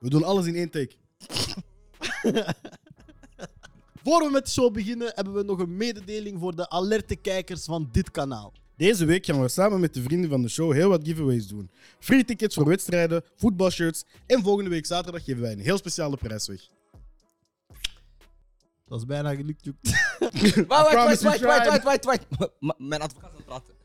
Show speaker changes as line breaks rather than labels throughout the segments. We doen alles in één take.
Voor we met de show beginnen, hebben we nog een mededeling voor de alerte kijkers van dit kanaal.
Deze week gaan we samen met de vrienden van de show heel wat giveaways doen. Free tickets voor wedstrijden, voetbalshirts en volgende week zaterdag geven wij een heel speciale prijs weg.
Dat is bijna gelukt. Joep.
Wacht,
promise
wacht, wacht,
we
wacht, wacht, wacht, wacht, wacht. M- m- Mijn advocaat is aan het praten.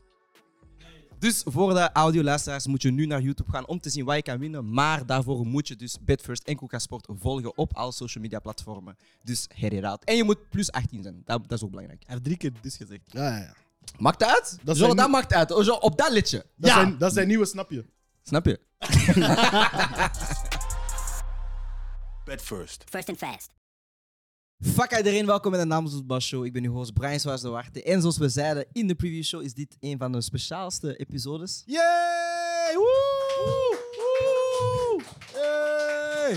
Dus voor de audioluisteraars moet je nu naar YouTube gaan om te zien wat je kan winnen. Maar daarvoor moet je dus Betfirst en Koeka Sport volgen op alle social media platformen. Dus herhaald. En je moet plus 18 zijn. Dat, dat is ook belangrijk.
Hij heeft drie keer dus gezegd.
Ja, ja, ja.
Maakt dat uit?
Dat
Dat,
zijn
dat
nu-
maakt uit. Zo, op dat lidje.
Dat,
Ja.
zijn, dat zijn nieuwe snapje.
Snap je?
Bet first.
First and fast.
Fuck iedereen, welkom bij de Namens Voetbal Show. Ik ben uw host Brian Swaars de Warte. En zoals we zeiden in de preview show is dit een van de speciaalste episodes.
Yay! Woe! Woe! Hey!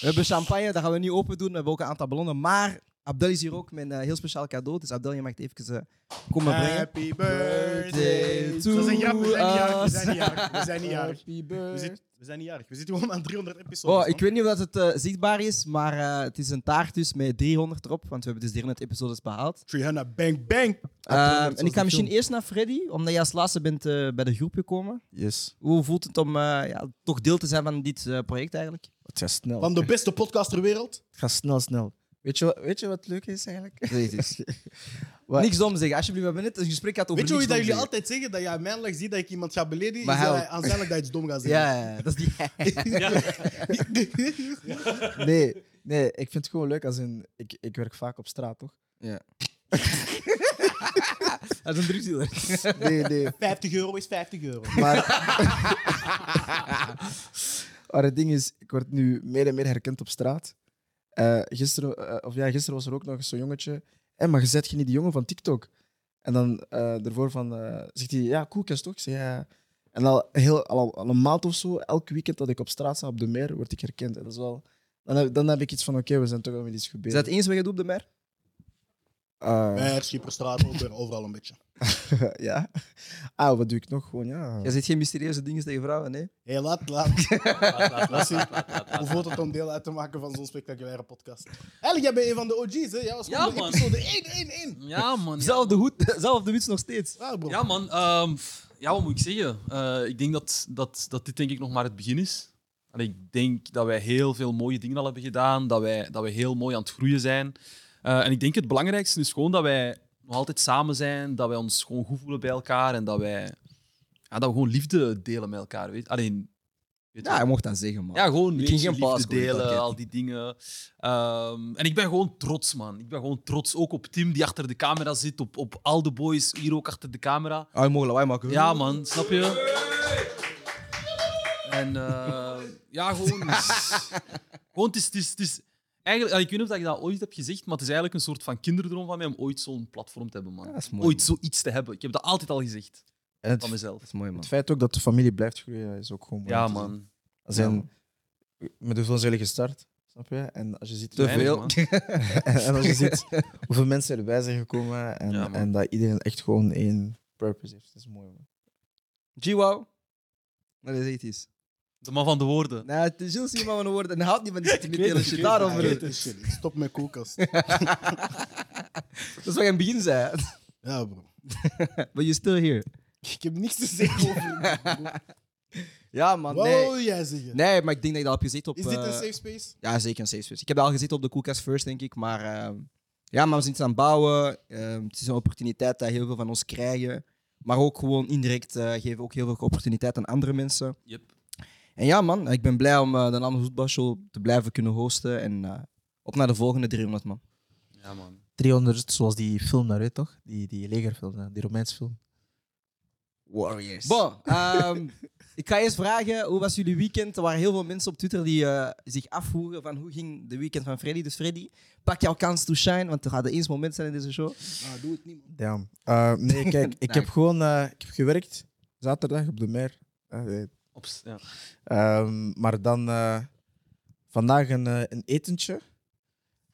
We hebben champagne, dat gaan we niet open doen. We hebben ook een aantal ballonnen. Maar Abdel is hier ook met een eh, heel speciaal cadeau. Dus Abdel, je mag het even eh, komen brengen. Eh,
Happy
birthday to
Dat is een grap, we zijn niet jarig. We zijn niet jarig. We zijn niet jarig.
Happy
We,
birthday.
zit- we zijn niet jarig. We zitten gewoon aan 300 episodes.
Oh, ik
man.
weet niet of dat het eh, zichtbaar is, maar eh, het is een taart dus met 300 erop. Want we hebben dus 300 episodes behaald.
300, bang, bang.
Eh,
zoals
en ik
de
ga misschien
film.
eerst naar Freddy, omdat jij als laatste bent eh, bij de groep gekomen.
Yes.
Hoe voelt het om eh, ja, toch deel te zijn van dit eh, project eigenlijk?
Het gaat snel.
Van de beste podcast ter wereld.
Het gaat snel, snel. Weet je, wat- weet je wat leuk is eigenlijk?
Nee, dus.
Wat?
Niks dom zeggen, alsjeblieft. We hebben net een gesprek gehad over
Weet je hoe je
niks
dat
dom
jullie
zeggen.
altijd zeggen? Dat je aan mijn leg ziet dat ik iemand ga beledigen.
Maar
is dat
hij-
hij aanzienlijk dat je iets dom gaat zeggen.
Ja, ja, ja, dat is die...
Nee, nee, ik vind het gewoon leuk als in. Ik, ik werk vaak op straat, toch?
dat is een drugsdealer.
Nee, nee.
50 euro is 50 euro.
Maar. maar het ding is, ik word nu meer en meer herkend op straat. Eh, gisteren, eh, of ja, gisteren was er ook nog eens zo'n jongetje. Hé, maar je zet je niet die jongen van TikTok? En dan eh daarvoor van, eh, zegt hij, ja, koelkast toch? Ik zeg, ja. ja. En al, heel, al, al een maand of zo, elk weekend dat ik op straat sta op de meer, word ik herkend. En dat is wel, dan, heb, dan heb ik iets van, oké, we zijn toch wel met iets
Is
gebeurd.
dat het enige wat je doet op de mer?
Eh,
Bij Schipperstraat, ook weer overal een beetje.
ja. Ah, wat doe ik nog? Gewoon, ja.
Je zegt geen mysterieuze dingen tegen vrouwen, nee?
Hé, hey, laat, laat. laat zien hoe voelt het om deel uit te maken van zo'n spectaculaire podcast. Eigenlijk, jij bent een van de OG's, hè? Jij was
Ja,
gewoon de
man.
episode 1, 1, 1.
Ja, man. Ja,
Zelf de hoed, zelf de muts nog steeds.
Ah, bro.
Ja, man. ehm, pff, ja, wat moet ik zeggen? Eh, ik denk dat, dat, dat dit denk ik nog maar het begin is. En ik denk dat wij heel veel mooie dingen al hebben gedaan. Dat wij, dat wij heel mooi aan het groeien zijn. Eh, en ik denk het belangrijkste is gewoon dat wij nog altijd samen zijn. Dat wij ons gewoon goed voelen bij elkaar. En dat wij ja, dat we gewoon liefde delen met elkaar. Weet. Alleen, weet
Ja,
je-
je mocht dat zeggen, man.
ja, gewoon
Ik
weet
ging
je,
geen
liefde
paas gooien, dat
delen,
ken
al
ik.
die dingen. Ehm, en ik ben gewoon trots, man. Ik ben gewoon trots ook op Tim, die achter de camera zit. Op, op al de boys hier ook achter de camera.
Ah, je mag lawaai maken.
Ja, man, snap je? En eh, ja, gewoon. gewoon, het is. Het is, het is eigenlijk, ik weet niet of ik dat ooit heb gezegd, maar het is eigenlijk een soort van kinderdroom van mij om ooit zo'n platform te hebben, man.
dat is mooi,
ooit zoiets te hebben. Ik heb dat altijd al gezegd
En het,
van mezelf.
Dat is mooi, man.
het feit ook dat de familie blijft groeien, is ook gewoon mooi
Ja,
om te zien.
man.
Als in,
Ja, man.
met hoeveel zijn jullie gestart? Snap je? En als je ziet,
Te
Weinig,
veel.
man.
en als je ziet hoeveel mensen erbij zijn gekomen en,
Ja, man.
en dat iedereen echt gewoon één purpose heeft. Dat is mooi, man.
G-Wow. Maar dat is iets.
De man van de woorden.
Nou, het is Jules niet van mijn woorden en hij houdt niet van die sentimentele shit.
Ah,
Daarom,
weet
broer.
het, shit. Ik Stop met koelkast.
Dat is wat je in het begin zei.
Ja, bro.
But you're still here.
Ik heb niks te zeggen over bro.
Ja, man.
Wat
Nee.
wil jij zeggen?
nee, maar ik denk dat ik dat al heb gezeten op...
Is dit een
eh,
safe space?
Ja, zeker een safe space. Ik heb dat al gezeten op de Koelkast First, denk ik. Maar ehm, ja, maar we zijn iets aan het bouwen. Ehm, het is een opportuniteit dat heel veel van ons krijgen. Maar ook gewoon indirect eh, geven we ook heel veel opportuniteit aan andere mensen.
Yep.
En ja, man, ik ben blij om eh, de Nederlandse voetbalshow te blijven kunnen hosten. En eh, op naar de volgende 300, man.
Ja, man.
300, zoals die film daar, weet je toch? Die, die legerfilm, hè, die Romeins film.
Warriors. Bon, ehm, ik ga eerst vragen, hoe was jullie weekend? Er waren heel veel mensen op Twitter die eh, zich afvroegen van hoe ging de weekend van Freddy. Dus Freddy, pak jouw kans to shine, want er gaat eens moment zijn in deze show.
Nou, doe het niet, man.
Damn. Eh, nee, kijk, ik heb
Dank.
gewoon eh, ik heb gewerkt zaterdag op de mer. Eh, nee.
Op, s- ja.
Ehm, maar dan eh, vandaag een, eh, een etentje.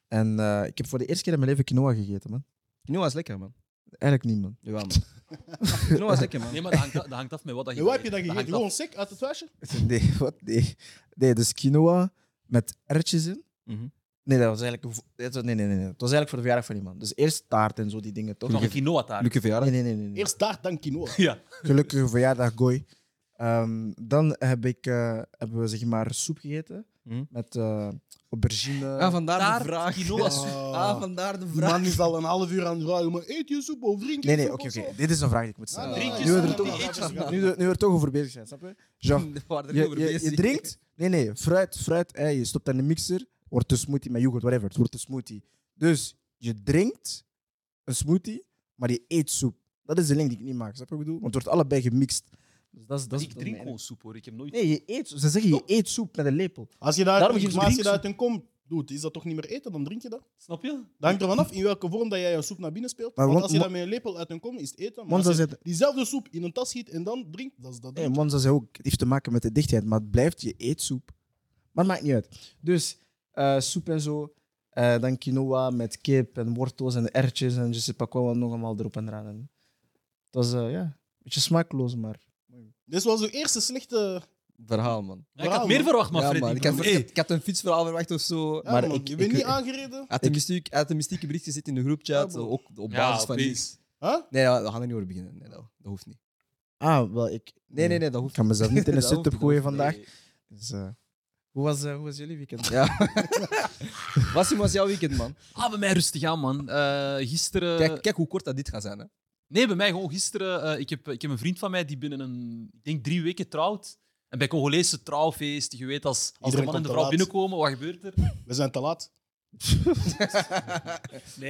En eh, ik heb voor de eerste keer in mijn leven quinoa gegeten, man.
Nu was lekker, man.
Eigenlijk niet, man.
Jawel, man. Bruno was lekker, man.
Nee, maar dat hangt, dat hangt af met wat dat je
En wat heb je dan
Ah, dat
gegeten?
hangt af-
Gewoon sec uit het flesje?
Nee, wat? Nee. Nee, dus quinoa met erwtjes in.
Mhm.
Nee, dat was eigenlijk... dat was- Nee, nee, nee. nee. Het was eigenlijk voor de verjaardag van iemand. Dus eerst taart en zo, die dingen, toch?
Nog een quinoa daar.
Luc verjaardag.
Nee, nee, nee. nee, nee.
Eerst taart, dan quinoa.
Ja.
Gelukkige verjaardag, gooi. Ehm, dan heb ik, eh, hebben we zeg maar soep gegeten
Mhm.
met eh, aubergine.
Ah, vandaar
Daar,
de vraag.
quinoa soep.
Ah, vandaar de
Die
vraag.
man is al een half uur aan het vragen, maar eet je soep of drink je
nee, nee, oké,
soep
oké.
of zo?
Dit is een vraag die ik moet
Ah,
stellen.
nee,
drink je
nu, we
soep,
er
die eet je
toch,
soep.
nu, we- nu we er toch over bezig zijn, snap je? Jean,
Waar er
je,
niet over
je,
bezig.
je drinkt... Nee, nee, fruit, fruit. Hè, je stopt dat in de mixer, wordt een smoothie met yoghurt, whatever. Het wordt een smoothie. Dus je drinkt een smoothie, maar je eet soep. Dat is de link die ik niet maak, snap je wat ik bedoel? Want het wordt allebei gemixt. Dus dat is, dat is
ik
wat
drink
mij-
gewoon soep hoor. Ik heb nooit.
Nee, je eet, ze zeggen je eet soep met een lepel.
Als je dat,
Daarom
uit-
geef ik
maar als je
drink
dat uit een kom doet, is dat toch niet meer eten? Dan drink je dat.
Snap je?
Dat hangt ervan af in welke vorm dat jij jouw soep naar binnen speelt.
Maar
Want
Mon-
als je dat
Mon-
met een lepel uit een kom is het eten. Maar als
Monza
je
zegt,
diezelfde soep in een tas giet en dan drinkt, dat is dat.
nee,
drinken.
Monza zei ook, het heeft te maken met de dichtheid, maar het blijft je eetsoep. Maar het maakt niet uit. Dus eh, soep en zo, eh, dan quinoa met kip en wortels en ertjes en je sais pas quoi, wat nog allemaal erop en eraan. En het was, eh, ja, een beetje smaakloos, maar...
Dit was de eerste slechte.
Verhaal, man.
Ja, ik
Verhaal,
had meer
man.
verwacht, maar
Ja,
Freddy.
man. Ik had,
broer.
ik
Hey,
had- ik had een fietsverhaal verwacht of zo.
Ja,
Maar
man,
ik-
je bent
ik-
niet aangereden.
Uit de, mystiek, uit de mystieke berichten zit in de
Ja,
groepchat,
bro.
ook op
Ja,
basis van
please.
niets.
Huh?
Nee, ja, we gaan er niet over beginnen. Nee, dat, dat hoeft niet.
Ah, wel, ik...
Nee, nee, nee, dat hoeft
Ik kan mezelf niet in een
Dat hoeft
sit-up gooien
dat hoeft
vandaag.
niet.
Dus, eh, hoe, was, eh, hoe was jullie weekend?
Nee. Wassim, was jouw weekend, man?
Ah, bij mij rustig aan, man. Eh, gisteren.
Kijk, kijk hoe kort dat dit gaat zijn, hè.
Nee, bij mij gewoon gisteren. eh, ik, heb, ik heb een vriend van mij die binnen een, ik denk drie weken trouwt. En bij Congolese trouwfeesten, je weet, als, als de
Iedereen
man en de
komt te
vrouw
laat.
binnenkomen, wat gebeurt er?
We zijn te laat.
Eh.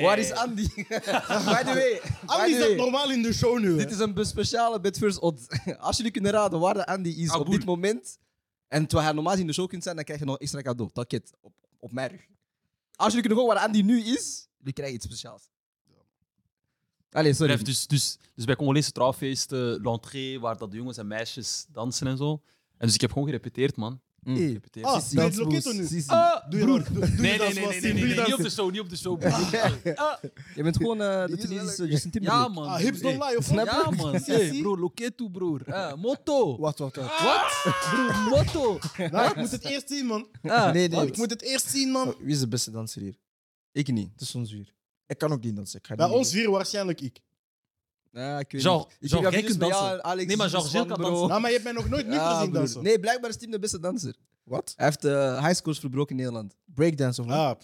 Waar is Andy? By the way, by
Andy
the
zit
way,
normaal in de show nu. hè.
dit is een be- speciale Bedfirst Odd. Als jullie kunnen raden waar de Andy is
Ah,
op
boer.
dit moment, en terwijl hij normaal in de show kunt zijn, dan krijg je nog een extra cadeau. Takket, op, op mijn rug. Als jullie kunnen gewoon waar Andy nu is, jullie krijgen iets speciaals. Allee, sorry.
Bref, dus, dus, dus bij Congolese trouwfeesten, l'entrée, waar dat de jongens en meisjes dansen en zo. En dus ik heb gewoon gerepeteerd, man.
Mm.
Hey,
Gerepeteerd.
Ah,
Sissi,
doe je het
dansmoes,
loketo nu?
Sissi.
Doe je dat? Eh, Doe- Doe
Nee,
je
nee,
dat?
nee, nee,
Swastiek?
nee,
Doe
nee,
je dat?
niet op de show, niet op de show. broer.
Je bent gewoon eh, de
Die is wel
Tunesische
leuk.
Justin
Ja,
Timberlake.
man.
Ah, hips don't lie, of
Snap
wat?
je?
Ja, man. Hey, bro, loketo, broer. Eh, motto.
Wacht, wacht, wacht.
Ah,
Wat? Broer, motto.
Nou, ik moet het eerst zien, man. Oh,
Ah.
Nee, nee.
Ik moet het eerst zien,
Oh,
man.
Wie is de beste danser hier?
Ik niet.
Het is ons vier. Ik kan ook niet dansen. Ik ga
Bij
niet
ons vier waarschijnlijk ik.
Oh. Ja, ik weet
Jean-
niet. Ik
Jean,
heb
jij
video's
kunt
met jou
dansen.
en Alex
Nee, maar
Guzman,
Jean-Gilles kan
bro.
dansen.
Nou, maar je hebt mij nog nooit nuchter
Ja,
zien
broer.
dansen.
Nee, blijkbaar is Tim de beste danser.
Wat?
Hij heeft de highschools verbroken in Nederland.
Breakdance of wat?
Ah.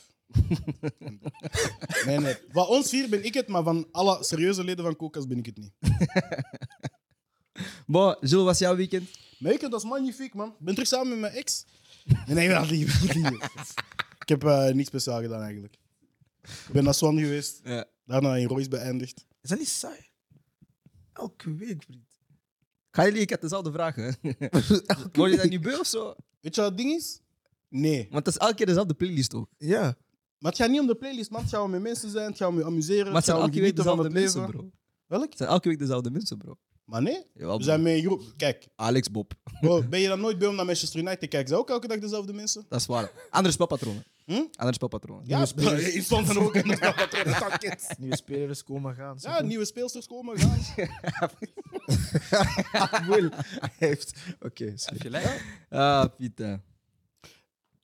pff. Nee, nee. Van ons vier ben ik het, maar van alle serieuze leden van Kokas ben ik het niet.
Maar, Jules, was jouw weekend?
Maar ik, dat is magnifiek, man. Ik ben terug samen met mijn ex. Nee, nee, dat niet. Ik heb eh, niks speciaal gedaan, eigenlijk. Ik ben naar Swan geweest.
Ja.
Daarna in Royce beëindigd.
Is dat niet saai? Elke week, vriend.
Ga jullie, ik had dezelfde vraag. Hè. Word je dat nu beu of zo?
Weet je wat het ding is? Nee.
Want dat is elke keer dezelfde playlist ook.
Ja.
Maar het gaat niet om de playlist, man. Het gaat om met mensen zijn, het gaat om je amuseren, het
Maar het zijn
gaat om
elke week
genieten van
dezelfde
het
mensen,
leven.
bro.
Welk?
Het zijn elke week dezelfde mensen, bro.
Maar nee,
Jawel,
we
bro.
zijn met een groep. Kijk,
Alex Bob.
bro, ben je dan nooit bij om naar Manchester United te kijken? Zijn ook elke dag dezelfde mensen?
Dat is waar. Andere spelpatronen.
Hm?
Andere spelpatronen.
Ja, in stond dan ook. in de stad.
Nieuwe spelers komen gaan.
Ja, nieuwe speelsters komen gaan.
Wil. Hij heeft... Oké, sorry.
Heb je gelijk?
Ah, Pieter.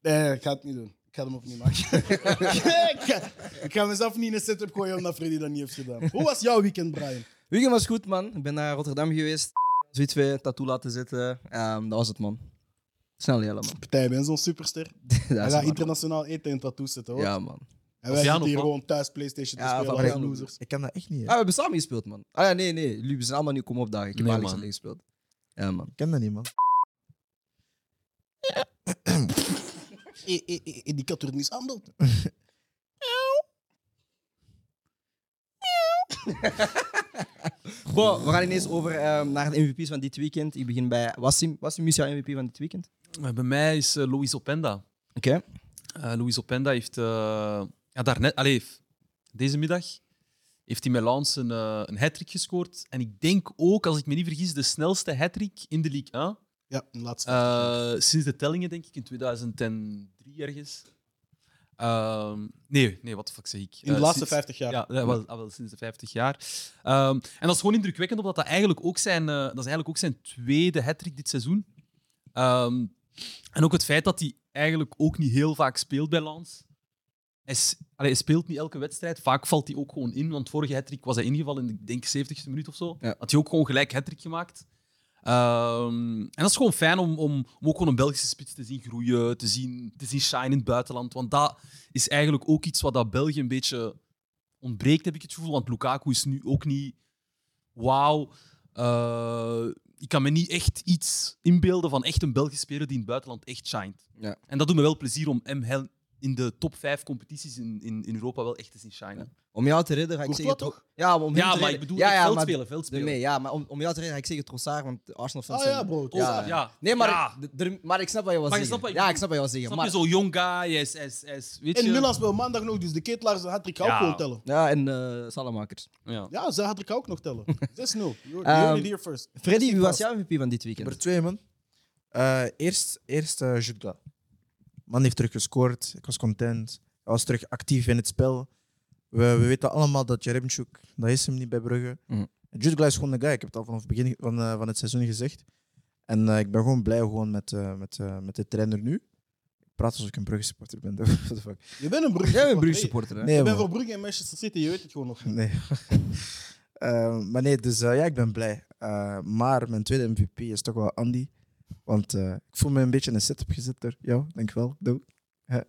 Nee, ik ga het niet doen. Ik ga hem opnieuw maken. ik, ga, ik ga mezelf niet in een setup gooien omdat Freddy dat niet heeft gedaan. Hoe was jouw weekend, Brian?
Weekend was goed, man. Ik ben naar Rotterdam geweest. Zoiets twee tattoo laten zitten. Ehm, dat was het, man. Snel jellen, man.
Partij, ik ben zo'n superster.
Dat is
Hij
waar,
gaat
man.
internationaal eten en tattoos zetten, hoor.
Ja, man.
En wij
Fabiano,
zitten hier
man.
gewoon thuis Playstation te
Ja,
spelen als
Fabiano.
losers.
Ik kan dat echt niet.
Ah,
hè.
we hebben samen gespeeld, man. Ah ja, nee, nee. Jullie zijn allemaal nu komen opdagen. Ik heb
Nee,
Alex
man.
alleen gespeeld. Ja, man.
Ik ken dat niet, man.
Eh, eh, eh, eh, die kat wordt mishandeld.
Goh, we gaan ineens over ehm, naar de MVP's van dit weekend. Ik begin bij Wassim. Wassim is jouw MVP van dit weekend?
Eh, Bij mij is eh, Louis Openda.
Oké.
Eh, Luis Openda heeft eh ja, daarnet, allee, f- deze middag heeft hij met Lens een, eh een hat-trick gescoord. En ik denk ook, als ik me niet vergis, de snelste hat-trick in de League 1.
Eh,
Ja, de laatste.
Eh, sinds de tellingen, denk ik, in 2003 ergens. Ehm, nee, nee, wat de fuck zeg ik?
In de
Eh,
laatste
sinds-
50 jaar.
Ja, ja, wel, ah, wel, sinds de 50 jaar. Ehm, en dat is gewoon indrukwekkend, omdat dat eigenlijk ook zijn, eh, dat is eigenlijk ook zijn tweede hat-trick dit seizoen. Ehm, en ook het feit dat hij eigenlijk ook niet heel vaak speelt bij Lans. Hij, s- allee, hij speelt niet elke wedstrijd. Vaak valt hij ook gewoon in, want vorige hat-trick was hij ingevallen in, ik denk, 70ste minuut of zo.
Ja.
Had hij ook gewoon gelijk hat-trick gemaakt. Ehm, en dat is gewoon fijn om, om, om ook gewoon een Belgische spits te zien groeien, te zien, te zien shine in het buitenland. Want dat is eigenlijk ook iets wat dat België een beetje ontbreekt, heb ik het gevoel. Want Lukaku is nu ook niet wauw. Eh, ik kan me niet echt iets inbeelden van echt een Belgisch speler die in het buitenland echt shined.
Ja.
En dat doet me wel plezier om hem heel- in de top 5 competities in, in, in Europa wel echt te zien shinen.
Om jou te redden ga ik zeggen...
Courtois
Tro- Ja, maar om hem
Ja,
te
maar
redden-
ik bedoel
ja,
echt
ja, maar-
veldspelen, veldspelen.
Nee, ja, maar om, om jou te redden ga ik zeggen Trossard, want Arsenal fans
Ah
zijn-
ja, bro.
Oh, ja.
Nee, maar,
Ja.
d- er- maar ik snap wat je wil
Maar je
zeggen.
snapt wat ik
ja, ik
bedoel.
snap wat je wil zeggen.
Snap
Maar,
je, zo'n jong guy, hij is, hij is, hij is- weet
En
je...
Mila speelt maandag nog, dus de ketelaars zijn hat-trick ga ik
Ja.
ook gewoon tellen.
ja, en eh Salamakers.
Ja.
Ja, zijn hat-trick ga ik ook nog tellen. 6-0. You you
Ehm,
heard it here first.
Freddy, wie was jouw MVP van dit weekend?
Nummer twee, man. Eh, eerst eerst eh, Jutla. Man heeft terug gescoord. Ik was content. Hij was terug actief in het spel. We, we weten allemaal dat Jeremchuk, dat is hem niet bij Brugge.
Mm.
Jutla is gewoon een guy. Ik heb het al vanaf het begin van, eh, van het seizoen gezegd. En eh, ik ben gewoon blij gewoon met, eh, met, eh, met de trainer nu. Ik praat alsof ik een Brugge supporter ben. What the fuck?
Je bent een Brugge.
Jij bent een
supporter.
Brugge supporter, hè?
Nee,
Je
man.
bent voor Brugge en Manchester City, je weet het gewoon nog niet.
Nee. Eh, maar nee, dus eh, ja, ik ben blij. Eh, maar mijn tweede MVP is toch wel Andy. Want eh, ik voel me een beetje in een setup gezet door jou, denk ik wel. Doe. Hè?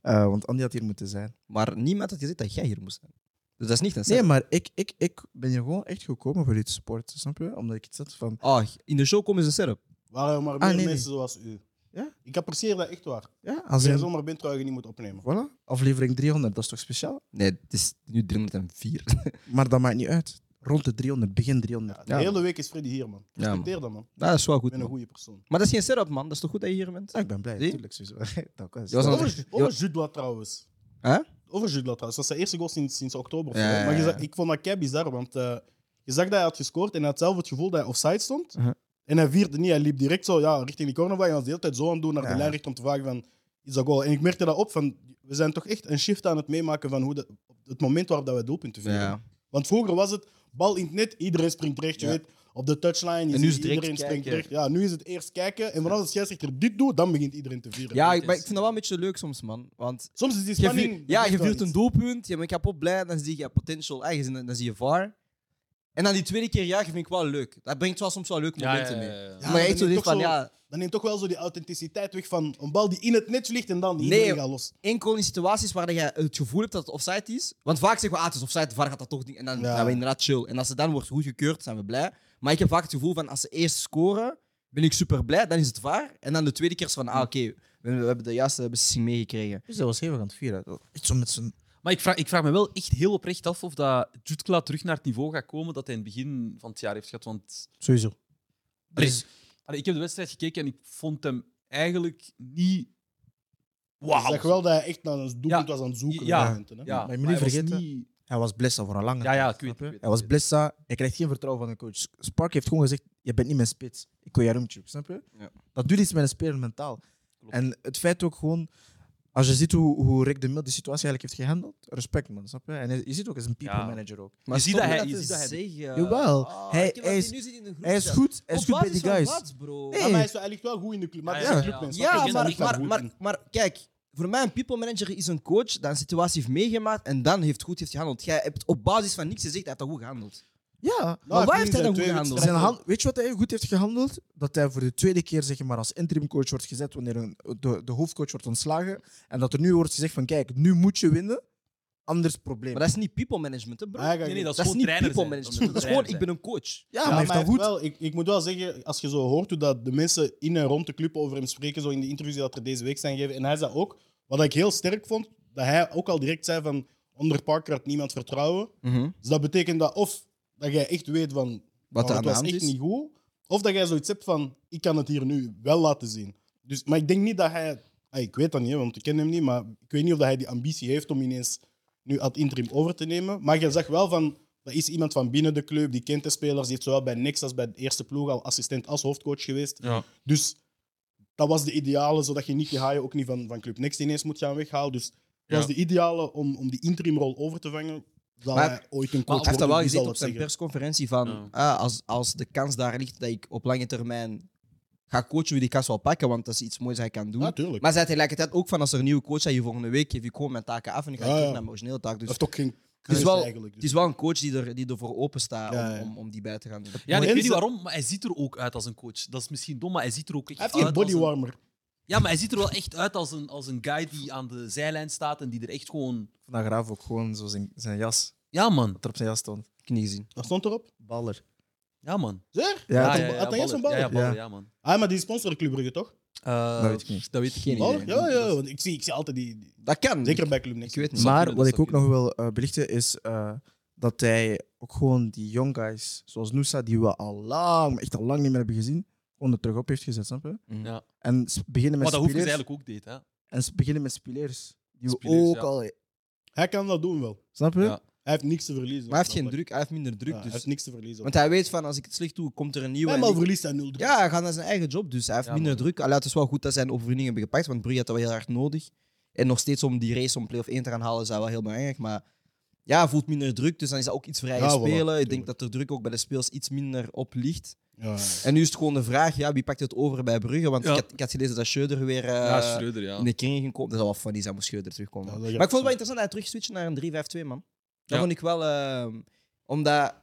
Eh, want Andy had hier moeten zijn.
Maar niemand had gezegd dat jij hier moest zijn. Dus dat is niet een set.
Nee, maar ik, ik, ik ben hier gewoon echt gekomen voor dit sport, snap je? Omdat ik iets had van...
Oh, in de show komen ze setup.
Waren er maar meer
Ah, nee,
mensen zoals u.
Ja?
Ik apprecieer dat echt waar.
Ja, als
Als jij
in-
zomaar bent, trouw je niet moet opnemen.
Voilà, aflevering 300, dat is toch speciaal?
Nee, het is nu 304.
Maar dat maakt niet uit. Rond de 300, begin
Ja,
300.
de hele week is Freddy hier, man.
Ja, man.
Respecteer dat, man.
Nou, dat is wel
Ik
goed.
ben een
man.
goede persoon.
Maar dat is geen setup, man. Dat is toch goed dat je hier bent?
Ah, ik ben blij,
Zie?
natuurlijk. sowieso. Dat was-
Dat was een-
Over, over Judla trouwens.
Hè?
Over Judla trouwens. Dat is zijn eerste goal sinds, sinds oktober. of
Ja,
zo.
ja,
Maar je
ja.
zag- ik vond dat kei bizar, want eh, je zag dat hij had gescoord en hij had zelf het gevoel dat hij offside stond.
Uh-huh.
En hij vierde niet. Hij liep direct zo ja, richting die cornervlag en was de hele tijd zo aan het doen naar de
Ja.
lijn om te vragen van, is dat goal? En ik merkte dat op, van, we zijn toch echt een shift aan het meemaken van hoe de, op het moment waarop dat wij doelpunten vinden.
Ja.
Want vroeger was het bal in het net, iedereen springt recht, je weet. Op de touchline, je
En nu
ziet
is het direct
iedereen springt
kijken.
recht. Ja, nu is het eerst kijken en vanaf de scheidsrechter dit doet, dan begint iedereen te vieren.
Ja, ik- maar ik vind dat wel een beetje leuk soms, man. Want
Soms is die
je
spanning...
viert,
dat
ja,
is
je
wel
viert
iets.
een doelpunt, je bent kapot blij, dan zie je potential eigen, en dan- dan zie je VAR. En dan die tweede keer juichen vind ik wel leuk. Dat brengt wel soms wel leuke momenten mee.
Ja,
maar
dan
echt zo
is
dit
toch
van,
zo-
ja,
Dat neemt toch wel zo die authenticiteit weg van een bal die in het net vliegt en dan die
Nee.
iedereen gaat los. Dus
enkel in situaties waar je het gevoel hebt dat het offside is. Want vaak zeggen we, ah, het is offside, de VAR gaat dat toch niet. En dan
Ja.
zijn we inderdaad chill. En als ze dan wordt goedgekeurd, zijn we blij. Maar ik heb vaak het gevoel van, als ze eerst scoren, ben ik super blij, dan is het VAR. En dan de tweede keer is van, ah, oké, we, we hebben de juiste beslissing meegekregen.
Dus dat was heel erg aan het vieren. Dat- Echt zo met zijn...
Maar ik vraag, ik vraag me wel echt heel oprecht af of dat Jutkla terug naar het niveau gaat komen dat hij in het begin van het jaar heeft gehad. Want
Sowieso. Dus-
Allee, allee, ik heb de wedstrijd gekeken en ik vond hem eigenlijk niet...
Ik
Wauw.
zeg wel dat hij echt naar een doelpunt
Ja.
was aan het zoeken.
Ja.
op die momenten, hè.
Ja,
Maar je moet
maar
niet
hij was
vergeten-
niet-
Hij was blessa voor een lange
Ja, ja, ik weet,
snap
ik
je?
weet,
Hij was
ik
blessa. Hij krijgt geen vertrouwen van de coach. Spark heeft gewoon gezegd: Je bent niet mijn spits. Ik wil Jarumchuk, snap je?
Ja.
Dat doet iets met een speler mentaal.
Klopt.
En het feit ook gewoon, als je ziet hoe, hoe Rick de Mil die situatie eigenlijk heeft gehandeld, respect man, snap je? En hij- je ziet ook, hij is een people
Ja.
manager ook.
Maar
Je ziet
stop
dat
met
hij- je
te
ziet dat hij-
zeggen.
Jawel,
Ah,
hij-
ik heb dat
hij
die
is-
nu zit in de groep,
Hij is
ja.
goed, hij is
Op
goed bij
basis van
die guys.
wat, bro?
Nee.
Ja, maar hij is wel- hij ligt wel goed in de club. Maar
Ja,
hij is een
ja, ja.
clubmens, snap je?
Ja,
Ik ken dat
maar,
echt wel
maar,
goed.
maar, maar kijk, voor mij een people manager is een coach dat een situatie heeft meegemaakt en dan heeft goed heeft gehandeld. Jij hebt op basis van niks gezegd, hij heeft dat goed gehandeld.
Ja,
Nou,
waar
nu
heeft hij
zijn
dan goed
twee
gehandeld?
wedstrijden-
zijn hand, weet je wat hij goed heeft gehandeld? Dat hij voor de tweede keer zeg maar, als interimcoach wordt gezet wanneer een, de, de hoofdcoach wordt ontslagen. En dat er nu wordt gezegd van kijk, nu moet je winnen, anders probleem.
Maar dat is niet people management, hè, bro.
Hij gaat-
Nee, nee, dat is
dat is
gewoon
niet
trainer
people
zijn.
management. Dat is gewoon, ik ben een coach.
ja,
Ah, Ja,
maar hij heeft dat goed.
wel, ik, ik moet wel zeggen, als je zo hoort hoe dat de mensen in en rond de club over hem spreken, zo in de interviews die dat er deze week zijn gegeven, en hij zei ook, wat ik heel sterk vond, dat hij ook al direct zei van, onder Parker had niemand vertrouwen. Dus dat betekent dat of dat jij echt weet van,
Wat
nou,
er aan
het
de
was
hand
echt
is.
niet goed, of dat jij zoiets hebt van, ik kan het hier nu wel laten zien. Dus, maar ik denk niet dat hij, ah, ik weet dat niet, hè, want ik ken hem niet, maar ik weet niet of dat hij die ambitie heeft om ineens nu ad interim over te nemen. Maar je zag wel van, dat is iemand van binnen de club, die kent de spelers, die heeft zowel bij Nex als bij de eerste ploeg al assistent als hoofdcoach geweest.
Ja.
Dus dat was de ideale, zodat je Nicky Haaien ook niet van, van Club Next ineens moet gaan weghalen. Dus was de ideale om, om die interimrol over te vangen. Zal
Maar-
hij ooit een
Hij
coach
heeft dat
worden, wie
wel gezegd
zal
op
dat
zijn
zeggen?
persconferentie van
Ja.
ah, als, als de kans daar ligt dat ik op lange termijn ga coachen, wil ik die kans wel pakken, want dat is iets moois dat ik kan doen.
Natuurlijk.
Maar zij tegelijkertijd ook van als er een nieuwe coach is je volgende week, geef ik gewoon mijn taken af en ik ga
Ja,
terug
ja.
naar mijn originele taak. Dus
Dat is toch geen
het, is
keuze
wel,
eigenlijk. dus.
het is wel een coach die, er, die ervoor open staat
Ja, ja.
Om, om, om die bij te gaan doen.
Ja, en ik
En
weet niet
ze-
waarom, maar hij ziet er ook uit als een coach. Dat is misschien dom, maar hij ziet er ook echt
Hij heeft
uit
Ah,
die
als een-
bodywarmer.
Ja, maar hij ziet er wel echt uit als een, als een guy die aan de zijlijn staat en die er echt gewoon...
Vandaag Raaf ook gewoon zo zijn, zijn jas,
Ja, man.
dat er op zijn jas stond.
Ik heb niet gezien.
Dat stond erop.
Baller.
Ja, man.
Zeg?
Ja,
Had hij- had hij eens een
Ja,
baller?
ja, baller,
Ja.
ja, man.
Ah, maar die sponsor Club Brugge, toch?
Eh,
Dat weet ik niet.
Dat weet ik
Geen
niet.
Baller?
idee.
Oh, Ja, ja. Want ik zie, ik zie altijd die... die-
Dat kan.
Zeker bij Club Next.
Ik weet niet.
Maar
kunnen,
wat
dat
ik ook
zou
nog wil eh, belichten is eh, dat hij ook gewoon die young guys, zoals Noosa, die we al lang, maar echt al lang niet meer hebben gezien, gewoon er terug op heeft gezet, snap je?
Mhm.
Ja.
En s- beginnen met
Maar dat hoeft dus
spelers.
eigenlijk ook deed, hè.
En ze beginnen met spelers. Die we
Spelers,
ook
ja.
al.
Hij kan dat doen wel.
Snap je?
Ja.
Hij heeft niks te verliezen.
Maar hij heeft geen
Snap je?
druk, hij heeft minder druk.
Ja,
dus.
Hij heeft niks te verliezen.
Want hij weet van als ik het slecht doe, komt er een nieuwe. en
Eenmaal
ik-
verliest hij 0
Ja, hij gaat naar zijn eigen job, dus hij heeft
Ja,
minder
man.
druk. Allee, het is wel goed dat zij een overwinning hebben gepakt, want Brugge had dat wel heel hard nodig. En nog steeds om die race om play-off 1 te gaan halen, is dat wel heel belangrijk. Maar ja, hij voelt minder druk, dus dan is dat ook iets vrijer
Ja, voilà,
spelen. Ik denk
tuurlijk.
dat de druk ook bij de speels iets minder op ligt.
Ja, ja.
En nu is het gewoon de vraag, ja, wie pakt het over bij Brugge? Want
Ja.
ik, had, ik had gelezen dat Schöder weer eh,
ja, Schreuder, ja.
in de kring ging komen. Dat zou wel funny zijn moest Schöder terugkomen.
Ja, dat
maar ik
gaat
vond het wel
zijn.
interessant dat hij terugswitcht naar een 3-5-2, man. Dat
Ja.
vond ik wel... eh, omdat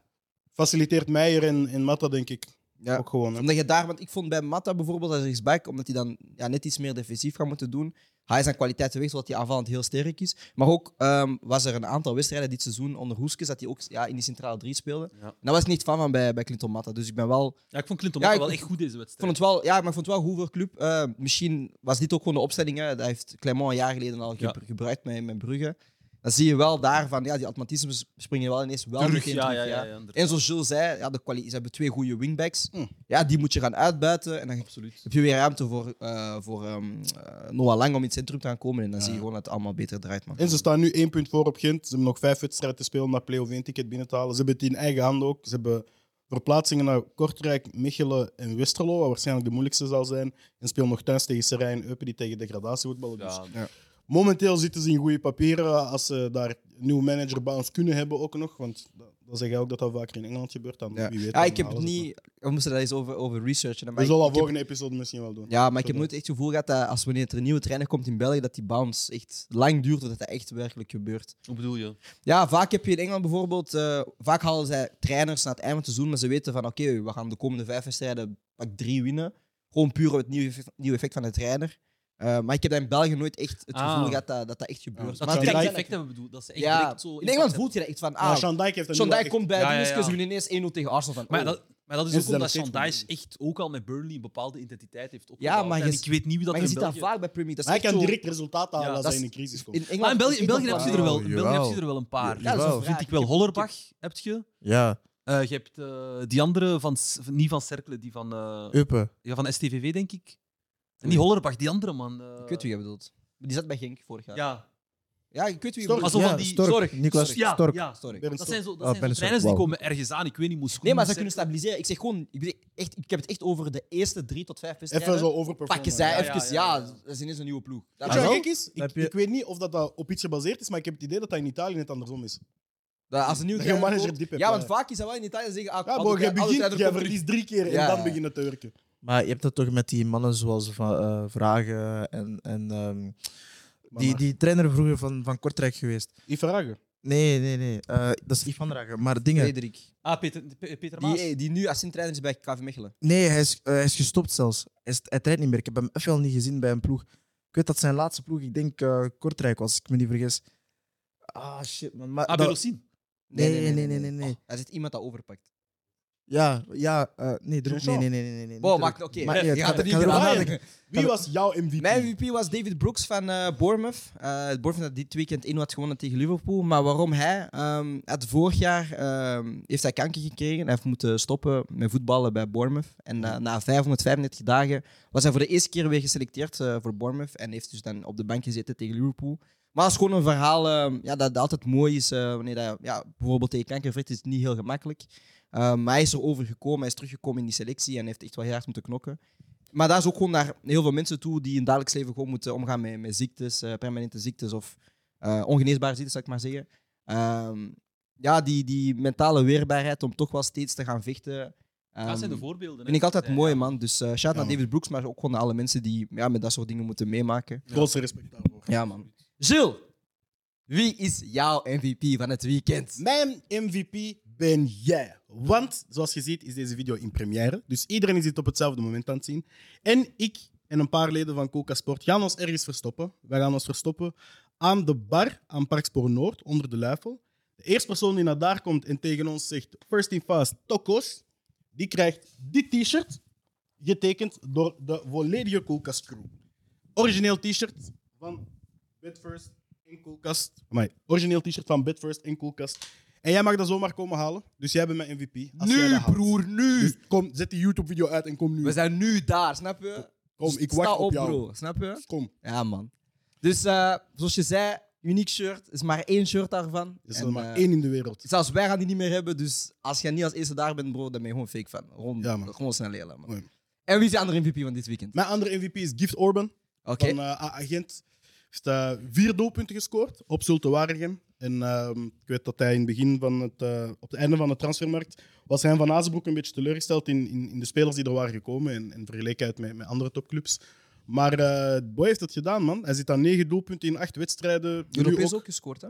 Faciliteert Meijer en, en Matta, denk ik.
Ja.
Ook gewoon. hè.
Omdat je daar, want ik vond bij Matta bijvoorbeeld als rechtsback, omdat hij dan ja, net iets meer defensief gaat moeten doen. Hij is aan kwaliteit weg, zodat hij aanvallend heel sterk is. Maar ook ehm, was er een aantal wedstrijden dit seizoen onder Hoeskes dat hij ook ja, in die centrale drie speelde.
Ja.
En daar was ik niet fan van bij, bij Clinton Matta. Dus ik ben wel,
Ja, ik vond Clinton
Ja,
Matta
ik-
wel echt goed deze
ik vond
wedstrijd.
het wel, ja, maar ik vond het wel goed voor club. Eh, misschien was dit ook gewoon de opstelling. Hè. Dat heeft Clement een jaar geleden al ge-
Ja.
gebruikt met, met Brugge. Dan zie je wel daarvan, ja, die automatismes springen wel ineens wel
Terug,
meteen
ja,
terug,
ja, ja.
ja.
ja, inderdaad. Mm.
En zoals Jules zei, ja, de kwali- ze hebben twee goede wingbacks.
Hm.
Ja, die moet je gaan uitbuiten. En dan
Absoluut.
heb je weer ruimte voor, eh, voor ehm, eh, Noah Lang om in het centrum te gaan komen. En dan zie je gewoon dat het allemaal beter draait. Man.
En ze staan nu één punt voor op Gent. Ze hebben nog vijf wedstrijden te spelen om dat play-off 1 ticket binnen te halen. Ze hebben het in eigen hand ook. Ze hebben verplaatsingen naar Kortrijk, Mechelen en Westerlo, wat waarschijnlijk de moeilijkste zal zijn. En spelen nog thuis tegen Serij en Eupen, die tegen degradatie voetballen. Dus
Ja,
momenteel zitten ze in goede papieren. Als ze daar een nieuwe manager bij ons kunnen hebben ook nog, want dat- dan zeg je ook dat dat vaker in Engeland gebeurt. Dan
Ja.
wie weet,
Ja,
dan
ik heb het
halen ze
niet... We moesten daar eens over, over researchen.
nog.
hè, Maar
We
ik-
zullen al
ik heb-
volgende episode misschien wel doen.
ja, maar ik heb nooit echt het gevoel gehad dat als wanneer er een nieuwe trainer komt in België, dat die bounce echt lang duurt voordat dat echt werkelijk gebeurt.
hoe bedoel je?
Ja, vaak heb je in Engeland bijvoorbeeld, eh, vaak halen zij trainers na het einde van het seizoen, maar ze weten van oké, we gaan de komende vijf wedstrijden pak drie winnen. Gewoon puur op het nieuwe effect, nieuwe effect van de trainer. Eh, maar ik heb dat in België nooit echt het
Ah.
gevoel gehad dat dat, dat echt gebeurt.
Ja,
Dat
Maar
die
het
direct
kan zijn
direct effect hebben bedoeld. Dat ze echt
ja,
direct zo...
in Engeland voelt je dat echt van.
Maar
Ah,
Sean Dijk heeft dat
Sean
nu wel
Dijk
echt-
komt bij
Ja, ja,
Dineskes,
ja.
we winnen ineens 1-0 tegen Arsenal. Van,
Maar,
oh.
dat, maar dat is
En
ook
ze zijn
omdat
nog
Sean
steeds
Dyche echt ook al met Burnley een bepaalde identiteit heeft opgebouwd.
Ja, maar je
En
ziet-
ik weet niet hoe dat
maar je
in
ziet dat
België...
vaak bij Premier League. Dat
Maar
is
hij kan
echt zo-
direct resultaten halen
Ja,
als
dat
hij in
is-
een crisis komt.
In Engeland,
Maar in België,
is
in
echt ah,
België
een
heb je
paar-
er wel, in
Jawel.
België heb je er wel een paar. Dus
Ja, dat is een
Jawel.
vraag.
vind ik wel. Hollerbach heb je.
Ja,
Eh, je hebt eh, die andere van... S- van- Niet van Cercle, die van, eh,
Uppe.
ja, van STVV, denk ik. En die Hollerbach, die andere man. eh,
Ik weet wie je bedoelt. Die zat bij Genk vorig jaar. Ja,
Ja.
ik weet wie je
Stork.
bedoelt.
Alsof van die...
Stork. Nicolas
Ja,
Stork.
ja.
Sorry.
Bernd
Dat
Stok.
zijn zo, dat
Ah,
zijn zo
Palace,
trainers
wauw.
die komen ergens aan. Ik weet niet hoe schoenen...
Nee, maar ze
zijn.
kunnen stabiliseren. Ik zeg gewoon, ik, zeg echt, ik heb het echt over de eerste drie tot vijf
Even
wedstrijden.
zo overperformen.
Pakken zij
Ja, ja,
even,
ja,
ja,
ja.
dat is ineens een nieuwe ploeg. Dat,
Weet je wat
Ah,
gek is? Ik,
Heb je-
ik weet niet of dat, dat op iets gebaseerd is, maar ik heb het idee dat dat in Italië net andersom is.
dat- als een nieuwe
Dat je een
trainer
manager
komt-
diep hebt,
Ja, want
ja.
vaak is dat wel in Italië zeggen. Ah,
Ja,
alle
maar
tra-
jij
alle
begint,
trainers
jij
komen-
verliest drie keer
Ja.
en dan beginnen te werken.
Maar je hebt dat toch met die mannen zoals van, eh, Vragen en. en ehm, die, die trainer vroeger van, van Kortrijk geweest.
Ifaragen.
Nee, nee, nee. eh, dat is Ivan Dragen. Maar dingen.
Frederik.
Ah, Peter, Pe- Peter Maas.
Die, Ah, die nu assistent trainer is bij KV Mechelen.
Nee, hij is, eh, hij is gestopt zelfs. Hij, is, hij traint niet meer. Ik heb hem even al niet gezien bij een ploeg. Ik weet dat zijn laatste ploeg, ik denk eh, Kortrijk was, als ik me niet vergis. Ah, shit, man. Maar,
Ah,
dat-
Berossin.
Nee, nee, nee, nee, nee.
Oh, daar zit iemand dat overpakt.
ja, ja eh, nee, erop.
Jean
Nee, nee, nee, nee. nee, nee
Wow,
niet
maakt
erop.
oké.
Maar, nee,
Ja,
ik ga-
dat
ik
heb
ga
ik
erop
gedaan.
nadenken.
Wie was jouw MVP?
Mijn MVP was David Brooks van eh Bournemouth. Eh Bournemouth dat dit weekend 1 had gewonnen tegen Liverpool. Maar waarom hij? Ehm het vorig jaar ehm, heeft hij kanker gekregen. Hij heeft moeten stoppen met voetballen bij Bournemouth. En eh, na 535 dagen was hij voor de eerste keer weer geselecteerd eh, voor Bournemouth. En heeft dus dan op de bank gezeten tegen Liverpool. Maar het is gewoon een verhaal ehm, ja, dat, dat altijd mooi is. eh, wanneer dat, ja, bijvoorbeeld tegen kanker vecht is het niet heel gemakkelijk. Eh, maar hij is erover gekomen. Hij is teruggekomen in die selectie en heeft echt wel heel hard moeten knokken. Maar daar is ook gewoon naar heel veel mensen toe die in het dagelijks leven gewoon moeten omgaan met, met ziektes, eh, permanente ziektes of eh, ongeneesbare ziektes, zal ik maar zeggen. Ehm, ja, die, die mentale weerbaarheid om toch wel steeds te gaan vechten.
dat zijn de
ehm,
voorbeelden.
Vind ik altijd mooi,
man.
man. Dus eh shout naar
man.
David Brooks, maar ook gewoon naar alle mensen die ja, met dat soort dingen moeten meemaken.
Grootste respect daarvoor.
Ja, man. Jules, wie is jouw MVP van het weekend?
Mijn MVP ben jij. Want, zoals je ziet, is deze video in première. Dus iedereen is dit op hetzelfde moment aan het zien. En ik en een paar leden van Coca Sport gaan ons ergens verstoppen. Wij gaan ons verstoppen aan de bar aan Parkspoor Noord, onder de Luifel. De eerste persoon die naar daar komt en tegen ons zegt: First in Fast Tokos, die krijgt dit t-shirt, getekend door de volledige Coca's crew. Origineel t-shirt van Bitfirst en Coolcast. Amai, origineel t-shirt van Bitfirst en Coolcast. En jij mag dat zomaar komen halen. Dus jij bent mijn MVP. Als jij dat haalt.
nu!
Dus kom, zet die YouTube-video uit en kom nu.
We zijn nu daar, snap je?
Kom,
Dus
ik wacht
sta
op jou.
bro. Snap je?
Kom.
Ja, man. Dus eh, zoals je zei, uniek shirt. Er is maar één shirt daarvan.
Er is er
En,
maar
eh,
één in de wereld.
Zelfs wij gaan die niet meer hebben, dus als jij niet als eerste daar bent, bro, dan ben je gewoon fake van. Gewoon,
Ja, man.
gewoon snel leren, man.
Mooi.
En wie is de andere MVP van dit weekend?
Mijn andere MVP is Gift Orban.
Oké.
Van eh, A- agent. Heeft eh, vier doelpunten gescoord op Zulte Waregem. En ehm, ik weet dat hij in het begin van het, eh, op het einde van de transfermarkt was hij van Azenbroek een beetje teleurgesteld in, in, in de spelers die er waren gekomen en, en vergeleken uit met, met andere topclubs. Maar eh Boy heeft het gedaan, man. Hij zit aan negen doelpunten in acht wedstrijden. Nu
Europees ook gescoord, hè?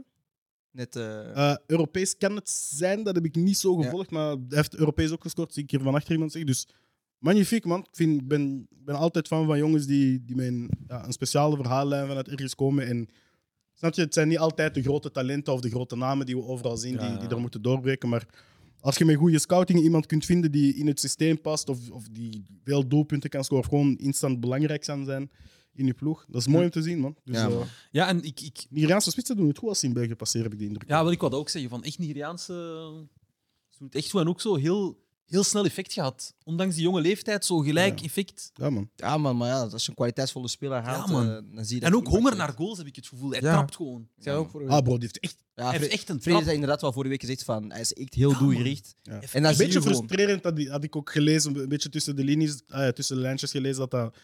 Net. eh,
eh, Europees kan het zijn, dat heb ik niet zo gevolgd, maar hij heeft Europees ook gescoord, zie ik hier van achter iemand zeggen. Dus magnifiek, man. Ik, vind, ik ben, ik ben altijd fan van jongens die, die met een, ja, een speciale verhaallijn vanuit ergens komen. En, snap je, het zijn niet altijd de grote talenten of de grote namen die we overal zien die, die er moeten doorbreken, maar als je met goede scouting iemand kunt vinden die in het systeem past of, of die veel doelpunten kan scoren of gewoon instant belangrijk kan zijn in je ploeg, dat is mooi om te zien, man. Dus,
Ja,
ja,
man.
Ja, en ik, ik,
Nigeriaanse spitsen doen het goed als ze in België passeren, heb ik de indruk.
ja, wil ik wat ook zeggen van echt Nigeriaanse. Ze doen het echt zo en ook zo heel, heel snel effect gehad. Ondanks die jonge leeftijd, zo gelijk
Ja.
effect.
ja man.
Ja, man, maar ja, als je een kwaliteitsvolle speler haalt,
man.
eh, dan zie je dat
En ook
impact
honger
heeft.
naar goals heb ik het gevoel. Hij
Ja.
trapt gewoon.
Ik zei ook voor
Ah, bro, die heeft echt
ja,
Hij heeft
Fre-
echt een
Freddy
trap.
zei inderdaad wel vorige week gezegd van, hij is echt heel
Ja, man.
doelgericht.
Ja.
En dat
Een
zie je
beetje
gewoon.
frustrerend, dat die- had ik ook gelezen, een beetje tussen de linies, ah ja, tussen de lijntjes gelezen, dat, dat,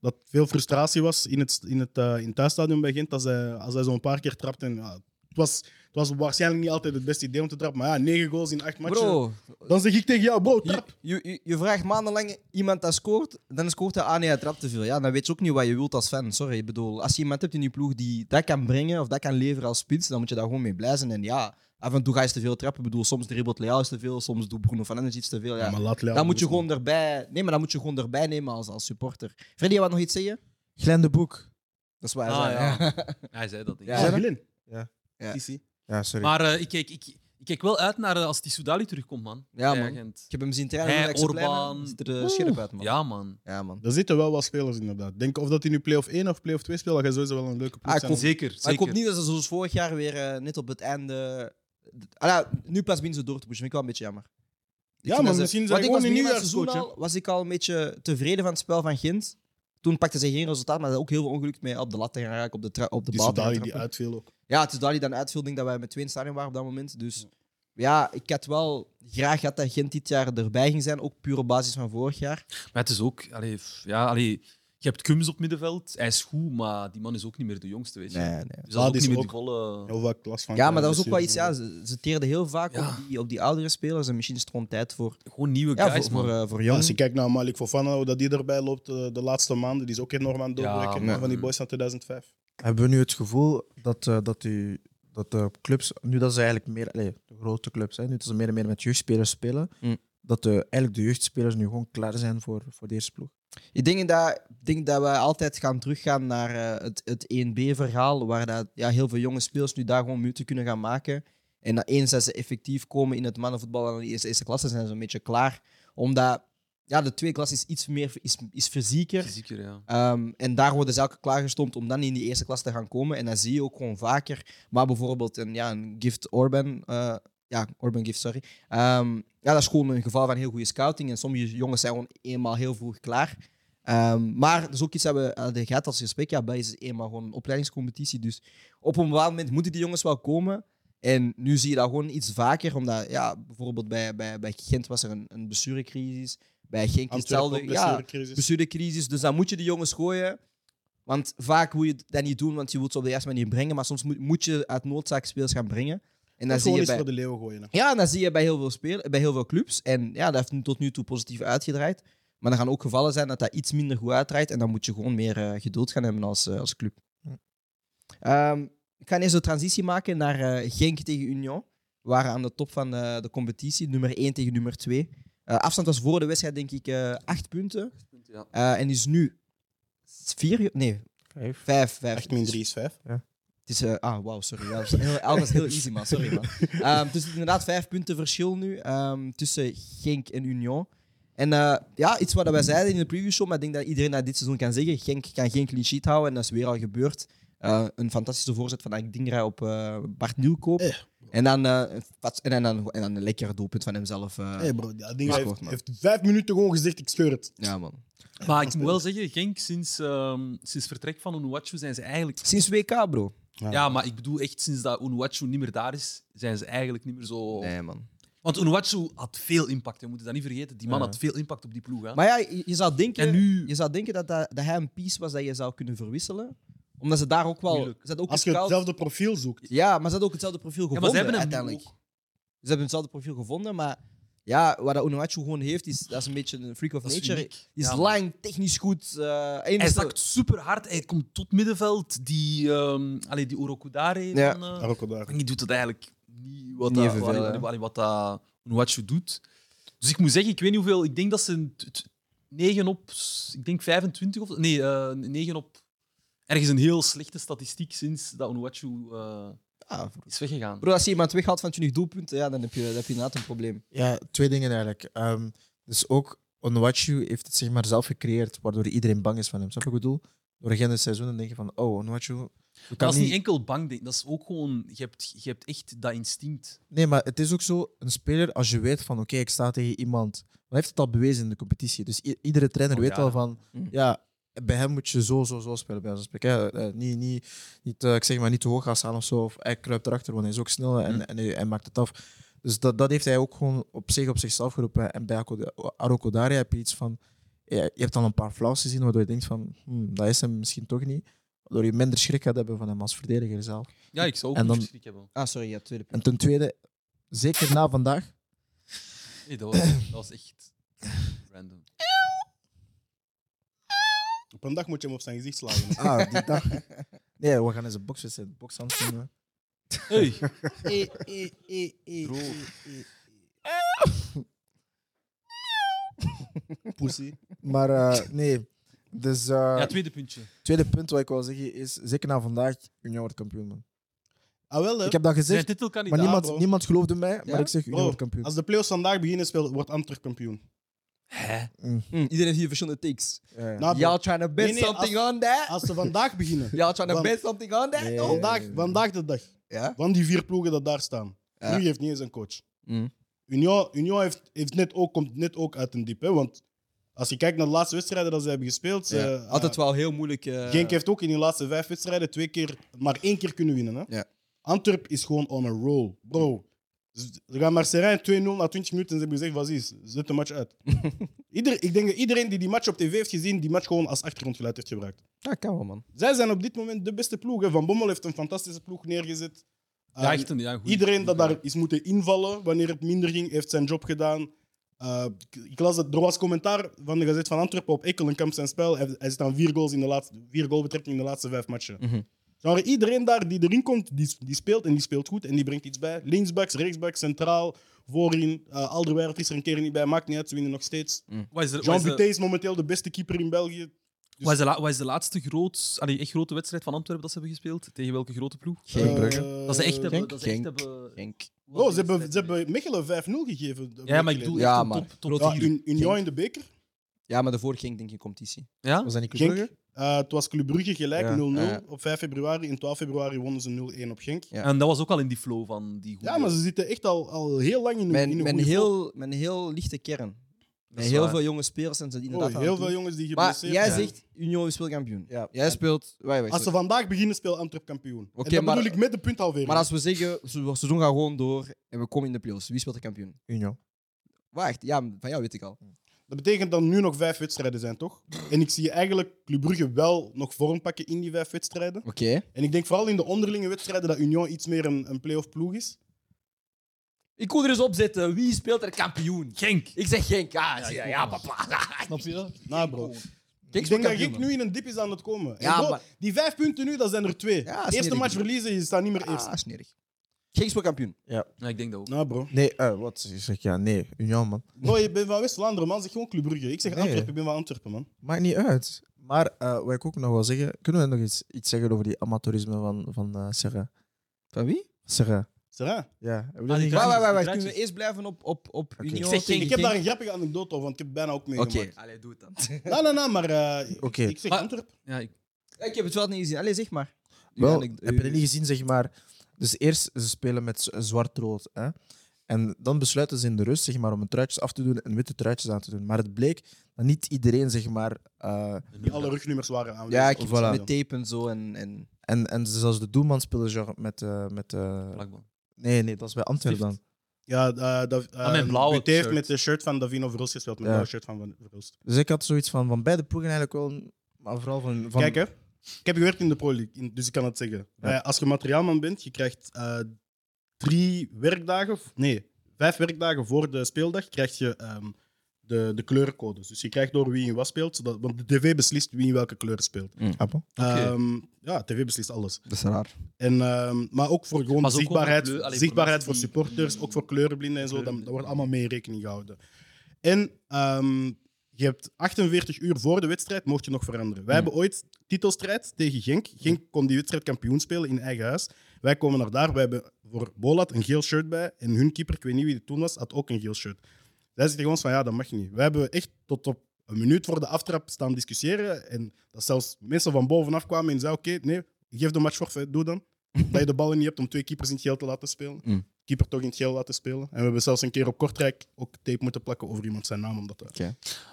dat veel frustratie was in het, in het, eh, in het thuisstadion bij Gent, als hij, als hij zo'n paar keer trapt. En, ja, het, was, het was waarschijnlijk niet altijd het beste idee om te trappen, maar ja, negen goals in acht matchen.
Bro,
Dan zeg ik tegen jou, bro,
je,
trap.
je, je- je vraagt maandenlang iemand dat scoort, dan scoort hij aan nee, hij trapt te veel. Ja, dan weet je ook niet wat je wilt als fan. Sorry, ik bedoel, als je iemand hebt in je ploeg die dat kan brengen of dat kan leveren als spits, dan moet je daar gewoon mee blij zijn. En ja, af en toe ga je te veel trappen. Ik bedoel, soms dribbelt Leao eens te veel, soms doet Bruno Fernandes iets te veel. Ja.
maar laat Leao
dan moet je
rustig.
gewoon erbij, nee, maar dan moet je gewoon erbij nemen als, als supporter. Freddy, jij wou nog iets zeggen?
Glenn de Boek.
Dat is waar.
Ah,
zei,
ja. Hij zei dat. denk ik.
Ja.
Ja, Glenn.
Ja.
Sissi.
Ja, sorry.
Maar eh, ik, kijk, ik, ik kijk wel uit naar eh, als die Soudali terugkomt, man.
Ja,
Bij
man.
Gent.
Ik heb hem zien trainen.
Hij,
op het Alexplein,
Orban.
hè. Ziet er eh, scherp uit, man.
Ja, man.
Ja, man.
Daar zitten wel wat spelers inderdaad. Denk of dat hij nu play-off 1 of play-off 2 speelt, dat gaat sowieso wel een leuke ploeg
Ah,
zijn.
klopt.
Zeker. zeker.
Maar ik hoop niet dat ze zoals vorig jaar weer eh, net op het einde... d- Ah, ja, nu pas binnen ze door te pushen. Vind ik wel een beetje jammer. Ik
Ja,
vind
maar
dat ze-
misschien
Want
zijn
ik
ze
was
gewoon een
begin van het seizoen
nieuwjaarscoach.
al- was ik al een beetje tevreden van het spel van Gent. Toen pakte ze geen resultaat, maar ze hadden ook heel veel ongeluk mee op de lat te gaan raken, op de, tra- op de
Die
bal. te gaan
Soudali die
trappen.
uitviel ook.
Ja, het is daar die dan uitviel. Ik denk dat wij met twee in het stadion waren op dat moment. Dus ja, ik had wel graag gehad dat Gent dit jaar erbij ging zijn. Ook puur op basis van vorig jaar.
Maar het is ook, allee, f- ja, allee, je hebt Kums op middenveld, hij is goed, maar die man is ook niet meer de jongste, weet je.
nee.
Dus dat is ook
die is
niet meer de
ook-
volle...
Heel vaak last van
Ja, maar dat was ook wel
blessures
iets.
en
Ja, ze, ze teerden heel vaak
Ja.
op, die, op die oudere spelers. En misschien is het gewoon tijd voor,
Gewoon nieuwe
ja,
guys,
voor, voor,
man.
eh, voor
Ja,
jong.
als je kijkt naar Malik Fofana, hoe dat die erbij loopt eh, de laatste maanden, die is ook enorm aan het
Ja,
doorbreken.
man.
van die boys van 2005.
Hebben we nu het gevoel dat, eh, dat, die, dat de clubs, nu dat ze eigenlijk meer, allee, de grote clubs, hè, nu dat ze meer en meer met jeugdspelers spelen,
Mm.
dat de, eigenlijk de jeugdspelers nu gewoon klaar zijn voor, voor de eerste ploeg?
Ik denk dat, ik denk dat we altijd gaan teruggaan naar eh, het, het 1B-verhaal, waar dat, ja, heel veel jonge spelers nu daar gewoon minuten kunnen gaan maken. En dat eens dat ze effectief komen in het mannenvoetbal aan de eerste, eerste klasse, zijn ze een beetje klaar. Omdat ja, de tweede klas is iets meer is, is fysieker.
Fysieker, ja.
Ehm, en daar worden ze elke klaargestomd om dan in die eerste klas te gaan komen. En dat zie je ook gewoon vaker. Maar bijvoorbeeld een, ja, een Gift Orban. eh, ja, Orban Gift, sorry. Ehm, ja, dat is gewoon een geval van heel goede scouting. En sommige jongens zijn gewoon eenmaal heel vroeg klaar. Ehm, maar dat is ook iets dat we hadden gehad als gesprek. Ja, bij is eenmaal gewoon een opleidingscompetitie. Dus op een bepaald moment moeten die jongens wel komen. En nu zie je dat gewoon iets vaker. Omdat ja, bijvoorbeeld bij, bij, bij Gent was er een, een besturencrisis. Bij Genk is
Antwerpen ook
hetzelfde. Ja,
blessurecrisis.
dus blessurecrisis. Dus dan moet je die jongens gooien. Want vaak moet je dat niet doen, want je wilt ze op de juiste manier brengen. Maar soms moet, moet je uit noodzaak spelers gaan brengen. En dan
Dat
zie
gewoon
je
eens
bij,
voor de leeuw gooien. hè.
ja, en dat zie je bij heel veel, spelers, bij heel veel clubs. En ja, dat heeft nu tot nu toe positief uitgedraaid. Maar er gaan ook gevallen zijn dat dat iets minder goed uitdraait. En dan moet je gewoon meer eh, geduld gaan hebben als, eh, als club. Ehm, ik ga eens de transitie maken naar eh, Genk tegen Union. We waren aan de top van eh, de competitie, nummer 1 tegen nummer 2. afstand was voor de wedstrijd, denk ik, eh 8 punten.
Ja.
Eh, en is nu 4, nee,
Vijf.
5. 5
8 min 3 is 5.
het is, eh, ah, wauw, sorry. Ja, dat was heel, dat was heel easy, man. Sorry, man. Ehm, dus inderdaad, vijf punten verschil nu ehm, tussen Genk en Union. En eh, ja, iets wat wij zeiden in de preview show, maar ik denk dat iedereen dat dit seizoen kan zeggen. Genk kan geen clean sheet houden en dat is weer al gebeurd. Eh, een fantastische voorzet van Akdingra op eh, Bart Nieuwkoop.
Eh.
En, dan, eh, een fats- en, dan, en dan een lekker doelpunt van hemzelf. eh.
Hé bro, dat ding
Ja,
heeft,
goed, man.
heeft vijf minuten gewoon gezegd, ik scheur het.
Ja, man.
Maar ik moet wel zeggen, Genk, sinds, ehm, sinds vertrek van Onuachu zijn ze eigenlijk...
Sinds WK, bro.
Ja, maar ik bedoel echt, sinds dat Onuachu niet meer daar is, zijn ze eigenlijk niet meer zo...
Nee, man.
Want Onuachu had veel impact, we moeten dat niet vergeten. Die man
Ja.
had veel impact op die ploeg. Hè.
Maar ja, je, je zou denken,
en nu...
je zou denken dat, dat, dat hij een piece was dat je zou kunnen verwisselen. Omdat ze daar ook wel...
Moeilijk.
Ze hadden ook
Als je
gescout.
hetzelfde profiel zoekt.
Ja, maar ze hadden ook hetzelfde profiel
maar
gevonden
ze hebben hem nu
uiteindelijk.
ook.
Ze hebben hetzelfde profiel gevonden, maar ja, wat dat Onuachu gewoon heeft, is, dat is een beetje een freak of
Dat is
nature.
uniek.
Is
Ja, man.
lang, technisch goed. eh, en
Hij
is-
zakt super hard, hij komt tot middenveld. Die, ehm allee, die Orokudare.
Ja.
van, eh,
Daar ook al daar.
En die doet dat eigenlijk niet wat
Niet
dat,
evenveel,
allee,
hè.
allee, allee, wat dat Onuachu doet. Dus ik moet zeggen, ik weet niet hoeveel. Ik denk dat ze 9 op, s- ik denk 25 of nee, eh 9 op ergens een heel slechte statistiek sinds dat Onuachu eh,
Ah,
is weggegaan.
bro, als je iemand weghaalt van 20 doelpunten, ja, dan heb je, dan heb je inderdaad een probleem.
Ja, twee dingen eigenlijk. Ehm, dus ook Onwachu heeft het zeg maar zelf gecreëerd, waardoor iedereen bang is van hem. Snap je wat ik bedoel? Doorgaande seizoenen denk je van, oh, Onwachu... je
dat
Kan
is niet
niet...
enkel bang, denk. dat is ook gewoon, je hebt, je hebt echt dat instinct.
Nee, maar het is ook zo, een speler, als je weet van, oké, ik sta tegen iemand... Maar hij heeft het al bewezen in de competitie. Dus i- iedere trainer
Al
weet al
jaren.
van,
Mm.
ja, bij hem moet je zo, zo, zo spelen. Bij ons spreken. Ja, eh, niet, niet, niet, eh, ik zeg maar, niet te hoog gaan staan of zo. Of hij kruipt erachter, want hij is ook snel en,
Mm.
en hij, hij maakt het af. Dus dat, dat heeft hij ook gewoon op zich op zichzelf geroepen. En bij Ako- Arokodare heb je iets van... ja, je hebt al een paar flaws gezien, waardoor je denkt van... hmm, dat is hem misschien toch niet. Waardoor je minder schrik gaat hebben van hem als verdediger zelf.
Ja, ik zou ook
En
niet
dan-
verschrik hebben.
Ah, sorry, ja, tweede punt.
En ten tweede, zeker na vandaag...
Nee, dat was, dat was echt random.
Op een dag moet je hem op zijn gezicht slaan. hè.
Ah, die dag. Nee, we gaan eens een bokswedstrijd, bokshandschoenen. doen.
Hey. Eh,
Pussy.
Maar eh, nee, dus eh
Ja, tweede puntje.
tweede punt wat ik wil zeggen is, zeker na vandaag, Union wordt kampioen. Man.
Ah, wel, hè.
Ik heb dat
Zijn
gezegd, maar
titelkandidaat.
niemand,
bro.
niemand geloofde mij, maar ik zeg Union
Oh,
Bro,
wordt kampioen.
Als de playoffs vandaag beginnen, speelt, wordt Antwerp kampioen.
Hè?
Hm, iedereen heeft hier verschillende takes.
Ja, ja.
Nou, bro,
Y'all trying to bet
Nee, nee,
something on that?
als ze vandaag beginnen,
Y'all trying to
Want-
bet something on that?
Nee.
Oh.
vandaag, vandaag de dag,
Ja?
van die vier ploegen dat daar staan,
Ja.
nu heeft niet eens een coach.
Mm.
Union, Union heeft, heeft net ook, komt net ook uit een diep. Hè, want als je kijkt naar de laatste wedstrijden dat ze hebben gespeeld, ze,
Ja.
eh,
Altijd wel heel moeilijk. eh,
Genk heeft ook in die laatste vijf wedstrijden twee keer, maar één keer kunnen winnen. Hè?
Ja.
Antwerp is gewoon on a roll. Bro, ze ze gaan Marseille 2-0 na 20 minuten en ze hebben gezegd, wat is, zet de match uit. Ieder, ik denk dat iedereen die die match op tv heeft gezien, die match gewoon als achtergrondgeluid heeft gebruikt.
Ja, kan wel, man.
Zij zijn op dit moment de beste ploeg. Hè? Van Bommel heeft een fantastische ploeg neergezet.
Ja,
Ehm,
echt een, ja, goed.
Iedereen dat daar is moeten invallen wanneer het minder ging, heeft zijn job gedaan. Eh, ik- ik las dat, er was commentaar van de Gazet van Antwerpen op Ekelenkamp zijn spel. Hij, hij zit aan vier goals in de laatste, vier goalbetrekking in de laatste vijf matchen.
Mhm.
Genre, iedereen daar die erin komt, die, die speelt en die speelt goed en die brengt iets bij. Linksbacks, rechtsbacks, centraal, voorin. eh Alderweireld is er een keer niet bij, maakt niet uit, ze winnen nog steeds.
Wat is de- wat
Jean
is de-
Buté is momenteel de beste keeper in België. Dus-
Wat is de, la- wat is de laatste groot, allee, echt grote wedstrijd van Antwerpen dat ze hebben gespeeld? Tegen welke grote ploeg?
Eh,
Dat ze echt hebben.
Genk,
Dat ze echt
Genk,
hebben
Genk.
Oh, ze hebben, ze hebben Mechelen 5-0 gegeven.
Ja, maar ik bedoel
Ja,
echt een
maar-
top, top
Ja,
vier.
in, in jou in de beker.
Ja, maar daarvoor ging denk ik in competitie.
Ja?
Was dat niet Club
Genk,
Brugge?
eh, het was Club Brugge gelijk,
Ja.
0-0
Ja.
op 5 februari. In 12 februari wonnen ze 0-1 op Genk.
Ja.
En dat was ook al in die flow van die goede...
Ja, maar ze zitten echt al, al heel lang in een, in
Mijn,
een
mijn,
goede flow.
heel, mijn heel lichte kern. Met
is
heel
waar.
veel jonge spelers en ze inderdaad
Oh,
aan
heel
het
veel
doen.
jongens die
Maar
geblesseerd
jij
zijn.
zegt, Union is speelkampioen.
Ja.
Jij speelt... Wij, wij,
Als ze
sorry.
vandaag beginnen, speel Antwerp kampioen.
Oké,
en dat
maar-
bedoel ik met de punthalvering.
Maar als we zeggen, we seizoen gaat gewoon door en we komen in de playoffs. Wie speelt de kampioen?
Union.
Wacht, ja, van jou weet ik al.
Dat betekent dat er nu nog vijf wedstrijden zijn, toch? En ik zie eigenlijk Club Brugge wel nog vorm pakken in die vijf wedstrijden.
Oké.
En ik denk vooral in de onderlinge wedstrijden dat Union iets meer een, een play-off ploeg is.
Ik kon er eens op zetten. Wie speelt er kampioen?
Genk.
Ik zeg Genk. Ah, ja, ja, papa.
Snap je dat?
Nou, bro.
Genk
ik denk dat
kampioen,
ik
man.
nu in een dip is aan het komen. En
Ja,
bro,
maar-
Die vijf punten nu, dat zijn er twee.
Ja, is
Eerste
niet
match
goed.
verliezen, je staat niet meer eerst.
Ah, smerig.
Genk speelt kampioen.
Ja, ik denk dat ook.
Nou, bro.
Nee, eh, wat? Ik zeg ja, nee. Union, man.
Bro, je bent van West-Vlaanderen, man. Zeg gewoon Club Brugge. Ik zeg
Nee.
Antwerpen, ik ben van Antwerpen, man.
Maakt niet uit. Maar eh, wat ik ook nog wil zeggen, kunnen we nog iets, iets zeggen over die amateurisme van, van eh Serra?
Van wie?
Serra.
Serra.
Ja, heb je dat
Ah, die
niet
kraai-
gezien?
Wacht, wacht, wacht.
Draadjes.
Kunnen we eerst blijven op, op, op
Oké.
Union?
Ik zeg Genk.
tegen
Ik heb
Genk?
daar een grappige anekdote over, want ik heb bijna ook
Oké.
meegemaakt.
Allee, doe het dan.
Nee, nee, nee, maar eh,
Oké.
ik zeg
Maar-
Antwerpen.
Ja, ik,
ik heb het wel niet gezien. Allee, zeg maar. eh, Uw
Wel,
anek-
heb je
uw-
dat niet gezien, zeg maar? Dus eerst ze spelen met z- zwart-rood. Hè? En dan besluiten ze in de rust zeg maar, om een truitjes af te doen en witte truitjes aan te doen. Maar het bleek dat niet iedereen, zeg maar. eh,
Alle rugnummers waren aan.
Ja, ik heb
Voilà.
het met tape en zo. En, en...
en, en zelfs de doelman speelde genre met. eh, met eh,
Blackburn.
nee, nee, dat was bij Antwerpen dan.
Ja, eh dat, eh,
Ah, met blauwe
Buté heeft
shirt.
met de shirt van Davino Verhulst gespeeld, met
Ja.
het blauwe shirt van Van Verhulst.
Dus ik had zoiets van, van beide ploegen eigenlijk wel. Maar vooral van. van
Kijk, hè. Ik heb gewerkt in de Pro League, in- dus ik kan het zeggen. Bij- als je materiaalman bent, je krijgt eh, drie werkdagen, v- nee, vijf werkdagen voor de speeldag, krijg je ehm, de, de kleurencodes. Dus je krijgt door wie in wat speelt, zodat, want de tv beslist wie in welke kleur speelt.
Mm.
Appel.
Ehm, ja, tv beslist alles.
Dat is raar.
En, ehm, maar ook voor gewoon
Maar zo
zichtbaarheid,
komen kleur- allee, voor
zichtbaarheid voor
mensen
supporters, ook voor kleurenblinden en zo. Dat, dat wordt allemaal mee in rekening gehouden. En ehm, je hebt 48 uur voor de wedstrijd, mocht je nog veranderen. Wij hebben ooit titelstrijd tegen Genk. Genk kon die wedstrijd kampioen spelen in eigen huis. Wij komen naar daar, wij hebben voor Bolat een geel shirt bij. En hun keeper, ik weet niet wie het toen was, had ook een geel shirt. Zij zitten gewoon van, ja, dat mag niet. Wij hebben echt tot op een minuut voor de aftrap staan discussiëren. En dat zelfs mensen van bovenaf kwamen en zeiden, oké, nee, geef de match voor, doe dan. Dat je de ballen niet hebt om twee keepers in het geel te laten spelen.
Mm.
Keeper toch in het geel laten spelen. En we hebben zelfs een keer op Kortrijk ook tape moeten plakken over iemand zijn naam, omdat dat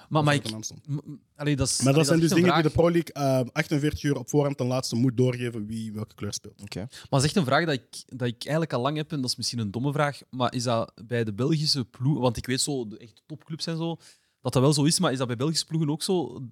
Maar, maar, ik,
naam stond.
m- m- allee, dat is,
Maar
allee,
dat zijn
is
dus
echt
dingen
een
die de
vraag.
Pro League eh, 48 uur op voorhand ten laatste moet doorgeven wie welke kleur speelt.
Maar dat is echt een vraag dat ik, dat ik eigenlijk al lang heb, en dat is misschien een domme vraag, maar is dat bij de Belgische ploegen, want ik weet zo, de echt topclubs en zo, dat dat wel zo is, maar is dat bij Belgische ploegen ook zo,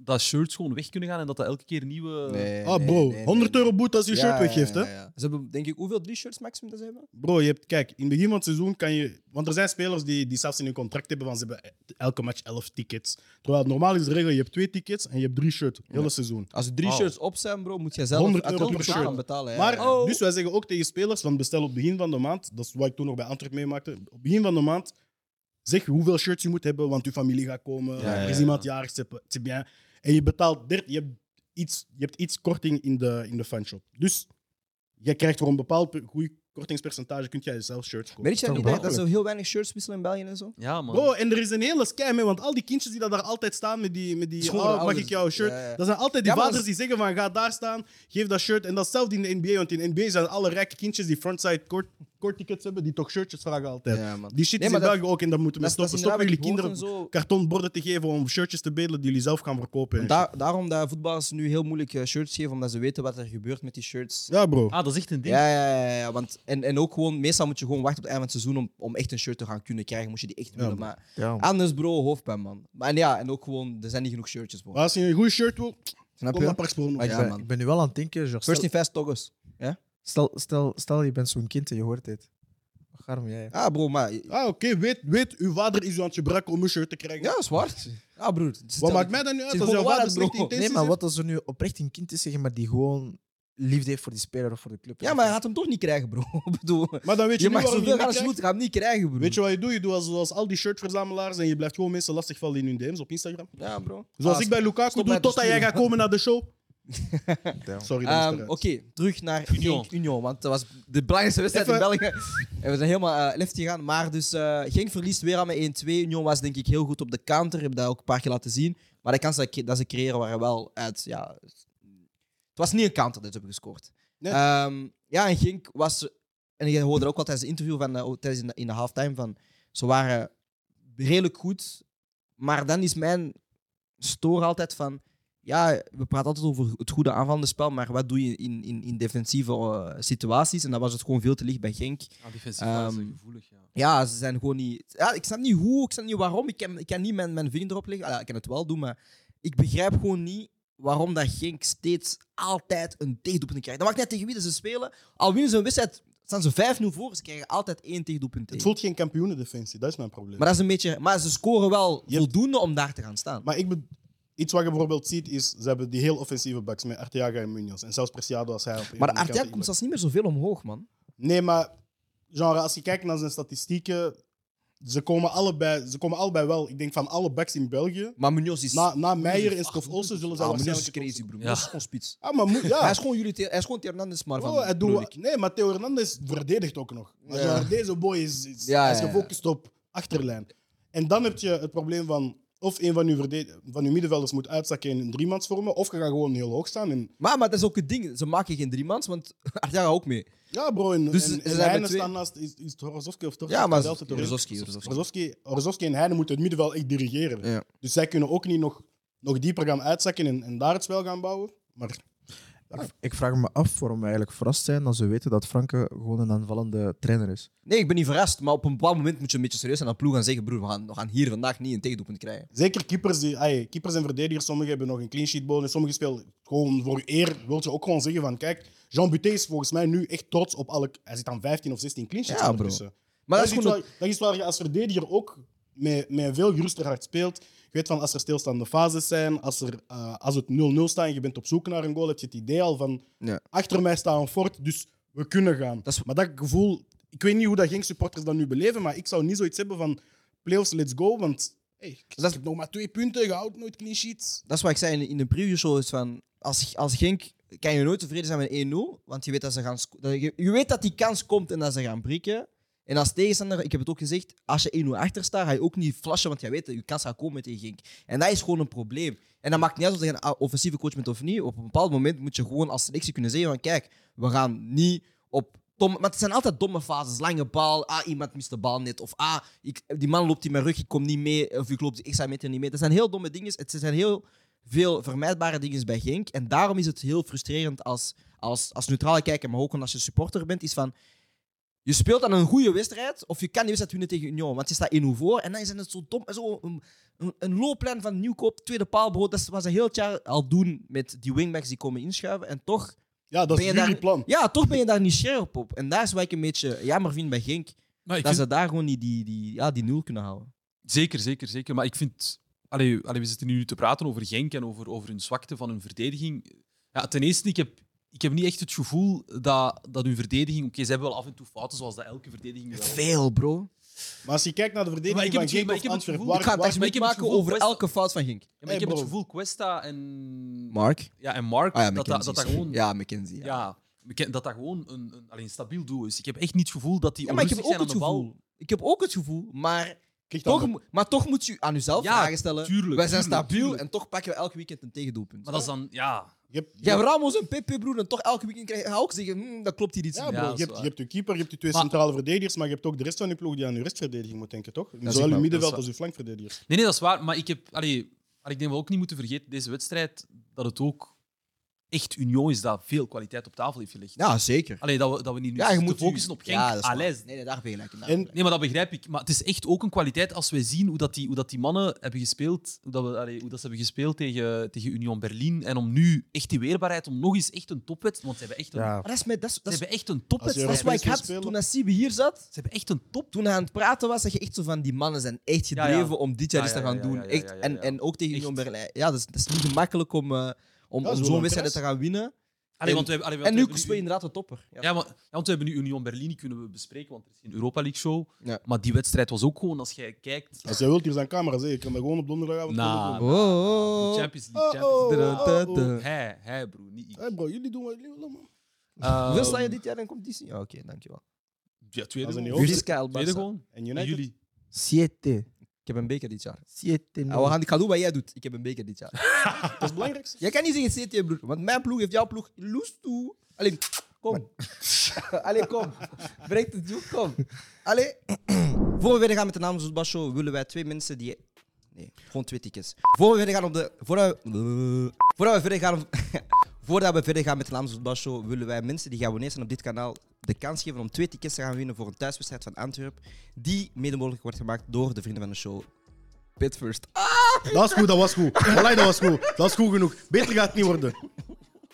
dat shirts gewoon weg kunnen gaan en dat dat elke keer nieuwe...
ah, bro, 100 euro boete als je
Ja,
shirt weggeeft,
ja,
hè?
ja, ja. Ze hebben, denk ik, hoeveel drie shirts maximum dat ze hebben?
Bro, je hebt, kijk, in het begin van het seizoen kan je. Want er zijn spelers die, die zelfs in hun contract hebben van ze hebben elke match 11 tickets. Terwijl normaal is de regel: je hebt twee tickets en je hebt drie shirts. Heel het seizoen.
Als er drie
Wow.
shirts op zijn, bro, moet je zelf
100
uit
euro per
betalen,
shirt.
betalen. ja,
Maar,
ja. Oh.
dus wij zeggen ook tegen spelers, van bestel op het begin van de maand, dat is wat ik toen nog bij Antwerp meemaakte, op het begin van de maand zeg hoeveel shirts je moet hebben, want je familie gaat komen,
Ja, ja,
er is
ja.
iemand jarig, c'est pas- c'est bien. En je betaalt, dert- je, hebt iets, je hebt iets korting in de, in de fanshop. Dus je krijgt voor een bepaald pe- goed kortingspercentage, kun jij zelf shirts kopen.
Merk je dat niet dat- dat ze heel weinig shirts wisselen in België en zo?
Ja, man.
Bro, en er is een hele scam, hè, want al die kindjes die dat daar altijd staan met die, met die
Schoon,
oh, mag
ouders.
ik jouw shirt?
Ja, ja.
Dat zijn altijd die
Ja, maar
vaders die zeggen van, ga daar staan, geef dat shirt. En datzelfde in de NBA, want in de NBA zijn alle rijke kindjes die frontside court, court tickets hebben, die toch shirtjes vragen altijd.
man.
Die shit
Nee,
is
maar
in
dat-
België ook en daar moeten we
Dat, dat is
stoppen.
inderdaad
Stoppen jullie
wat ik hoor
kinderen
en zo.
kartonborden te geven om shirtjes te bedelen die jullie zelf gaan verkopen. en
En daar- daarom dat voetballers nu heel moeilijk eh, shirts geven, omdat ze weten wat er gebeurt met die shirts.
shit. Ja, bro.
Ah, dat is echt een ding.
Ja, ja, ja. ja, want, en, en ook gewoon, meestal moet je gewoon wachten op het einde van het seizoen om, om echt een shirt te gaan kunnen krijgen, moest je die echt willen.
man.
Maar
Ja, man.
anders, bro, hoofdpijn, man. Maar en ja, en ook gewoon, er zijn niet genoeg shirtjes, bro.
Maar als je een goed shirt wil,
Snap
kom naar
je?
Parksbron.
Maar ik
Ja,
ben-
ik ben nu wel aan het denken. genre,
First
stel,
in fast toggers.
stel, stel, stel, je bent zo'n kind en je hoort dit. Wat garm jij?
Ah, bro, maar...
Ah, oké, weet, weet, uw vader is u aan het gebruiken om een shirt te krijgen.
Ja, zwart. Ah, broer.
Wat maakt mij dat nu uit
is
als
gewoon
jouw vader
waarheid, bro.
slechte intenties
Nee, maar
heeft?
wat als er nu oprecht een kind is, zeg maar, die gewoon liefde heeft voor die speler of voor de club?
Ja, maar hij gaat hem toch niet krijgen, bro. Ik bedoel,
Maar dan weet je,
je
nu
mag
waarom
zoveel
niet
gaan als je
krijgt.
moet, ga hem niet krijgen, bro.
Weet je wat je doet? Je doet als, als al die shirtverzamelaars en je blijft gewoon mensen lastigvallen in hun DM's op Instagram.
Ja, bro.
Zoals
Ah,
ik bij Lukaku
stop
doe,
met
totdat jij
besturen.
gaat komen naar de show. Sorry, dat is
Ehm,
eruit.
Oké, terug naar
Union.
Genk Union, want dat was de belangrijkste wedstrijd in
Even-
België. En we zijn helemaal eh left gegaan. Maar dus eh Genk verliest weer aan met 1-2. Union was denk ik heel goed op de counter. Ik heb dat ook een paar keer laten zien. Maar de kansen dat ik- dat ze creëren waren wel uit. Ja, het was niet een counter dat ze hebben gescoord.
Nee.
Ehm, ja, en Genk was. En je hoorde ook wel tijdens het interview van, eh, tijdens in de, in de halftime van. Ze waren redelijk goed. Maar dan is mijn stoor altijd van. Ja, we praten altijd over het goede aanvallende spel, maar wat doe je in, in, in defensieve eh, situaties? En dat was het gewoon veel te licht bij Genk.
Ah, defensief waren ze
Ehm,
gevoelig, ja.
Ja, ze zijn gewoon niet. Ja, ik snap niet hoe, ik snap niet waarom. Ik kan, ik kan niet mijn, mijn vinger erop leggen. Ah, ja, ik kan het wel doen, maar ik begrijp gewoon niet waarom dat Genk steeds altijd een tegendoelpunt krijgt. Dat maakt niet uit tegen wie dat ze spelen. Al winnen ze een wedstrijd, staan ze 5-0 voor, ze krijgen altijd één tegendoelpunt
Het
tegen.
voelt geen kampioenendefensie, dat is mijn probleem.
Maar dat is een beetje. Maar ze scoren wel
Je hebt-
voldoende om daar te gaan staan.
Maar ik bedo- iets wat je bijvoorbeeld ziet is, ze hebben die heel offensieve backs met Arteaga en Munoz. En zelfs Preciado als hij op een van
Maar
die
Arteaga
kanten
komt
inlegt.
zelfs niet meer zoveel omhoog, man.
Nee, maar genre, als je kijkt naar zijn statistieken, ze komen allebei, ze komen allebei wel. Ik denk van alle backs in België,
Maar Munoz is.
na, na Meijer en Stof Olsen zullen ze
Ah, Munoz is
waarschijnlijk...
crazy, bro.
Ja.
Dat is gewoon spits.
Ah, maar moet- ja.
Hij is gewoon jullie. Hij is gewoon Hernandez, maar van.
Oh, hij doet-
bedoel ik.
nee, maar Theo Hernandez verdedigt ook nog. Maar genre, deze boy is, is,
Ja,
hij is
ja, ja.
gefocust op achterlijn. En dan heb je het probleem van of een van uw, verde- van uw middenvelders moet uitzakken en een driemans vormen, of je gaat gewoon heel hoog staan. En,
Maar, maar dat is ook het ding. Ze maken geen driemans, want Arteaga ook mee.
ja, bro, en,
Dus
dus,
ze
en,
zijn
en
met
Heine
twee-
staan naast... Is, is het Orzowski of toch?
Ja, maar
Delft het erin?
Orzowski, Orzowski.
Orzowski, Orzowski en Heine moeten het middenveld echt dirigeren.
Ja.
Dus zij kunnen ook niet nog, nog dieper gaan uitzakken en, en daar het spel gaan bouwen. Maar
Ik, ik vraag me af waarom we eigenlijk verrast zijn als we weten dat Franke gewoon een aanvallende trainer is.
Nee, ik ben niet verrast, maar op een bepaald moment moet je een beetje serieus aan de ploeg gaan zeggen: broer, we gaan, we gaan hier vandaag niet een tegendoelpunt krijgen.
Zeker keepers, die, ai, keepers en verdedigers, sommigen hebben nog een clean sheet bonus, sommigen spelen gewoon voor eer. Wil je ook gewoon zeggen van, kijk, Jean Buté is volgens mij nu echt trots op alle... Hij zit aan 15 of 16 clean sheets
Ja, bro.
ondertussen.
Maar
Dat,
dat,
is
is
iets
gewoon.
waar, dat is waar je als verdediger ook met, met een veel geruster hart speelt. Je weet van, als er stilstaande fases zijn, als, er, eh, als het 0-0 staat en je bent op zoek naar een goal, heb je het idee al van,
Ja.
achter mij staat een fort, dus we kunnen gaan.
Dat is-
Maar dat gevoel, ik weet niet hoe dat geen supporters dat nu beleven, maar ik zou niet zoiets hebben van, playoffs, let's go, want... Hey, ik
Dat is-
heb nog maar twee punten, je houdt nooit clean sheets.
dat is wat ik zei in, in de preview show: is van, als, als Genk kan je nooit tevreden zijn met 1-0, want je weet dat ze gaan. sco- Dat, je, je weet dat die kans komt en dat ze gaan prikken. En als tegenstander, ik heb het ook gezegd, als je 1-0 achter staat, ga je ook niet flashen, want jij weet dat je kans gaat komen tegen Genk. En dat is gewoon een probleem. En dat maakt niet uit of je een offensieve coach bent of niet. Op een bepaald moment moet je gewoon als selectie kunnen zeggen van kijk, we gaan niet op domme... Maar het zijn altijd domme fases. Lange bal, ah, iemand mist de bal net. Of ah, ik, die man loopt in mijn rug, ik kom niet mee. Of ik loop de extra meter niet mee. Dat zijn heel domme dingen. Het zijn heel veel vermijdbare dingen bij Genk. En daarom is het heel frustrerend als, als, als neutrale kijker, maar ook als je supporter bent, is van... Je speelt aan een goede wedstrijd, of je kan die wedstrijd winnen tegen Union, want je staat 1-0 voor. En dan is het zo dom, zo een, een, een loopplan van Nieuwkoop, tweede paal, bro. Dat is wat ze heel het jaar al doen met die wingbacks die komen inschuiven. En toch
Ja, dat is
Ben je
jullie
daar-
plan.
ja, toch ben je daar niet scherp op. En daar is wat ik een beetje jammer vind bij Genk.
Maar ik
dat
vind-
ze daar gewoon niet die, die, ja, die nul kunnen houden.
Zeker, zeker, zeker. Maar ik vind... Allee, allee, we zitten nu te praten over Genk en over, over hun zwakte van hun verdediging. Ja, ten eerste, ik heb, ik heb niet echt het gevoel dat, dat hun verdediging... Oké, ze hebben wel af en toe fouten, zoals dat elke verdediging wel...
Veel, bro.
Maar als je kijkt naar de
Maar ik
verdediging
heb
van
het
Genk of Antwerpen...
gevoel- maar ik heb het gevoel-
waar-
Ik ga een
waar-
maar ik
testament
heb het
maken
gevoel,
over
West-
elke fout van Genk.
Ja, maar ik
Hey,
heb het
bro.
gevoel Cuesta en,
Mark?
ja, en Mark,
Ah ja,
dat,
McKenzie.
dat, dat dat
is-
gewoon...
Ja, McKenzie. Ja.
ja, we ken- dat dat gewoon een, een, allee, een stabiel doel is. Ik heb echt niet het gevoel dat die
Ja, maar ik heb
onrustig
ook het
zijn aan de
gevoel. Ik heb ook het gevoel, maar
Krijgt dat
toch,
nog-
mo- maar toch moet je aan jezelf
Ja,
vragen stellen.
tuurlijk,
Wij zijn
tuurlijk,
stabiel
tuurlijk.
en toch pakken we elk weekend een tegendoelpunt.
bal. Maar dat is dan... Ja,
je hebt- je
Jij
hebt-
hebt Ramos en Pepe, broer, en toch elke weekend krijg je ga ook zeggen, hmm, dat klopt hier iets.
Ja,
niet.
bro,
Ja,
je,
dat is
hebt, je
waar.
hebt je keeper, je hebt je twee
Maar-
centrale verdedigers, maar je hebt ook de rest van je ploeg die aan je restverdediging moet denken, toch?
is
Zowel
waar,
je
dat is
middenveld
waar.
als je flankverdedigers.
Nee, nee, dat is waar. Maar ik heb, allee, maar ik denk wel ook niet moeten vergeten deze wedstrijd dat het ook echt Union is dat veel kwaliteit op tafel heeft gelegd.
Ja, zeker.
Allee, dat we, dat we niet nu
Ja, je
te
moet
focussen op Genk.
Ja, dat is waar.
Allee,
Nee, nee, daar ben je gelijk in. daar
En-
ben je gelijk in.
Nee, maar dat begrijp ik. Maar het is echt ook een kwaliteit als wij zien hoe dat die, hoe dat die mannen hebben gespeeld, hoe dat, we, allee, hoe dat ze hebben gespeeld tegen, tegen Union Berlin. En om nu echt die weerbaarheid, om nog eens echt een topwedstrijd, want ze hebben echt een,
Ja.
Maar dat is, met, dat is,
ze
dat is
hebben echt een
Als je
topwedstrijd.
Dat is wat ik
Europees
had
wil spelen.
toen Nassibi hier zat.
Ze hebben echt een top.
Toen hij aan het praten was, zeg je echt zo van die mannen zijn echt
Ja,
gedreven
ja.
om dit jaar
Ja,
iets te
ja,
gaan
ja,
doen.
ja, ja,
echt.
ja, ja,
En,
ja.
en ook tegen Union
Echt.
Berlijn. Ja, dat is, dat is niet gemakkelijk om, eh, om,
Ja,
om
zo'n
zo'n
prijs.
wedstrijd te gaan winnen.
Allee,
En-
want we hebben, allee,
En
want
nu
we
speel je
hebben
inderdaad de topper. Ja.
Ja, maar, ja, want we hebben nu Union Berlin, die kunnen we bespreken, want er is geen Europa League show.
Ja.
Maar die wedstrijd was ook gewoon, als jij kijkt,
Als jij wilt, hier zijn camera's. hè. Je kan dat gewoon op donderdagavond
Nou,
doen.
Oh, oh, oh.
Champions League.
Oh,
Champions League.
oh, oh, oh.
Hij, hij, bro, niet ik.
Hey bro, jullie doen wat jullie willen, man.
Ehm,
Hoeveel sta je dit jaar in competitie? Ja, oké, dankjewel.
Ja,
Als
tweede
een
gewoon.
Hoeveel-
Visca, El
Tweede
Barça.
gewoon.
En
En
United?
jullie.
Siete.
Ik heb een beker dit jaar.
Siete.
Ah, we gaan, ik ga doen wat jij doet. Ik heb een beker dit jaar.
Dat is het belangrijkste.
jij kan niet zeggen CT, broer. Want mijn ploeg heeft jouw ploeg loes toe. Allee, kom. Allee, kom. Breng het toe, kom. Allee. Voor we verder gaan met de naam Zoetbas Show, willen wij twee mensen die... Nee, gewoon twee tickets. Voor we verder gaan op de... Voor we, voor we verder gaan... op- Voordat we verder gaan met de Vlaamse voetbalshow, willen wij mensen die geabonneerd zijn op dit kanaal de kans geven om twee tickets te gaan winnen voor een thuiswedstrijd van Antwerpen, die mede mogelijk wordt gemaakt door de vrienden van de show. Pit first.
Dat is goed, dat was goed. Wallahi, dat was goed. Dat is goed genoeg. Beter gaat het niet worden.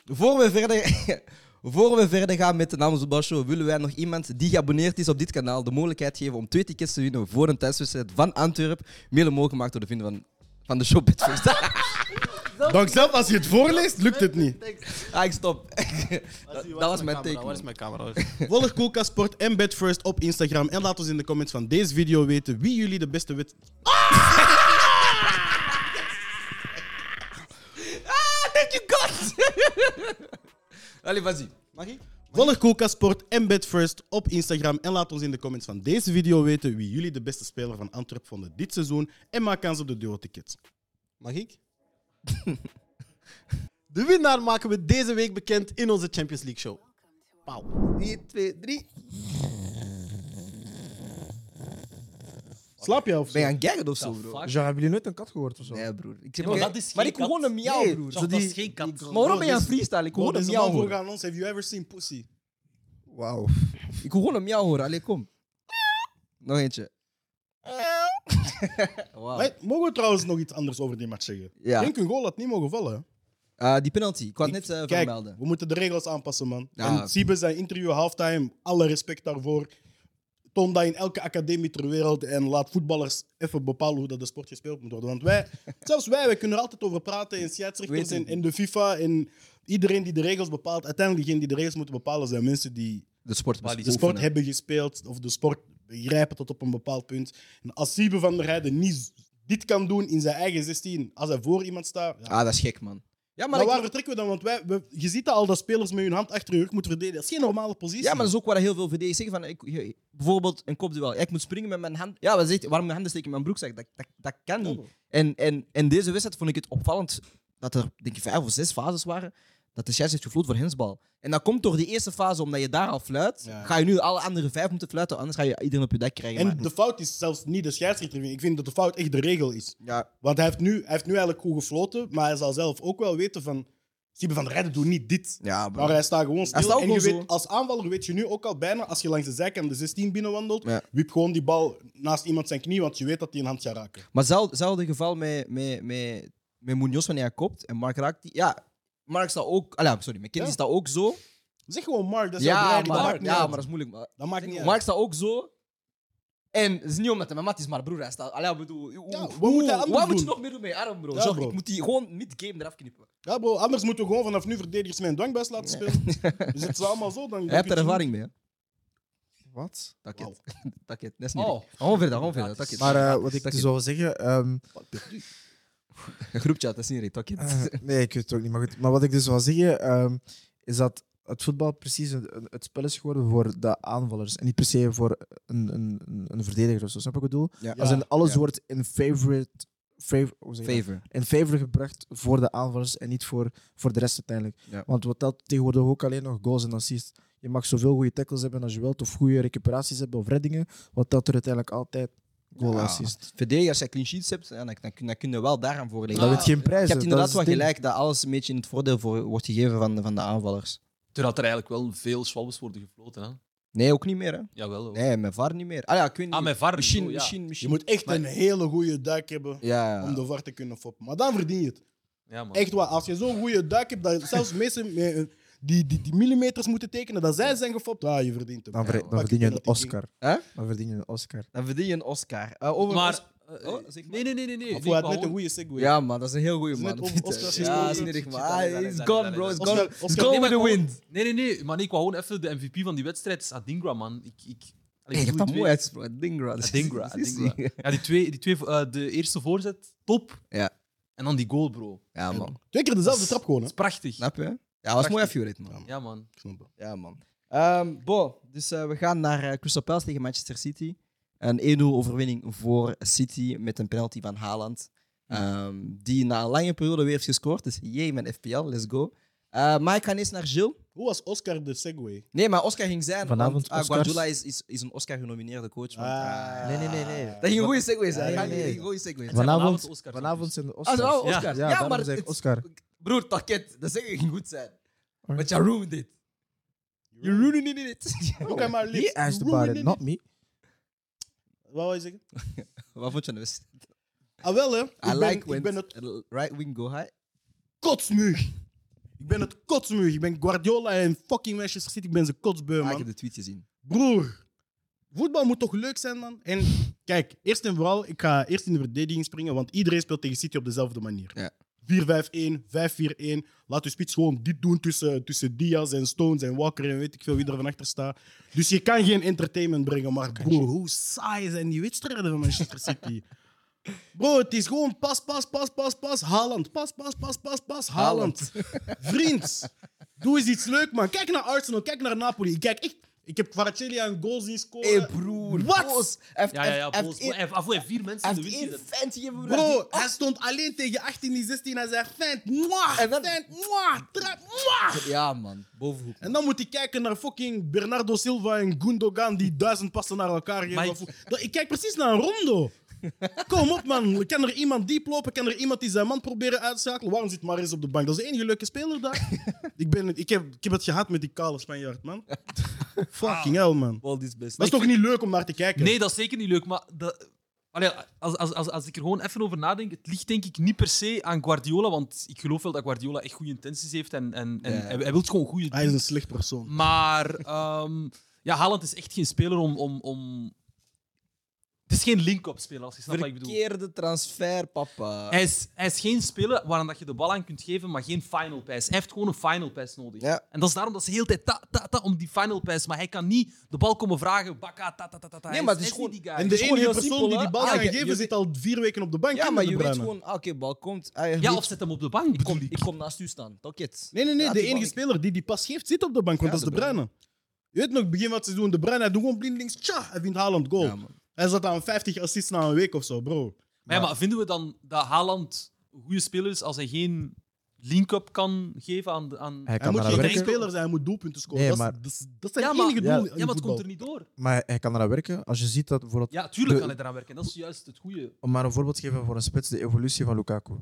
Voor we verder, voor we verder gaan met de Namens de Show, willen wij nog iemand die geabonneerd is op dit kanaal de mogelijkheid geven om twee tickets te winnen voor een thuiswedstrijd van Antwerpen. Mede mogelijk gemaakt door de vrienden van, van de show Ah, Bitfirst.
Dank zelf, als je het voorleest, lukt het niet.
ah, ik stop. dat, dat was mijn
camera? Waar is
teken.
mijn camera?
Volg Coca Sport en Bedfirst op Instagram. En laat ons in de comments van deze video weten wie jullie de beste wet...
Thank you God! Allee, vas-y. Mag ik?
Volg Coca Sport en Bedfirst op Instagram. En laat ons in de comments van deze video weten wie jullie de beste speler van Antwerp vonden dit seizoen. En maak kans op de duo-tickets.
Mag ik? De winnaar maken we deze week bekend in onze Champions League show. Pauw.
1, 2, 3.
Slaap jij of
Ben
zo?
je aan het gaggen of zo,
Ja,
bro?
fuck.
Jean, hebben jullie nooit een kat gehoord of zo?
Nee, broer. Ik zeg
maar dat is
maar
geen
ik hoor
kat.
een miauw,
Nee,
broer.
Zo,
Maar
dat is geen kat.
waarom ben je aan het freestylen? Ik
Bro,
hoor een
deze
miauw
man vroeg
horen.
aan ons, have you ever seen pussy?
Wauw.
Ik hoor gewoon een miauw horen. Allee, kom. Nog eentje. Wauw.
Wij- Ah. mogen we trouwens nog iets anders over die match zeggen?
Ja.
Denk een goal had niet mogen vallen. hè?
Eh, die penalty. Ik wou het net eh,
Kijk,
vermelden.
we moeten de regels aanpassen, man.
Ja.
En Siebe zijn interview halftime, alle respect daarvoor. Toon dat in elke academie ter wereld en laat voetballers even bepalen hoe dat de sport gespeeld moet worden. Want wij, zelfs wij, wij kunnen er altijd over praten en scheidsrechters
Weten.
en, en de FIFA en iedereen die de regels bepaalt. Uiteindelijk, degene die de regels moeten bepalen zijn mensen die
De sport
de sport hebben gespeeld of de sport begrijpen tot op een bepaald punt. En als Siebe van der Heijden niet dit kan doen in zijn eigen 16, als hij voor iemand staat, ja,
Ah, dat is gek, man. Ja, maar,
maar
ik-
waar vertrekken we dan? Want wij, we- je ziet dat al dat spelers met hun hand achter hun rug moeten verdedigen. Dat is geen normale positie.
ja, maar dat is ook waar heel veel VD's zeggen. Van, ik, je- bijvoorbeeld een kopduel. Ja, ik moet springen met mijn hand. Ja, wat zegt, waarom mijn handen steken in mijn broekzak? Dat, dat, dat kan niet. En, en, en deze wedstrijd vond ik het opvallend dat er denk ik, vijf of zes fases waren. Dat de scheids heeft gefloten voor hensbal. En dat komt door die eerste fase, omdat je daar al fluit.
Ja.
Ga je nu alle andere vijf moeten fluiten, anders ga je iedereen op je dak krijgen.
En
maar-
de fout is zelfs niet de scheidsrechter. Ik vind dat de fout echt de regel is.
ja,
Want hij heeft nu, hij heeft nu eigenlijk goed gefloten, maar hij zal zelf ook wel weten van... Siebe van der Rijden doet niet dit.
ja, bro.
Maar hij staat gewoon
Hij staat
stil.
ook
En je
gewoon zo.
weet, als aanvaller weet je nu ook al bijna, als je langs de zijkant de 16 binnenwandelt,
Ja.
wiep gewoon die bal naast iemand zijn knie, want je weet dat hij een hand gaat raken.
Maar zel- hetzelfde geval met, met, met, met Munoz wanneer hij kopt en Mark raakt die. Ja, Mark staat ook. Ah, ja, sorry, McKinney
Ja.
staat ook zo.
Zeg gewoon Mark, dat is jouw
Ja,
beleidiging,
maar,
dat maakt
ja
niet
maar
uit.
dat is moeilijk. Maar,
Dat maakt niet uit.
Mark staat ook zo. En het is niet omdat hij mijn mat is, maar broer, hij staat. Allee, ik bedoel, hoe-
Ja,
hoe-
wat moet hij anders
wat moet je
doen?
nog meer doen met je arm, bro?
Ja,
Zorg,
bro.
Ik moet die gewoon mid-game eraf knippen.
Ja, bro, anders moeten we gewoon vanaf nu verdedigers met een dwangbuis laten spelen. Dus het is allemaal zo. Dan, dan
Hij hebt
kun
er
je-
ervaring mee, hè?
Wat?
Takket.
Wauw.
Takket, dat is niet.
Oh.
leuk. Gewoon verder, gewoon verder. Takket.
Maar eh, wat ik
Takket.
dus wil zeggen. ehm,
Een groepchat, dat is niet recht. Takket.
eh, nee, ik weet het ook niet. Maar, goed. maar wat ik dus wil zeggen. ehm, is dat het voetbal precies een, een- het spel is geworden voor de aanvallers. En niet per se voor een, een, een- een verdediger of zo. Snap je wat ik bedoel?
Ja.
Als in alles
Ja.
wordt in favorite. favor- hoe zeg je dat?
Favor.
in favor gebracht voor de aanvallers en niet voor, voor de rest uiteindelijk.
Ja.
Want wat telt tegenwoordig ook alleen nog goals en assists. Je mag zoveel goede tackles hebben als je wilt, of goede recuperaties hebben of reddingen. Wat telt er uiteindelijk altijd? Goal en
Ja.
assist.
Verdedig, als je clean sheets hebt, ja, dan, dan, dan kun je wel daaraan voorleggen.
Dat weet geen prijs.
Je hebt inderdaad wel gelijk dat alles een beetje in het voordeel voor, wordt gegeven van de, van de aanvallers.
Terwijl er eigenlijk wel veel Schwalbes worden gefloten. Hè?
Nee, ook niet meer, hè?
Jawel. hoor.
Nee, met VAR niet meer. Ah ja, ik weet niet.
Ah, met VAR.
Misschien,
oh, ja.
misschien,
Je
misschien.
moet echt een hele goede duik hebben
Ja, ja.
om de VAR te kunnen foppen. Maar dan verdien je het.
Ja, man.
Echt waar. Als je zo'n goede duik hebt, dat zelfs mensen met, eh, die, die, die millimeters moeten tekenen, dat zij zijn gefopt, ah, je verdient hem.
Dan, ver-
Ja,
dan
pak
verdien je
die
een
penalty
Oscar.
Hè?
Dan verdien je een Oscar.
Dan verdien je een Oscar. Eh, over
Maar...
Oscar-
eh,
Oh, zeg maar.
Nee, nee, nee, nee. nee.
Of hij had
Wou-
net een goede segue.
Ja, man, dat is een heel goede
Is
man.
net over Oscars
ja, is
gesproken.
niet echt, man.
Shit, allee,
Ah,
allee,
It's
allee,
gone,
allee,
bro.
allee.
It's gone,
Oscar-
it's
Oscar-
gone
Nee,
with
maar
the
gewoon-
wind.
Nee, nee, nee. Maar nee, ik wou gewoon even de MVP van die wedstrijd is Adingra, man. Ik, ik,
Hey, je hebt dat mooi uitgesproken. Dingra.
Adingra, Adingra. Ja, die twee, die twee eh, de eerste voorzet, top.
Ja.
En dan die goal, bro.
Ja, man.
Twee keer dezelfde trap gewoon, hè?
Dat is prachtig.
Snap je? Nou, Ja, was mooi afgewerkt, man.
Ja, man.
Ik snap het.
Ja, man. Ehm, bo, dus eh, we gaan naar eh, Crystal Palace tegen Manchester City. Een 1-0 overwinning voor City met een penalty van Haaland. Ehm, die na een lange periode weer heeft gescoord. Dus jee, mijn FPL, let's go. Eh, maar ik ga eerst naar Gilles.
Hoe was Oscar de segue?
Nee, maar Oscar ging zijn.
Vanavond
want, ah,
Oscars.
Guardiola is, is, is een Oscar-genomineerde coach. want,
Ah.
eh,
Nee, nee, nee. nee.
Dat ging een goede segue
Ja,
zijn.
ja,
Dat ging
ja.
een goede segue zijn.
Vanavond,
Oscar.
vanavond zijn de
Ah,
Oscars.
dat waren Oscars.
Ja,
Ja,
daarom
maar
zei ik
het-
Oscar.
Broer, taket, dat zeggen ging goed zijn. But you ruined it. You're ruining it.
Look at my lips.
He asked about it, not me.
Wat wou je zeggen?
Wat vond je nou? eens?
Ah, wel hè. Ik,
I
ben,
like
ik
when
ben het
right wing go high.
kotsmuur. Ik ben het kotsmuur. Ik ben Guardiola en fucking Manchester City. Ik ben ze kotsbeu,
Ah,
man.
ik heb de tweet gezien.
Broer, voetbal moet toch leuk zijn, man? En kijk, eerst en vooral, ik ga eerst in de verdediging springen, want iedereen speelt tegen City op dezelfde manier.
Ja.
4-5-1, 5-4-1. Laat je spits gewoon dit doen tussen, tussen Diaz en Stones en Walker en weet ik veel wie er van achter staat. Dus je kan geen entertainment brengen, maar broer, hoe saai zijn die wedstrijden van Manchester City? Bro, het is gewoon pas, pas, pas, pas, pas, Haaland. Pas, pas, pas, pas, pas, Haaland. Vriend, doe eens iets leuk, man. Kijk naar Arsenal, kijk naar Napoli. Ik Kijk, ik, ik heb Kvaratskhelia een goal zien scoren.
Hé broer.
Wat?
Boos. Hij heeft-
Ja, ja, ja.
hij
Bols.
heeft één-
Hij heeft af en toe vier mensen
hij
in de
heeft
wind
één
gezet.
vent hier, broer.
Bro, hij stond alleen tegen 18, die 16. Hij zei, vent, mwah,
En dan-
vent, mwah, trap, mwah.
Ja, man. Bovenhoek.
En dan moet ik kijken naar fucking Bernardo Silva en Gundogan die duizend passen naar elkaar geven.
Maar
Of- Dat- Ik kijk precies naar een rondo. Kom op, man. Kan er iemand diep lopen? Kan er iemand die zijn man proberen uit te schakelen? Waarom zit Maris op de bank? Dat is de enige leuke speler daar. ik, ben, ik, heb, ik heb het gehad met die kale Spanjaard, man. fucking hell, man.
Wel, dit is best.
Dat is toch niet leuk om naar te kijken?
Nee, dat is zeker niet leuk, maar... Dat... Allee, als, als, als, als ik er gewoon even over nadenk, het ligt denk ik niet per se aan Guardiola, want ik geloof wel dat Guardiola echt goede intenties heeft en, en, en
Ja.
hij, hij wil gewoon goede
Hij is een slecht persoon.
Maar ehm, ja, Haaland is echt geen speler om. om, om... Het is geen link-up speler, als je snapt wat ik bedoel.
Verkeerde transfer, papa.
Hij is, hij is geen speler waaraan dat je de bal aan kunt geven, maar geen final pass. Hij heeft gewoon een final pass nodig.
Ja.
En dat is daarom dat ze de hele tijd ta, ta, ta, om die final pass. Maar hij kan niet de bal komen vragen. Bakka, ta, ta, ta, ta, ta.
Nee,
Hij
maar
is-
het is
hij niet
gewoon-
die guy.
En de
is gewoon
enige
heel
persoon
simpel,
die
hè?
die bal
Ah,
kan
je-
geven
je
zit al vier weken op de bank. hè,
Ja, maar
De
je weet
Bruyne.
gewoon, ah, oké, bal komt. ah, je
Ja,
weet-
of zet hem op de bank.
ik kom,
bedoel ik.
ik kom naast u staan. Dat it.
Nee, nee, nee.
Ja,
de
die
enige
man-
speler die die pas geeft, zit op de bank, want dat
Ja,
is de
De Bruyne.
Bruyne. Je weet nog, begin van het seizoen, de Bruyne, hij doet gewoon blindelings, tja, hij vindt Haaland goal.
Ja, man.
hij zat aan 50 assists na een week of zo, bro.
Maar, ja, maar vinden we dan dat Haaland een goede speler is als hij geen link-up kan geven aan. de- aan...
Hij
Hij
kan
moet
eraan
geen
werken,
speler zijn, hij moet doelpunten scoren.
Nee,
dat, is,
maar-
dat, is, dat zijn
Ja, maar-
enige
ja,
doel.
Ja, maar het komt er niet door.
maar hij kan eraan werken. Als je ziet dat bijvoorbeeld,
Ja, tuurlijk
De-
kan hij eraan werken. Dat is juist het goede.
om maar een voorbeeld te geven voor een spits, de evolutie van Lukaku.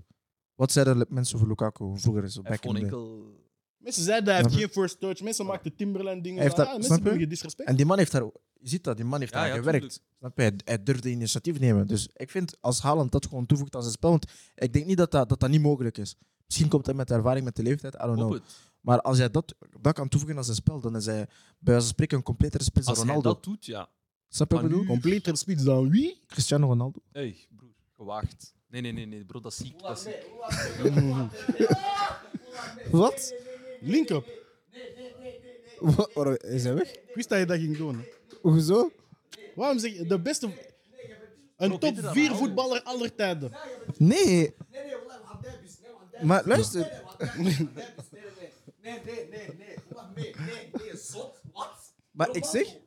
Wat zeiden le- mensen over Lukaku vroeger? Zo,
Hij heeft
back in
gewoon
the day?
enkel.
Mensen zeiden hij heeft
Ja.
geen first touch, mensen maakten Timberland dingen.
Hij heeft
van,
dat-
ah,
snap
mensen
je?
doen je disrespect.
En die man heeft daar, je ziet dat, die man heeft
Ja,
daar
ja,
gewerkt.
tuurlijk.
Snap je? Hij, hij durfde initiatief nemen. Dus ik vind als Haaland dat gewoon toevoegt aan zijn spel, want ik denk niet dat dat, dat, dat niet mogelijk is. Misschien komt hij met de ervaring, met de leeftijd, I don't
Hoop
know.
het.
Maar als hij dat, dat kan toevoegen aan zijn spel, dan is hij bij wijze van spreken een completere spits dan
Als hij
Ronaldo.
dat doet, ja.
Snap je wat ik
Maar
bedoel?
nu-
Completer spits dan wie?
Cristiano Ronaldo.
hey, broer, gewaagd. Nee, nee, nee, nee, bro, dat is ziek. Dat is ziek.
Wat?
Link-up.
Is hij weg?
Ik wist dat je dat ging doen. hè.
Hoezo?
Waarom zeg je, de beste... Een top 4 voetballer aller tijden.
Nee. Maar luister. Maar ik zeg... Ik zeg...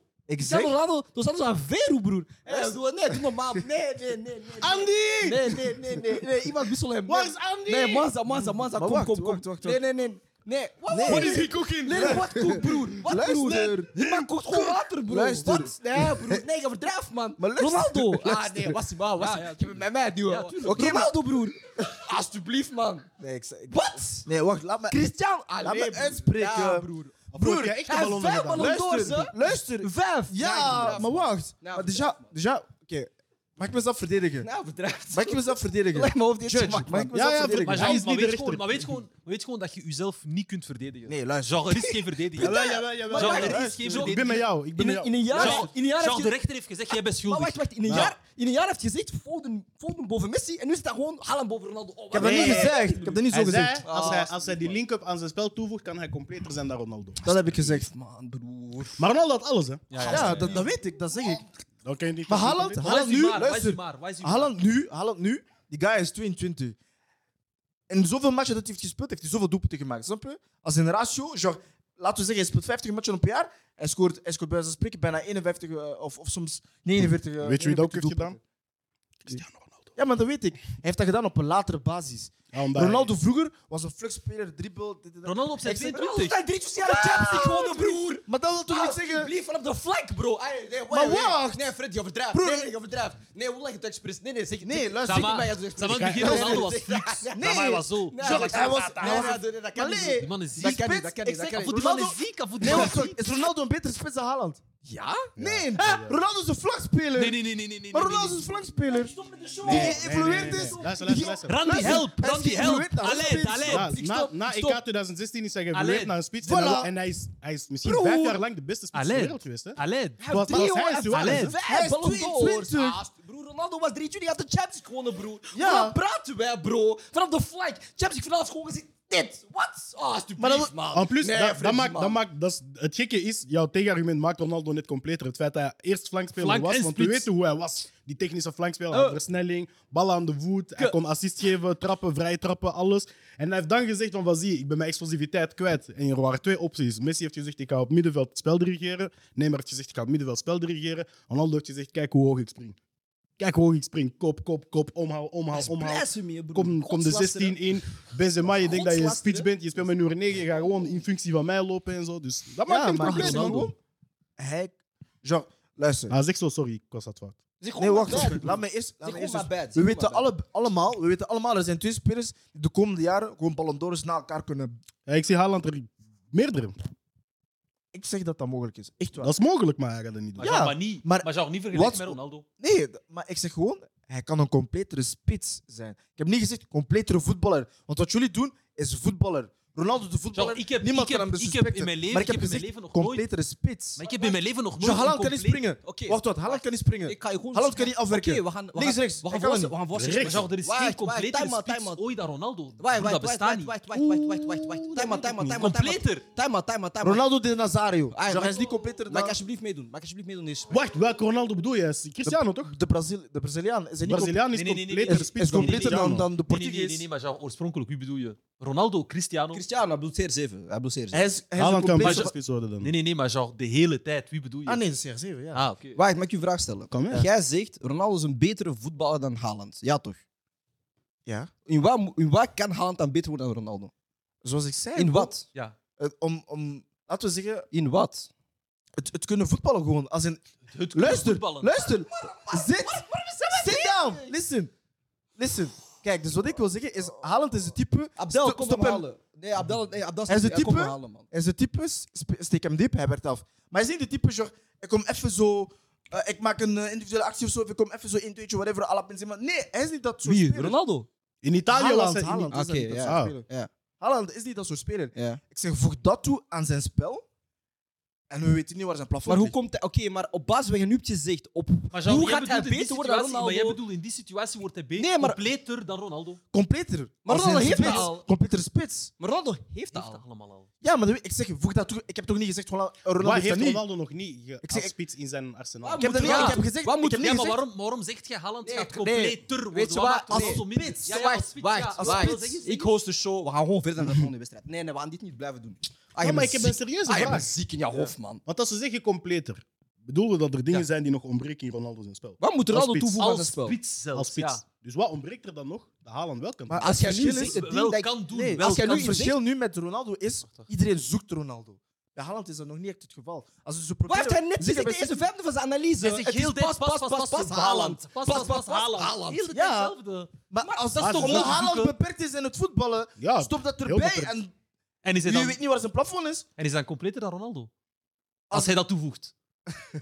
Cristiano Ronaldo, dat is aan Veru, broer. Nee, doe, nee, doe normaal. Nee, nee, nee. nee, nee.
Andy!
Nee, nee, nee, nee, nee. Iemand wissel hem.
Waar
Nee.
is Andy?
Nee, Manza, Manza, Manza.
Maar
Kom,
wacht,
kom, kom.
wacht, wacht, wacht.
Nee, nee, nee. Nee, wat?
Nee.
What is he cooking?
Nee, nee, wat kook, broer? Wat,
Luister.
broer? Die man kookt gewoon water, broer.
Luister.
Wat? Nee, broer. Nee, je verdrijft, man.
Maar luister.
Ronaldo. Ah,
Luister.
nee, was hij, man. Was
Ja,
hij.
ja,
je bent bij mij, duw.
Ja, tuurlijk.
Oké, maar-
Ronaldo, broer. Alsjeblieft, man.
Nee, ik zeg...
Wat?
Nee, wacht. Laat me...
Christian,
Laat
alleen
me uitspreken.
Ja, broer.
Broer, jij echt de
hij
ballon
heeft vijf
gedaan.
ballon door,
Luister.
ze.
Luister.
Vijf.
Ja, maar wacht.
Ja,
Maar déjà... déjà Oké. Mag ik mezelf verdedigen?
Nou, verdrijft.
Mag ik mezelf verdedigen?
Leg me hoofd eerst
Judge,
te maken,
mag ik
man.
mezelf
Ja, ja,
verdedigen?
Maar,
Hij
Jean,
is
maar
niet de
weet
rechter.
gewoon, maar weet gewoon, maar weet gewoon dat je jezelf niet kunt verdedigen.
Nee, luister.
Jean, er is geen verdediging.
Jawel, jawel, jawel.
Jean,
Maar
er is
luister.
geen
Ik ben met
verdediging.
jou. Ik ben
In
met
een,
jou.
in een jaar,
Jean,
in een jaar
Jean,
heeft
de
je-
rechter heeft gezegd, jij bent
Maar
schuldig.
wacht, wacht. In een, jaar, in een jaar heeft je gezegd Foden, Foden boven Messi en nu staat gewoon Haaland boven Ronaldo. Oh,
Ik heb dat niet gezegd. Ik heb dat niet zo
Hij zei,
gezegd.
als,
Ah,
hij, als hij die link-up aan zijn spel toevoegt, kan hij completer zijn dan Ronaldo.
Dat heb ik gezegd.
Man, broer.
Maar Ronaldo had alles, hè?
Ja, ja,
Ja, dat, dat weet ik. Dat zeg ik.
Dat kan je niet.
Maar Haaland,
Maar waar is
Haaland
die
nu,
maar? Waar is die
luister.
maar? Waar is die maar?
Haaland nu, Haaland nu, die guy is 22. En zoveel matchen dat hij heeft gespeeld, heeft hij zoveel doelpunten gemaakt. Snap je? Als een ratio, genre, laten we zeggen, hij speelt 50 matchen op een jaar. Hij scoort, hij scoort bij zijn spreken bijna 51 eh, of, of soms 49. eh,
Weet je wie dat ook
51
heeft gedaan?
doelpunten. Ja, maar dat weet ik. Hij heeft dat gedaan op een latere basis.
Ja, omdat hij-
Ronaldo vroeger was een flugspeler, dribbel. dit, dit, dat.
Ronaldo op zijn
Ik zeg-
22.
Hij drie jaar de Champions League gewonnen, broer.
Maar dat wil toch niet zeggen.
Alsjeblieft, vanaf de vlak, bro. Ai, nee,
Maar
nee.
wacht.
Nee, Fred, je overdrijft.
Broer.
Nee, nee, je overdrijft. Nee, hoe leg je het expres? Nee, nee, zeg
Nee, luister,
Zeg
ik-
maar, ja, zeg-
Sam, aan
Nee,
het begin
nee,
was
nee,
Aldo was
nee,
fix.
nee.
Nee. Hij was zo.
Nee, nee, hij was-
hij was-
nee, nee, dat kan
Maar
niet.
nee.
Die man is
Dat
ziek.
kan niet, dat
spits,
kan niet.
ik
Dat
zeg,
kan niet.
Voor die man
Ronaldo-
is ziek. hè, Voor die
Nee,
man
wacht,
is ziek.
sorry. Is Ronaldo een betere spits dan Haaland?
Ja?
Nee, hè? Ronaldo is een flankspeler.
Nee, nee, nee, nee, nee. nee,
Maar
nee,
Ronaldo is
nee.
een flankspeler. Die geëvolueerd is.
Luister, luister, luister.
Randy,
Luister,
help!
hij is
Randy, help!
geëvolueerd naar
Alert,
spits.
Ja,
alert! Ik
na,
stop,
na
ik stop.
EK 2016 is hij
Allee.
geëvolueerd naar een spits.
Voilà.
En, dan- en hij, is, hij is misschien
Broer.
vijf jaar lang de beste spits
Allee.
ter wereld geweest. Hè?
Alert!
Het was, het was hij is
Allee.
Hij
Vijf
is
Ballon d'Ors.
22.
haast. Broer, Ronaldo was 3 juni, had de Champions gewonnen, broer.
Ja.
Waar praten wij, bro? Vanaf de flank. Champions, ik vind alles gewoon gezien. Dit, wat? Ah, alsjeblieft, man.
En plus,
Nee,
dat,
Fred,
dat maakt,
man.
dat maakt, dat is, het gekke is, jouw tegenargument maakt Ronaldo net completer. Het feit dat hij eerst flankspeler
Flank
was,
en
want we
spits. Oh.
weten hoe hij was. Die technische flankspeler, hij had versnelling, bal aan de voet, hij
Ke-
kon assist geven, trappen, vrije trappen, alles. En hij heeft dan gezegd van, wat zie je, ik ben mijn explosiviteit kwijt. En er waren twee opties. Messi heeft gezegd, ik ga op middenveld het spel dirigeren. Neymar heeft gezegd, ik ga op middenveld het spel dirigeren. Ronaldo heeft gezegd, kijk hoe hoog ik spring. Kijk hoe hoog ik spring. Kop, kop, kop, omhaal, omhaal, omhaal.
Blasphemy, broer.
Kom, kom de 16
Godslasteren.
in. Benzema, je denkt dat je
Godslasteren.
spits bent. Je speelt met nummer 9. Je gaat gewoon in functie van mij lopen en zo. Dus dat maakt
Ja,
geen
maar
probleem. man,
Ronaldo.
gewoon.
Hij... Jean, luister.
Ah, zeg zo, sorry. Ik was dat fout.
Zeg gewoon
Nee,
maar
wacht.
bad,
eens.
broer.
Laat me eerst... Laat
Zeg
me
gewoon
eerst
maar
eens-
bad. Zeg gewoon
We weten
maar bad.
alle, allemaal, we weten allemaal, er zijn twee spelers die de komende jaren gewoon Ballon d'Ors na elkaar kunnen...
Ja, ik zie Haaland er meerdere.
Ik zeg dat dat mogelijk is. Echt waar.
Dat is mogelijk, maar hij gaat dat niet doen.
Maar
Ja,
zou maar niet,
maar-
maar, zou niet vergelijken
Wat-
met Ronaldo.
Nee, d- maar ik zeg gewoon, hij kan een completere spits zijn. Ik heb niet gezegd completere voetballer. Want wat jullie doen, is voetballer. Ronaldo de voetballer,
Jean, ik heb-
niemand
ik heb-
kan hem
ik heb
disrespecten.
in mijn leven-
maar
ik heb in mijn
gezegd,
leven nog nooit-
completere spits.
Maar ik heb in mijn leven nog nooit...
Jean Haaland kan
een
niet
compleet-
springen.
Oké.
Wacht, wat? Haaland kan niet springen.
Ik ga je gewoon...
Haaland kan niet afwerken.
Oké, we gaan... we
Links,
gaan-
rechts.
We gaan
Hij kan
voorzien.
hem.
We gaan voorzien.
Maar Jean, er is
Wacht,
geen
wacht,
completere
time out,
spits
time out.
ooit dan Ronaldo.
Wacht,
Broer,
wacht,
Dat
wacht,
bestaat
wacht,
niet.
wacht, wacht, wacht, wacht, wacht. Time out, time out, time out.
Completer.
Time out, time out, time out.
Ronaldo de Nazario.
Ah,
Jean,
maar-
hij is niet completer
Mag ik
dan...
alsjeblieft meedoen? Mag ik alsjeblieft meedoen? in deze
Wacht, welke Ronaldo bedoel je? Is Cristiano, toch?
De, Brazil, de Braziliaan is hij niet
Braziliaan is
Nee, nee, nee, nee,
completer
completer, is,
spits
is
dan
completer
Cristiano.
dan, dan de
Nee, nee,
Portugees.
nee, nee, nee, maar Jean, oorspronkelijk, wie bedoel je? Ronaldo, Cristiano?
Cristiano bloedseer 7. Hij bloedseert 7.
Hij is, hij is een
Haaland kan
completer...
beter spits worden dan.
Nee, nee, nee, maar Jean, de hele tijd, wie bedoel je?
Ah nee, CR7, ja.
Ah, oké.
Wacht, mag ik je een vraag stellen?
Kom, ja.
Jij zegt, Ronaldo is een betere voetballer dan Haaland. Ja, toch?
Ja.
In wat, mo- in wat kan Haaland dan beter worden dan Ronaldo?
Zoals ik zei...
In wat?
Ja.
eh, Om, om, laten we zeggen,
In wat?
het, het kunnen voetballen gewoon. Als in,
Het
luister,
voetballen.
luister. Zit. Sit down. Listen. Listen. Kijk, dus wat ik wil zeggen is, Haaland is het type...
Abdel,
sto-
kom
stop
hem
hem.
halen. Nee, Abdel, nee, Abdel
Hij is
stop-
de
ja, kom
type-
hem halen, man.
En zijn type, sp- steek hem diep, hij werd af. Maar hij is niet de type, genre, ik kom even zo... eh, ik maak een eh, individuele actie of zo, of ik kom even zo in, tweetje, whatever, à la Benzema. Nee, hij is niet dat soort speler.
Ronaldo?
In Italië was
Haaland,
hij...
Haaland is
Oké,
dat niet dat
ja.
soort speler.
Ja.
Haaland is niet dat soort speler.
Ja.
Ik zeg, voeg dat toe aan zijn spel. En we weten niet waar zijn plafond
Maar hoe
ligt.
komt hij... Oké, maar op basis wat je nu hebt gezegd, op...
Maar Jean,
hoe
jij
gaat hij
bedoelt in die
beter worden dan
situatie- Maar jij
Ronaldo?
bedoelt, in die situatie wordt hij
Nee,
beter,
maar-
completer dan Ronaldo.
Completer.
Maar
Als
Ronaldo
in
heeft dat
spits.
al.
Completer spits.
Maar Ronaldo heeft dat
Heeft
al.
dat allemaal al.
Ja, maar ik zeg, voeg dat toe. Ik heb toch niet gezegd, Ronaldo, Ronaldo
Waar
heeft
heeft
dat niet.
Ronaldo nog niet Ah, ge-
Ik zeg-
als spits in zijn arsenaal?
Waarom
Ik heb dat niet.
Ja.
Ik heb gezegd.
Wat moet-
ik heb
Ja,
niet
maar
gezegd-
waarom, waarom zegt je Haaland
Nee,
gaat
nee.
completer worden?
Weet je
Wat
wat?
maakt
Als
Ronaldo
spits.
minder? Ja, ja, als
Wacht,
spits, ja.
wacht,
Als spits, zeg je,
wacht.
zeg
Ik
je.
host de show. We gaan gewoon verder naar de volgende wedstrijd. Nee, nee, we gaan dit niet blijven doen. Ah,
Ja,
je
maar
bent
ik heb een
ziek.
serieuze
Ah, je bent
vraag.
ziek in je hoofd, man.
Want als ze zeggen completer, bedoelen we dat er dingen zijn die nog ontbreken in Ronaldo's spel?
Wat moet Ronaldo
spits.
toevoegen aan
Als
het spel?
spits zelfs,
Als spits.
ja.
Dus wat ontbreekt er dan nog? De Haaland wel kan.
Maar
Als jij
het
nu
verschil
zegt,
is-
het ding
wel
dat ik-
kan doen.
Nee,
wel
als jij
kan
nu
Het
doen.
iets-
verschil nu met Ronaldo is,
wacht.
iedereen zoekt Ronaldo. Bij Haaland is dat nog niet echt het geval. Als ze zo
Waar
proberen...
heeft hij net
Zeker
gezegd in
bij
deze vijfde van zijn analyse?
Hij zegt
Het is
heel de tijd pas, pas, pas, pas, Haaland. Pas, pas, pas, Haaland. Heel de tijd
Ja.
hetzelfde.
Maar als dat
Maar
toch Ah,
ze
omdat
zoeken-
Haaland beperkt is in het voetballen,
Ja,
stop dat
heel
erbij.
beperkt.
En
En is hij
je
dan,
weet niet waar zijn plafond is.
en is hij dan completer dan Ronaldo? Als hij dat toevoegt.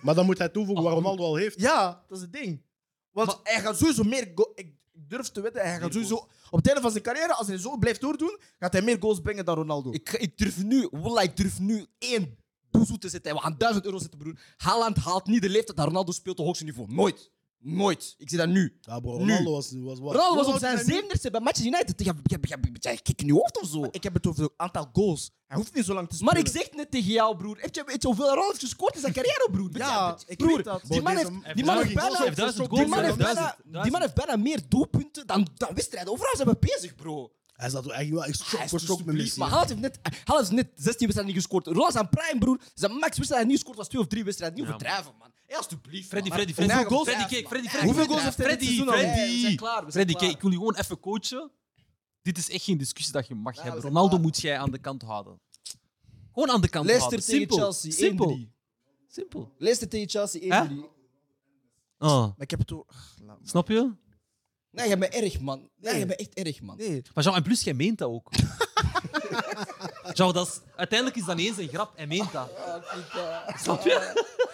Maar dan moet hij toevoegen waar Ronaldo al heeft.
Ja, dat is het ding. Want
Maar-
hij gaat sowieso meer... go- Ik ik durf te weten, hij gaat sowieso... Op het einde van zijn carrière, als hij zo blijft doordoen, gaat hij meer goals brengen dan Ronaldo.
Ik, ik durf nu, wallah, ik durf nu één boezel te zetten. We gaan 1000 euro zetten, broer. Haaland haalt niet de leeftijd dat Ronaldo speelt op hoogste niveau. Nooit. Nooit. Ik zie dat nu.
Ja, bro,
Nu.
Ronaldo was, was wat.
Ronaldo
Hoe
was op
oud is
zijn
hij nu?
zeventigste bij Manchester United. Ja, ja, ja, ja, ja, Kijk in je hoofd of zo.
Ik heb het over het aantal goals. Hij hoeft niet zo lang te spelen.
Maar ik zeg net tegen jou, broer. Heb je, weet je hoeveel Ronaldo heeft gescoord in zijn carrière, broer? Weet
Ja,
je-
ik
broer,
weet dat.
Die
Bro,
man
deze-
heeft, die man heeft
Hij heeft
bijna...
duizend
Die
goals.
man,
Hij
heeft
heeft
bijna, die man heeft bijna meer doelpunten dan, dan wedstrijden. Overal zijn we bezig, bro.
Hij zat eigenlijk wel echt
Hij
shock
is
voor shock met
alsjeblieft,
Messi.
Maar Haaland heeft net, Haaland heeft net 16 wedstrijden niet gescoord. Ronaldo is aan prime, broer. Zijn max wedstrijd die hij niet gescoord was twee of drie wedstrijden. Niet
Ja, man.
overdrijven, man. Hé, alsjeblieft,
Freddy,
man.
Freddy,
Hij-
Freddy.
Hoeveel goals
Freddy,
heeft hij?
kijk, Freddy,
Hij-
Freddy.
Hoeveel goals heeft hij dit
Freddy,
seizoen al?
Nee, we zijn
Freddy.
klaar, we zijn
Freddy, kijk,
klaar.
ik wil je gewoon even coachen. Dit is echt geen discussie dat je mag
Ja, we
hebben.
zijn
Ronaldo
klaar.
moet jij aan de kant houden. Gewoon aan de kant
Leicester
houden.
tegen
Simpel.
Chelsea,
Simpel.
1-3.
Simpel.
Lees het tegen Chelsea
E
1
Hè?
juli. Maar
Ah,
ik heb het door. Ach, laat maar.
snap je?
Nee, jij bent erg, man. Nee,
Nee.
jij bent echt erg, man.
Nee.
Maar Jean, en plus, jij meent dat ook. Jean, dat is, uiteindelijk is dat niet eens een grap. Hij meent dat. Snap je?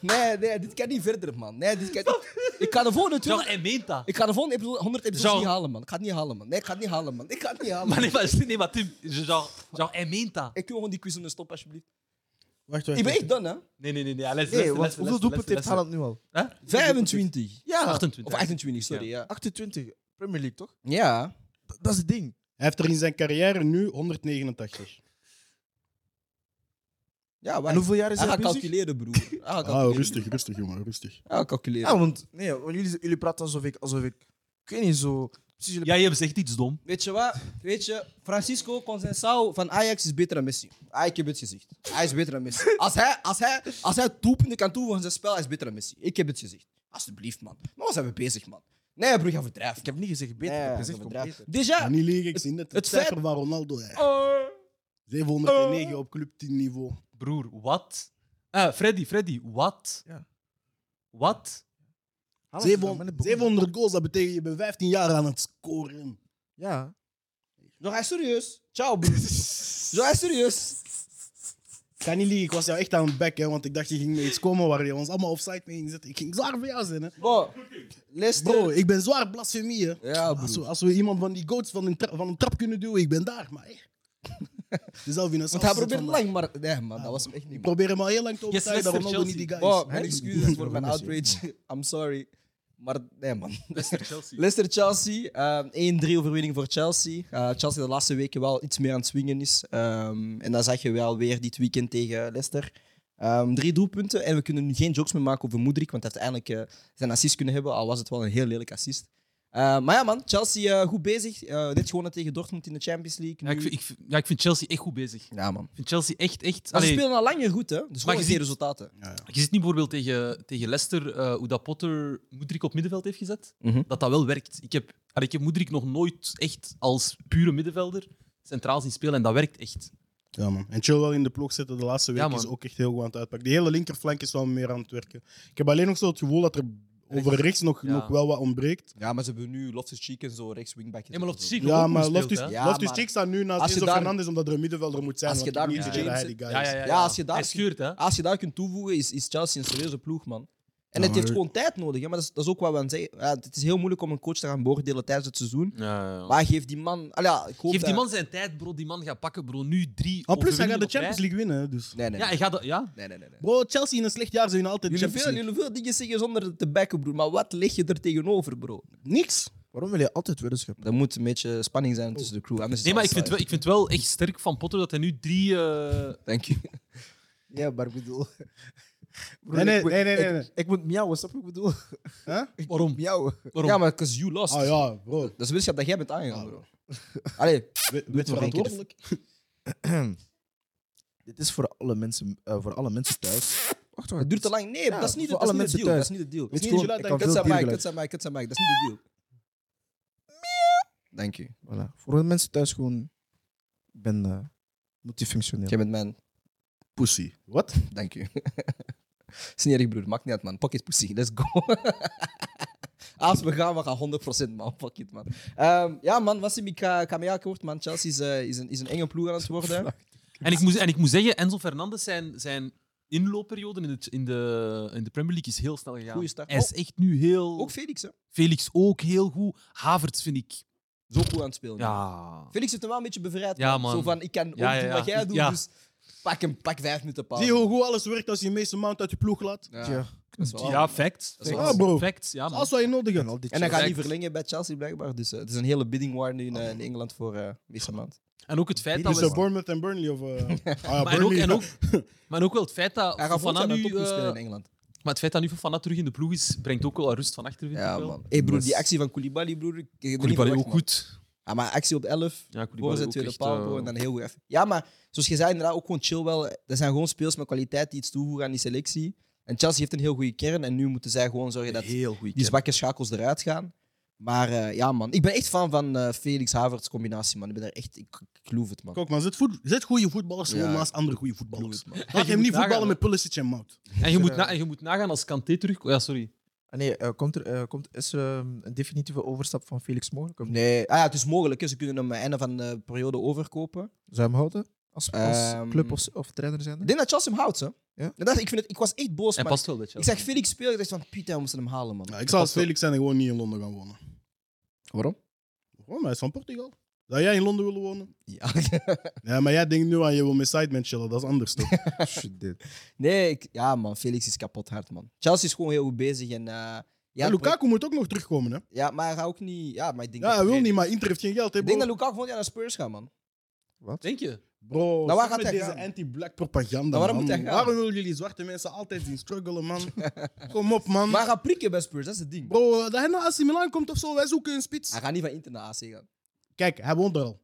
Nee, nee, dit kan niet verder, man. Nee, dit kan... Ik kan de volgende
Jean,
200...
hij meent dat.
Ik kan de volgende episode 100 episodes
Zou-
niet halen, man. Ik ga het niet halen, man. Nee, ik ga het niet halen, man. Ik ga het niet halen.
Maar nee, maar, nee, maar Tim, Jean, Jean, hij meent dat.
Ik wil gewoon die quiz onder stoppen, alsjeblieft.
Wacht, wacht.
Ik ben echt dan, hè.
Nee, nee, nee. nee. Les,
Nee, want hoeveel doelpunten heeft Haaland nu al?
25.
Ja,
28.
Of 28, sorry, ja.
28. Premier League, toch?
Ja.
Dat- Dat is het ding.
Hij heeft er in zijn carrière nu 189.
Ja,
En
waar?
hoeveel jaar is
Hij
hij
gaat
bezig?
calculeren, broer. Hij gaat
Ah,
calculeren.
rustig, rustig, jongen, rustig.
Hij gaat calculeren.
Ja, want, nee, want jullie, jullie praten alsof ik, alsof ik... Ik weet niet, zo... Precies jullie...
Ja, je zegt iets dom.
Weet je wat? Weet je, Francisco Consensao van Ajax is beter dan Messi. Ah, ik heb het gezegd. Hij is beter dan Messi. Als hij, als hij, als hij doelpunten kan toevoegen aan zijn spel, hij is beter dan Messi. Ik heb het gezegd. Alsjeblieft, man. Maar we zijn we bezig, man. Nee, broer, ga verdrijven.
Ik heb niet gezegd beter,
Nee,
ik heb
ga
gezegd
verdrijven.
compleet.
Ga
Déjà,
niet liegen, ik zie net het
het feit- Oh.
cijfer van Ronaldo. hè. 709 op club 10 niveau.
Broer, wat? Ah, Freddy, Freddy, wat?
Ja.
Wat?
Haaland is nog maar net
700,
begonnen.
700 goals, dat betekent je bent 15 jaar aan het scoren.
Ja.
nog hij is serieus. Ciao, broer. Zo, hij is serieus.
Ik ga niet liegen, ik was jou echt aan het bek, hè, want ik dacht je ging met iets komen waar je ons allemaal offside mee ging zetten. Ik ging zwaar voor jou zijn, hè.
Bro, Leicester.
Bro, ik ben zwaar blasfemie, hè.
Ja,
Als we,
broer.
als we iemand van die goats van een, tra- van een trap kunnen duwen, ik ben daar, maar hey. Dezelfde in een
Want hij
saus
probeert
zitten vandaag.
lang, maar nee, man, dat was hem echt niet.
Ik
man.
probeer hem al heel lang te overtuigen dat
Leicester,
Ronaldo niet die guy is.
Chelsea.
Bro, mijn
Hij is niet
excuses
die
voor
guy.
mijn outrage. I'm sorry. Maar nee, man.
Chelsea.
Leicester-Chelsea, eh, 1-3 overwinning voor Chelsea. Eh, Chelsea de laatste weken wel iets meer aan het swingen is. Ehm, en dat zag je wel weer dit weekend tegen Leicester. Ehm, drie doelpunten en we kunnen nu geen jokes meer maken over Moedrik, want hij heeft eindelijk eh, zijn assist kunnen hebben, al was het wel een heel lelijk assist. Eh, maar ja man, Chelsea eh, goed bezig. Eh dit gewonnen tegen Dortmund in de Champions League.
Ja ik,
nu-
vind, ik, vind- ja, ik vind Chelsea echt goed bezig.
ja man.
Ik vind Chelsea echt, echt...
Maar ze
Allee,
spelen al langer goed hè, dus gewoon
je
geen
ziet-
resultaten.
Je ziet nu bijvoorbeeld tegen, tegen Leicester eh, hoe dat Potter Moedrik op middenveld heeft gezet.
Mhm.
Dat dat wel werkt. Ik heb, allee, ik heb Moedrik nog nooit echt als pure middenvelder centraal zien spelen en dat werkt echt.
Ja, man. En Chilwell in de ploeg zetten de laatste week
Ja, man.
is ook echt heel goed aan het uitpakken. Die hele linkerflank is wel meer aan het werken. Ik heb alleen nog zo het gevoel dat er over rechts nog,
Ja.
nog wel wat ontbreekt.
Ja, maar ze hebben nu Loftus-Cheek en zo rechts wingback.
Nee, maar Loftus-Cheek
Ja,
ook
maar
goed
Loftus,
gespeeld, hè?
Ja,
Loftus
maar-
Cheek staat nu naast
als je
Enzo
daar-
Fernandes omdat er een middenvelder moet zijn.
als je
want
daar
ik
moet
denk niet dat
James
hij die guy
Ja, ja,
is.
ja,
Ja, als je daar-
Hij scheurt, hè.
Als je daar kunt toevoegen, is, is Chelsea een serieuze ploeg, man. En
Ja,
het heeft
maar-
gewoon tijd nodig. Hè? Maar dat is, dat is ook wat we aan het zeggen. Ja, het is heel moeilijk om een coach te gaan beoordelen tijdens het seizoen. Maar geef die man... Allee, ja, ik hoop
Geef die
dat-
man zijn tijd, bro. Die man gaat pakken, bro. Nu drie
Maar plus, hij gaat de
overwinningen op
Champions
rij.
League winnen. hè, Dus.
Nee, nee,
Ja,
nee.
hij gaat... de- Ja?
nee, nee, nee, nee.
Bro, Chelsea in een slecht jaar zijn altijd
Jullie,
Champions
veel,
League.
jullie veel dingen zeggen zonder te bekken, broer. Maar wat leg je er tegenover, bro?
Niks.
Waarom wil je altijd weddenschap? Oh.
Er moet een beetje spanning zijn tussen de crew. Anders is
Nee, maar ik
het
vind, wel, ik vind wel echt sterk van Potter dat hij nu drie... eh,
Dank je.
Ja, maar ik bedoel... Broer,
Nee, nee,
ik moet-
nee, nee,
ik-
nee, nee.
Ik, moet miauwen, snap je wat ik bedoel?
Huh?
Ik
Waarom?
moet miauwen.
Waarom?
Ja, maar because you lost.
Ah ja, bro.
Dat is wetenschap dat jij bent
Ah,
aangegaan, bro. Allee,
Wit
nog één keer.
verantwoordelijk.
Dit is voor alle mensen, eh, voor alle mensen thuis. Wacht,
het duurt te lang. Nee,
Ja,
dat is niet,
voor
dat is
alle
niet de
mensen
deal. Dat is
thuis.
niet de deal.
Het is
Niet
gewoon-
dat je
ik
dat
kan
Kut
veel
zijn mic, kut
diergeluid.
zijn mic, kut zijn mic. Dat is niet de deal. Dank je.
Voilà. Voor de mensen thuis gewoon... Ik ben eh, multifunctioneel.
Jij bent mijn...
Pussy. Wat?
Dank u. Snerig broer, maakt niet uit man. Pocket pussy, let's go. Als we gaan, we gaan 100% man. Fuck it man. Ehm, ja man, Wassim, ik ga, ik ga mee akkoord man. Chelsea is, eh, is, een, is een enge ploeg aan het worden.
En ik, moest, en ik moet zeggen, Enzo Fernandes, zijn, zijn inloopperiode in de, in, de, in de Premier League is heel snel gegaan.
Goeie start. Oh.
Hij is echt nu heel...
Ook Felix hè.
Felix ook heel goed. Havertz vind ik...
Zo goed aan het spelen.
Ja.
Felix heeft hem wel een beetje bevrijd.
Ja, man.
Zo van, ik kan ook
Ja, ja,
doen wat
ja.
jij doet,
Ja.
dus pak hem, pak vijf minuten pauze.
Zie je hoe goed alles werkt als je Mason Mount uit je ploeg laat?
Ja,
Tja.
dat is wel- Ah,
Ja, facts.
Dat is
wel- Ja, bro.
Facts, ja, man.
Als wat je nodig hebt.
al dit
En hij gaat
Exact.
niet verlengen bij Chelsea blijkbaar. Dus eh, het is een hele bidding war nu in, eh, in Engeland voor eh Mason Mount.
En ook het feit dat
Dus
we...
eh, Bournemouth en Burnley of... eh, ah ja,
Maar en ook,
Burnley.
en ook, maar ook wel het feit dat
Hij gaat
Fofana
volgens mij
nu...
nu
eh,
spelen in Engeland.
maar het feit dat nu Fofana terug in de ploeg is, brengt ook wel wat rust van achter, vind
Ja,
ik wel.
man. Hey, broer,
Dus-
die actie van Koulibaly, broer. ik- ik heb er niet
Koulibaly
verwacht,
ook
man.
goed.
Ja, maar actie op 11,
Ja,
voor
Koulibaly
zijn
ook
tweede
echt...
paal,
eh,
bro, en dan heel goed even. Ja, maar zoals je zei, inderdaad ook gewoon chill wel. Er zijn gewoon speels met kwaliteit die iets toevoegen aan die selectie. En Chelsea heeft een heel goede kern en nu moeten zij gewoon zorgen dat
heel goed.
die zwakke schakels eruit gaan. Maar eh, ja, man. Ik ben echt fan van eh, Felix Havertz combinatie, man. Ik ben daar echt... Ik, ik geloof het, man.
Kijk, maar zet, voet, zet goede voetballers gewoon
Ja.
naast andere goede
Ik geloof
voetballers.
het, man.
Laat
Je
hem
moet
niet voetballen
nagaan,
met Pulisic en Mout.
En je, moet
eh,
na, en je moet nagaan als Kanté terug... oh Ja, sorry.
Ah, nee, eh, komt er, eh, komt, is er eh, een definitieve overstap van Felix mogelijk? Of niet?
Nee, ah, ja, het is mogelijk. hè. Ze kunnen hem eh, einde van de periode overkopen.
Zou je hem houden? Als, als
Ehm,
club of, of trainer zijn?
Ik denk dat Chelsea hem houdt, hè. Inderdaad, ik, vind het, ik was echt boos,
Hij
man.
past wel bij
Ik
Chelsea.
zeg Felix speel, ik dacht van, Pieter, we moeten hem halen, man.
Ja, ik zou als Felix zijn en gewoon niet in Londen gaan wonen.
Waarom?
Waarom? Hij is van Portugal. Zou jij in Londen willen wonen?
Ja.
Ja, maar jij denkt nu aan je wil met Sidemen chillen. Dat is anders toch?
Shit, dit.
Nee, ik- ja, man. Felix is kapot hard, man. Chelsea is gewoon heel goed bezig. En, eh,
En
ja, het project-
Lukaku moet ook nog terugkomen, hè?
Ja, maar hij gaat ook niet... Ja, maar ik denk
Ja, hij
dat-
wil niet, maar Inter heeft geen geld. Hè,
Ik denk dat
bro,
Lukaku volgend jaar naar Spurs gaat, man.
Denk je?
bro
Nou, waar
stop
gaat
met
hij
deze
gaan?
anti-black propaganda,
Nou, waarom
man.
moet hij gaan?
Waarom willen jullie zwarte mensen altijd zien struggelen, man? Kom op, man.
Maar hij gaat prikken bij Spurs, dat is het ding.
Bro, dat hij naar AC Milan komt of zo, wij zoeken een spits.
Hij gaat niet van Inter naar AC gaan.
Kijk, hij woont er al.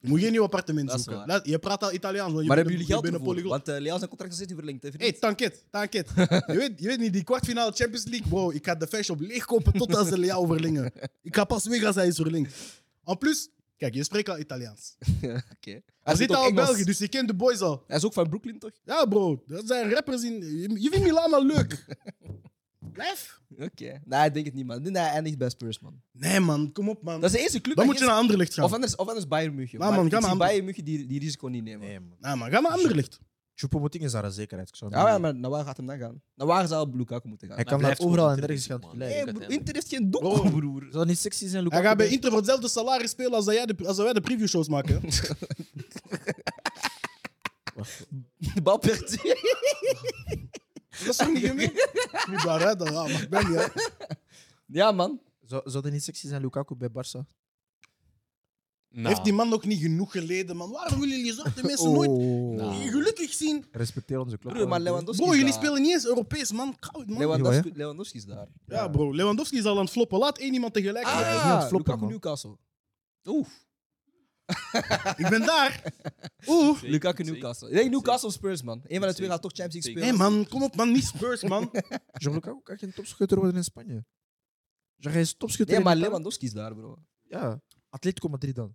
Moet je een nieuw appartement
Dat is
zoeken.
waar.
Laat- je praat al Italiaans, want je
maar
bent
hebben
een-
jullie
je
geld
bent een
ervoor?
polyglot.
Want eh, Leao zijn contract is niet verlengd, hè,
Hey,
vriend?
tanket, tanket. je, weet, je weet niet, die kwartfinale Champions League, bro. Ik ga de fashion op leeg kopen totdat ze Leao verlengen. Ik ga pas weg als hij is verlengd. En plus, kijk, je spreekt al Italiaans.
Oké. Hij,
Hij zit
ook
al in
Engels.
België, dus je kent de boys al.
Hij is ook van Brooklyn, toch?
Ja, bro, dat zijn rappers in. Je, je vindt Milan al leuk. Blijf.
Oké. Nee, ik denk het niet, man. Ik denk dat hij eindigt bij Spurs, man.
Nee, man, kom op man.
Dat is de eerste club...
Dan
dat
moet je
geen-
naar Anderlecht gaan.
Of anders, of anders Bayern München.
Ja, man,
ik
ga
zie
maar.
Bayern München die, die risico niet nemen.
Nee, man.
Nee, man, ga naar Anderlecht.
Choupo-Moting is daar een zekerheid. Ik zou
Ah, Ja,
niet-
ja, maar naar waar gaat hem dan gaan? Naar waar zou Lukaku moeten gaan?
Hij kan
blijft
daar overal
gewoon
en nergens gaan
Inter, man.
gelijk.
Nee,
kan
broer,
hem.
Inter heeft geen doel.
Bro.
broer.
Oh, Zou dat niet sexy zijn, Lukaku?
Hij gaat bij Inter voor hetzelfde salaris spelen als, dat jij de, als dat wij de preview-shows maken. hè.
De bal per se.
dat is toch niet gemeen? Niet waar, hè? Dat, ja, maar ik ben niet, hè.
Ja, man.
Zou, zou dat niet sexy zijn, Lukaku, bij Barça?
Nou,
Heeft die man ook niet genoeg geleden, man? Waarom willen jullie zwarte mensen nooit
nou.
gelukkig zien?
Oh. Respecteer onze klok.
Broer, maar Lewandowski
Bro,
Oh. is
jullie
daar.
spelen niet eens Europees, man. Koud, man.
Lewandowski, Lewandowski is daar.
ja, bro. Lewandowski is al aan het floppen. Laat één iemand tegelijk.
Ah,
is niet aan het floppen,
Lukaku
man.
Newcastle. Oeh,
Ik ben daar. Oeh.
Zeker,
Lukaku
zeker.
Newcastle. Ik denk Newcastle of Spurs, man. Eén van de twee
Zeker.
gaat toch Champions League
Hé,
spelen.
man. Kom op, man. Niet Spurs, man.
Jean Lukaku kan geen topschutter worden in Spanje. Jean, hij is topschutter
Nee, maar
in
Lewandowski is daar, bro.
Ja, Atletico Madrid dan.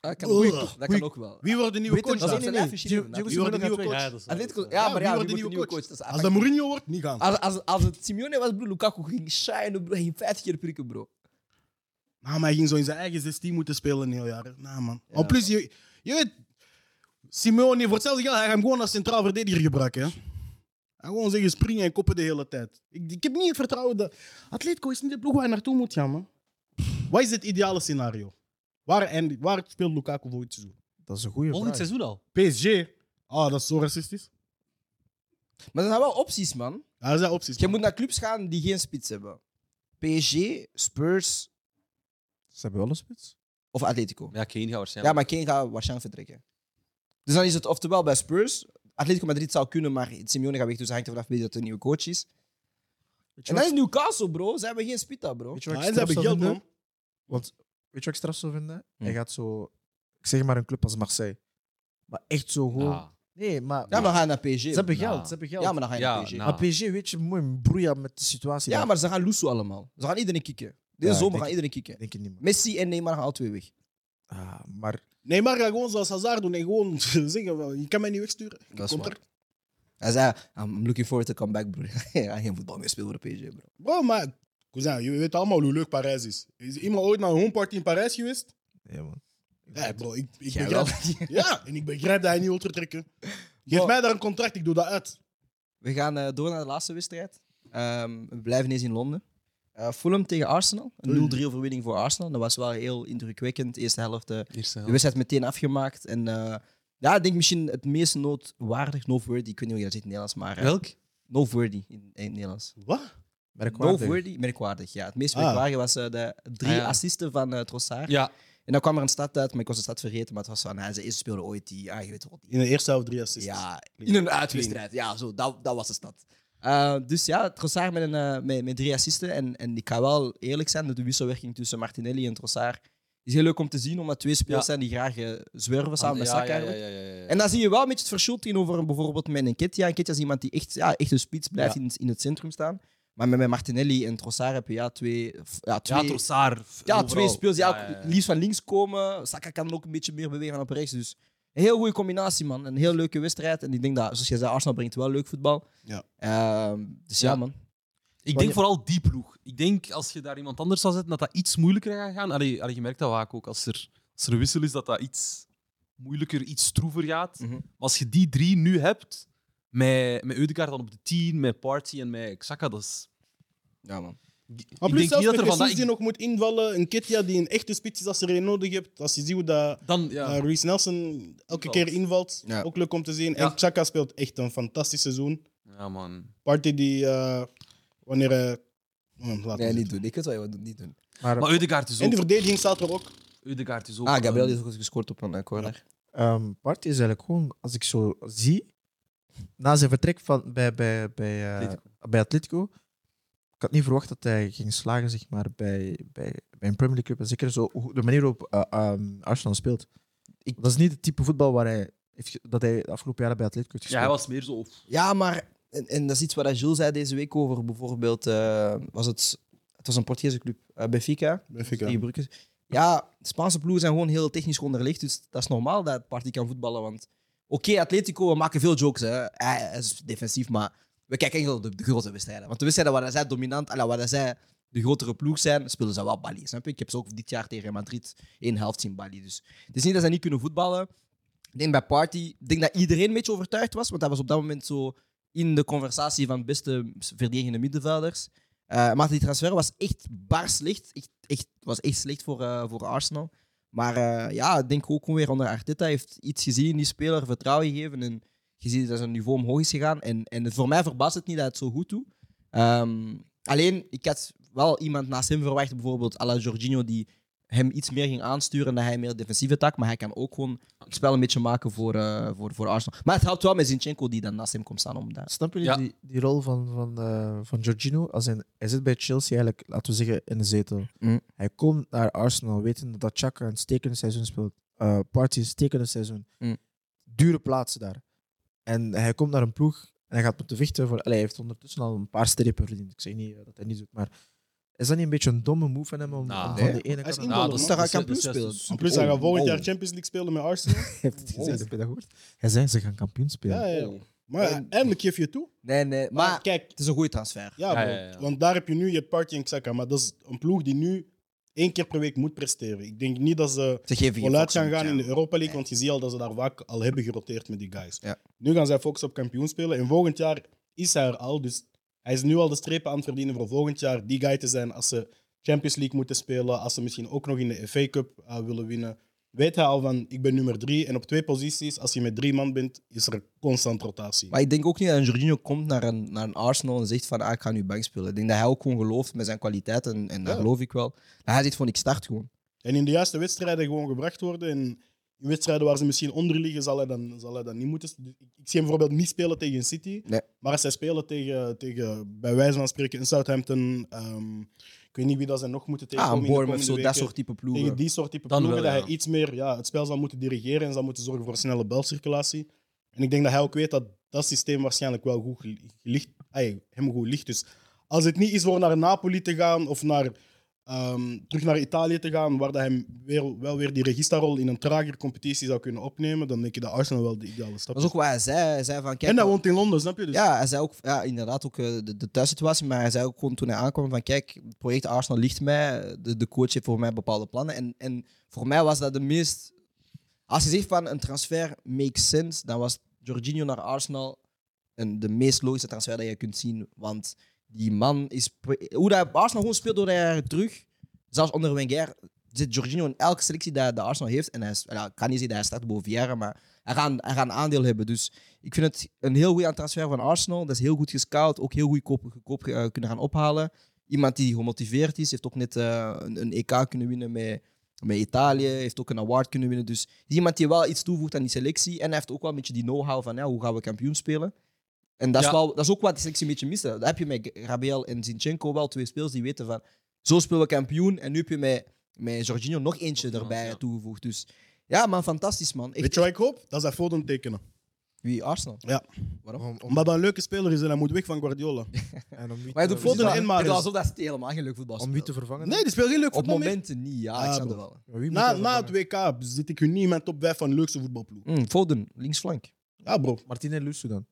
Ah, kan
Oeh,
ook, dat kan
oei.
ook wel.
Wie wordt de nieuwe
Weet
coach?
hem
Dat is
daar?
een
Nee, nee,
lijfje Chirurg,
Gio- Gio-
Wie wordt de nieuwe
Ja,
coach?
dat is waar.
Atletico, ja, maar
wie wordt
ja, wie
de
wordt de
nieuwe
nieuwe
coach?
coach? Dat is
Als
afhankelijk.
dat Mourinho wordt, niet gaan.
Als, als, als het Simeone was, broer, Lukaku ging shinen, broer. Hij ging 50 keer prikken, bro.
Nou, maar hij ging zo in zijn eigen 16 moeten spelen een heel jaar. hè. Nou, man. En plus, je, je weet, Simeone, voor hetzelfde geld, hij gaat hem gewoon als centraal verdediger gebruiken. Hè? Hij gewoon zeggen springen en koppen de hele tijd. Ik, ik heb niet het vertrouwen dat... Atletico is niet de ploeg waar hij naartoe moet gaan, man. Wat is het ideale scenario? Waar, en, waar speelt Lukaku volgend seizoen?
Dat is een goede
Volgend
vraag.
seizoen al.
PSG? Ah, dat is zo racistisch.
Maar er zijn wel opties, man.
Ja, dat zijn opties.
Je
man.
moet naar clubs gaan die geen spits hebben. PSG, Spurs
Ze hebben wel een spits.
of Atletico.
Ja, Kane gaat waarschijnlijk.
Ja, maar Kane gaat waarschijnlijk vertrekken. Dus dan is het oftewel bij Spurs. Atletico Madrid zou kunnen, maar Simeone gaat weg, dus hangt er vanaf wie dat de nieuwe coach is.
Weet je
En dat is
wat-
Newcastle, bro. Ze hebben geen spita, bro.
weet je
Ja,
wat
en
ik
ze hebben
straf zou
geld,
vinden?
man.
Want weet je wat ik straf zou vinden?
Hm.
Hij gaat zo... Ik zeg maar een club als Marseille. Maar echt zo gewoon...
Ja.
Nee, maar...
Ja, maar dan ga je naar PSG.
Ze hebben
Nou.
geld, ze hebben geld.
Ja, maar dan ga je naar
Ja,
PSG.
nou.
Maar PSG, weet je, mooi broeien met de situatie.
Ja,
daar.
maar ze gaan loesoe allemaal. Ze gaan iedereen kicken. Deze
Ja, ik
zomer
denk-
gaan iedereen kicken.
Denk ik niet, man.
Messi en Neymar gaan al twee weg.
Ah, maar...
Nee, maar ga gewoon zoals Hazard doen en gewoon zeggen, wel, je kan mij niet wegsturen. Ik
Dat is
contract.
waar. Hij zei, "Ah, I'm looking forward to come back, bro. Hij gaat geen voetbal meer spelen voor de PSG, bro.
Bro, maar cousin, je weet allemaal hoe leuk Parijs is. Is iemand ooit naar een homeparty in Parijs geweest?
Nee, man.
Ja, bro, ik, ik
Jij
begrijp. Ja, en ik begrijp dat hij niet wil vertrekken. Geef
Bro.
mij daar een contract, ik doe dat uit.
We gaan eh, door naar de laatste wedstrijd. Ehm, we blijven eens in Londen. Eh, Fulham tegen Arsenal.
Oei.
Een 0-3 overwinning voor Arsenal. Dat was wel heel indrukwekkend. De eerste helft. eh,
Eerste
de
helft.
wedstrijd meteen afgemaakt. En eh, ja, ik denk misschien het meest noodwaardig, noteworthy. Ik weet niet hoe je dat zit in het Nederlands, maar... eh,
Welk?
Noteworthy in, in het Nederlands.
Wat?
Merkwaardig.
Noteworthy, merkwaardig. Ja, het meest
Ah.
merkwaardige was eh, de drie
Ah, ja.
assisten van eh Trossard.
Ja.
En dan kwam er een stad uit, maar ik was de stad vergeten. Maar het was van, hij ze eerste speelde ooit die... Ah, je weet wel, die
In de eerste helft drie assists.
ja, in een uitwedstrijd. Ja, zo, dat, dat was de stad. Eh, dus ja, Trossard met, een, eh, met, met drie assisten. En, en ik ga wel eerlijk zijn, dat de wisselwerking tussen Martinelli en Trossard is heel leuk om te zien, omdat twee spelers
Ja. Ah,
zijn die graag eh, zwerven samen met Saka.
ja, ja,
eigenlijk.
ja, ja, ja.
En dan zie je wel een beetje het verschil tegenover bijvoorbeeld met een Ketja. Een Ketja is iemand die echt, ja, echt een spits blijft in, in het centrum staan. Maar met, met Martinelli en Trossard heb je ja, twee, f- ja, twee,
Ja, Trossard.
ja,
overal.
twee speels die
ja,
ook
ja.
liefst van links komen. Saka kan ook een beetje meer bewegen op rechts. Dus een heel goede combinatie, man. Een heel leuke wedstrijd. En ik denk dat, zoals jij zei, Arsenal brengt wel leuk voetbal.
Ja.
Ehm, dus ja,
Ja.
man.
Ik denk vooral die ploeg. Ik denk als je daar iemand anders zou zetten, dat dat iets moeilijker gaat gaan. Allee, allee, je merkt dat vaak ook. Als er, als er een wissel is, dat dat iets moeilijker, iets stroever gaat.
Mhm.
Maar als je die drie nu hebt, met, met Eudegaard dan op de 10, met Party en met Xhaka, dat is...
Ja, man.
Maar
ik
plus
denk
zelfs
niet dat
met
er
Jesus
vandaag...
die nog moet invallen, een Ketia die een echte spits is als je er een nodig hebt. Als je ziet hoe dat,
Dan, ja.
eh, Ruiz Nelson elke
Invalt.
keer invalt,
Ja.
ook leuk om te zien.
Ja.
En Chaka speelt echt een fantastisch seizoen.
ja, man.
Party die eh, wanneer hij... Hmm, laat
Nee,
het
niet
zitten.
doen. Ik weet wel, je moet niet doen.
Maar Eudegaard is
En de
ook...
verdediging staat er ook.
Eudegaard is ook ehm,
Ah, Gabriel
een-
is ook gescoord op een eh, corner.
Ehm Party is eigenlijk gewoon, als ik zo zie, na zijn vertrek van, bij, bij, bij, eh
Atletico.
bij Atletico, ik had niet verwacht dat hij ging slagen zeg maar, bij, bij, bij een Premier League club. En zeker zo, hoe- de manier waarop eh, ehm, Arsenal speelt. dat is niet het type voetbal waar hij, heeft, ge- dat hij de afgelopen jaren bij Atletico heeft
Ja, hij
gespeeld.
was meer zo...
Ja, maar... En, en dat is iets wat Jules zei deze week over bijvoorbeeld... eh, was het, het was een Portugese club, eh, Benfica.
Benfica.
Die Brugge- Ja, Spaanse ploegen zijn gewoon heel technisch onderlegd. Dus dat is normaal dat Party kan voetballen. Want oké, Atletico, we maken veel jokes. Hè. Hij hij is defensief, maar we kijken eigenlijk op de, de grote wedstrijden. Want de wedstrijden waar zij dominant, allee, waar zij de grotere ploeg zijn, spelen ze wel balie. Snap je? Ik heb ze ook dit jaar tegen Real Madrid één helft zien balie. Dus het is niet dat zij niet kunnen voetballen. Ik denk bij Party, ik denk dat iedereen een beetje overtuigd was. Want hij was op dat moment zo in de conversatie van beste verdedigende middenvelders. Eh, maar die transfer was echt bar slecht. Echt, echt, was echt slecht voor, eh, voor Arsenal. Maar eh, ja, ik denk ook gewoon weer onder Arteta heeft iets gezien in die speler, vertrouwen gegeven. En je ziet dat zijn niveau omhoog is gegaan. En, en voor mij verbaast het niet dat hij het zo goed doet. Ehm, alleen, ik had wel iemand naast hem verwacht, bijvoorbeeld à la Jorginho, die hem iets meer ging aansturen en dat hij meer defensieve tak. Maar hij kan ook gewoon het spel een beetje maken voor, eh, voor, voor Arsenal. Maar het helpt wel met Zinchenko die dan naast hem komt staan. Om dat.
Snap jullie
Ja.
die, die rol van, van, eh, van Jorginho? Als in, hij zit bij Chelsea eigenlijk, laten we zeggen, in de zetel.
Mm.
Hij komt naar Arsenal wetende dat Chaka een stekende seizoen speelt. Eh Party een stekende seizoen.
Mm.
Dure plaatsen daar. En hij komt naar een ploeg en hij gaat moeten vechten. Voor, allee, hij heeft ondertussen al een paar strepen verdiend. Ik zeg niet eh, dat hij niet doet, maar is dat niet een beetje een domme move van hem om,
Nou,
om
nee.
van de ene
Hij is
kant...
invaller,
dat
man.
is-
Daar
dat
gaat
is-
kampioen
dat is
spelen.
juist-
En plus, hij gaat volgend
Oh.
jaar Champions League spelen met Arsenal.
Hij heeft het gezegd,
Wow.
heb je dat gehoord? Hij zei, ze gaan kampioen spelen.
ja, ja, ja. Maar
En-
eindelijk geef je toe.
Nee, nee. Maar,
Maar kijk,
het is een goede transfer.
Ja,
Ja,
bro.
ja, ja.
want daar heb je nu je Party en Xhaka. Maar dat is een ploeg die nu één keer per week moet presteren. Ik denk niet dat ze
Ze geven geen
vooruit
fucks om
gaan gaan
het,
in de
ja.
Europa League, want je ziet al dat ze daar vaak al hebben geroteerd met die guys.
Ja.
Nu gaan zij focussen op kampioen spelen en volgend jaar is hij er al. Dus hij is nu al de strepen aan het verdienen voor volgend jaar die guy te zijn als ze Champions League moeten spelen, als ze misschien ook nog in de FA Cup eh, willen winnen. Weet hij al van, ik ben nummer drie en op twee posities, als je met drie man bent, is er constant rotatie.
Maar ik denk ook niet dat een Jorginho komt naar een, naar een Arsenal en zegt van ah, ik ga nu bank spelen. Ik denk dat hij ook gewoon gelooft met zijn kwaliteit en, en dat
Ja.
geloof ik wel. Dat hij zegt van ik start gewoon.
En in de juiste wedstrijden gewoon gebracht worden. En in wedstrijden waar ze misschien onder liggen, zal hij dan, zal hij dan niet moeten. Ik ik zie hem bijvoorbeeld niet spelen tegen City.
Nee.
Maar als zij spelen tegen, tegen, bij wijze van spreken, in Southampton. ehm, ik weet niet wie dat ze nog moeten
ah,
tegenkomen.
een
in de
Bournemouth,
komende
zo, dat
weken.
soort type
Tegen
ploegen.
die soort type
Dan
ploegen,
wel,
dat
ja.
hij iets meer ja, het spel zal moeten dirigeren en zal moeten zorgen voor snelle belcirculatie. En ik denk dat hij ook weet dat dat systeem waarschijnlijk wel goed gel- gelicht, ay, hem goed ligt. Dus als het niet is voor naar Napoli te gaan of naar, ehm, terug naar Italië te gaan, waar dat hem weer, wel weer die registerrol in een trager competitie zou kunnen opnemen, dan denk ik dat Arsenal wel de ideale stap
Dat is ook wat hij zei. Hij zei van kijk...
En dat woont in Londen, snap je? Dus
Ja, hij zei ook, ja, inderdaad ook eh, de, de thuissituatie, maar hij zei ook gewoon toen hij aankwam van kijk, het project Arsenal ligt mij, de, de coach heeft voor mij bepaalde plannen. En, en voor mij was dat de meest... Als je zegt van een transfer makes sense, dan was Jorginho naar Arsenal een, de meest logische transfer dat je kunt zien. Want die man is... pre- Hoe dat Arsenal gewoon speelt door de jaren terug, zelfs onder Wenger, zit Jorginho in elke selectie dat de Arsenal heeft. En hij is, nou, ik kan niet zeggen dat hij start boven Vieira, maar hij gaat, hij gaat een aandeel hebben. Dus ik vind het een heel goede transfer van Arsenal. Dat is heel goed gescout. Ook heel goedkoop goedkoop, eh, kunnen gaan ophalen. Iemand die gemotiveerd is. Heeft ook net eh, een, een EK kunnen winnen met, met Italië. Heeft ook een award kunnen winnen. Dus iemand die wel iets toevoegt aan die selectie. En hij heeft ook wel een beetje die know-how van ja, hoe gaan we kampioen spelen. En dat is,
Ja.
wel, dat is ook wat die selectie een beetje mist. Dat heb je met Gabriel en Zinchenko wel twee speels die weten van zo spelen we kampioen. En nu heb je met, met Jorginho nog eentje
Nog iemand,
erbij
ja.
toegevoegd. Dus ja, man, fantastisch man. Echt,
Weet je wat ik hoop? Dat zij Foden tekenen.
Wie? Arsenal?
Om, om,
Omdat dat een leuke speler is en hij moet weg van Guardiola.
en om wie
Maar je
te-
Foden
doet voetbal.
en
Het
Mahrez.
is alsof dat helemaal geen leuk voetbal
om wie te vervangen.
Nee, die speelt geen leuk
Op
voetbal mee.
momenten niet, ja.
Ah,
ik snap
bro.
het wel.
Ja, wie moet
Na,
er
na het
vervangen?
WK zit ik u niet in mijn top 5 van leukste voetbalploeg.
Mm, Foden, linksflank.
Ja, bro.
Martin en Lusso dan.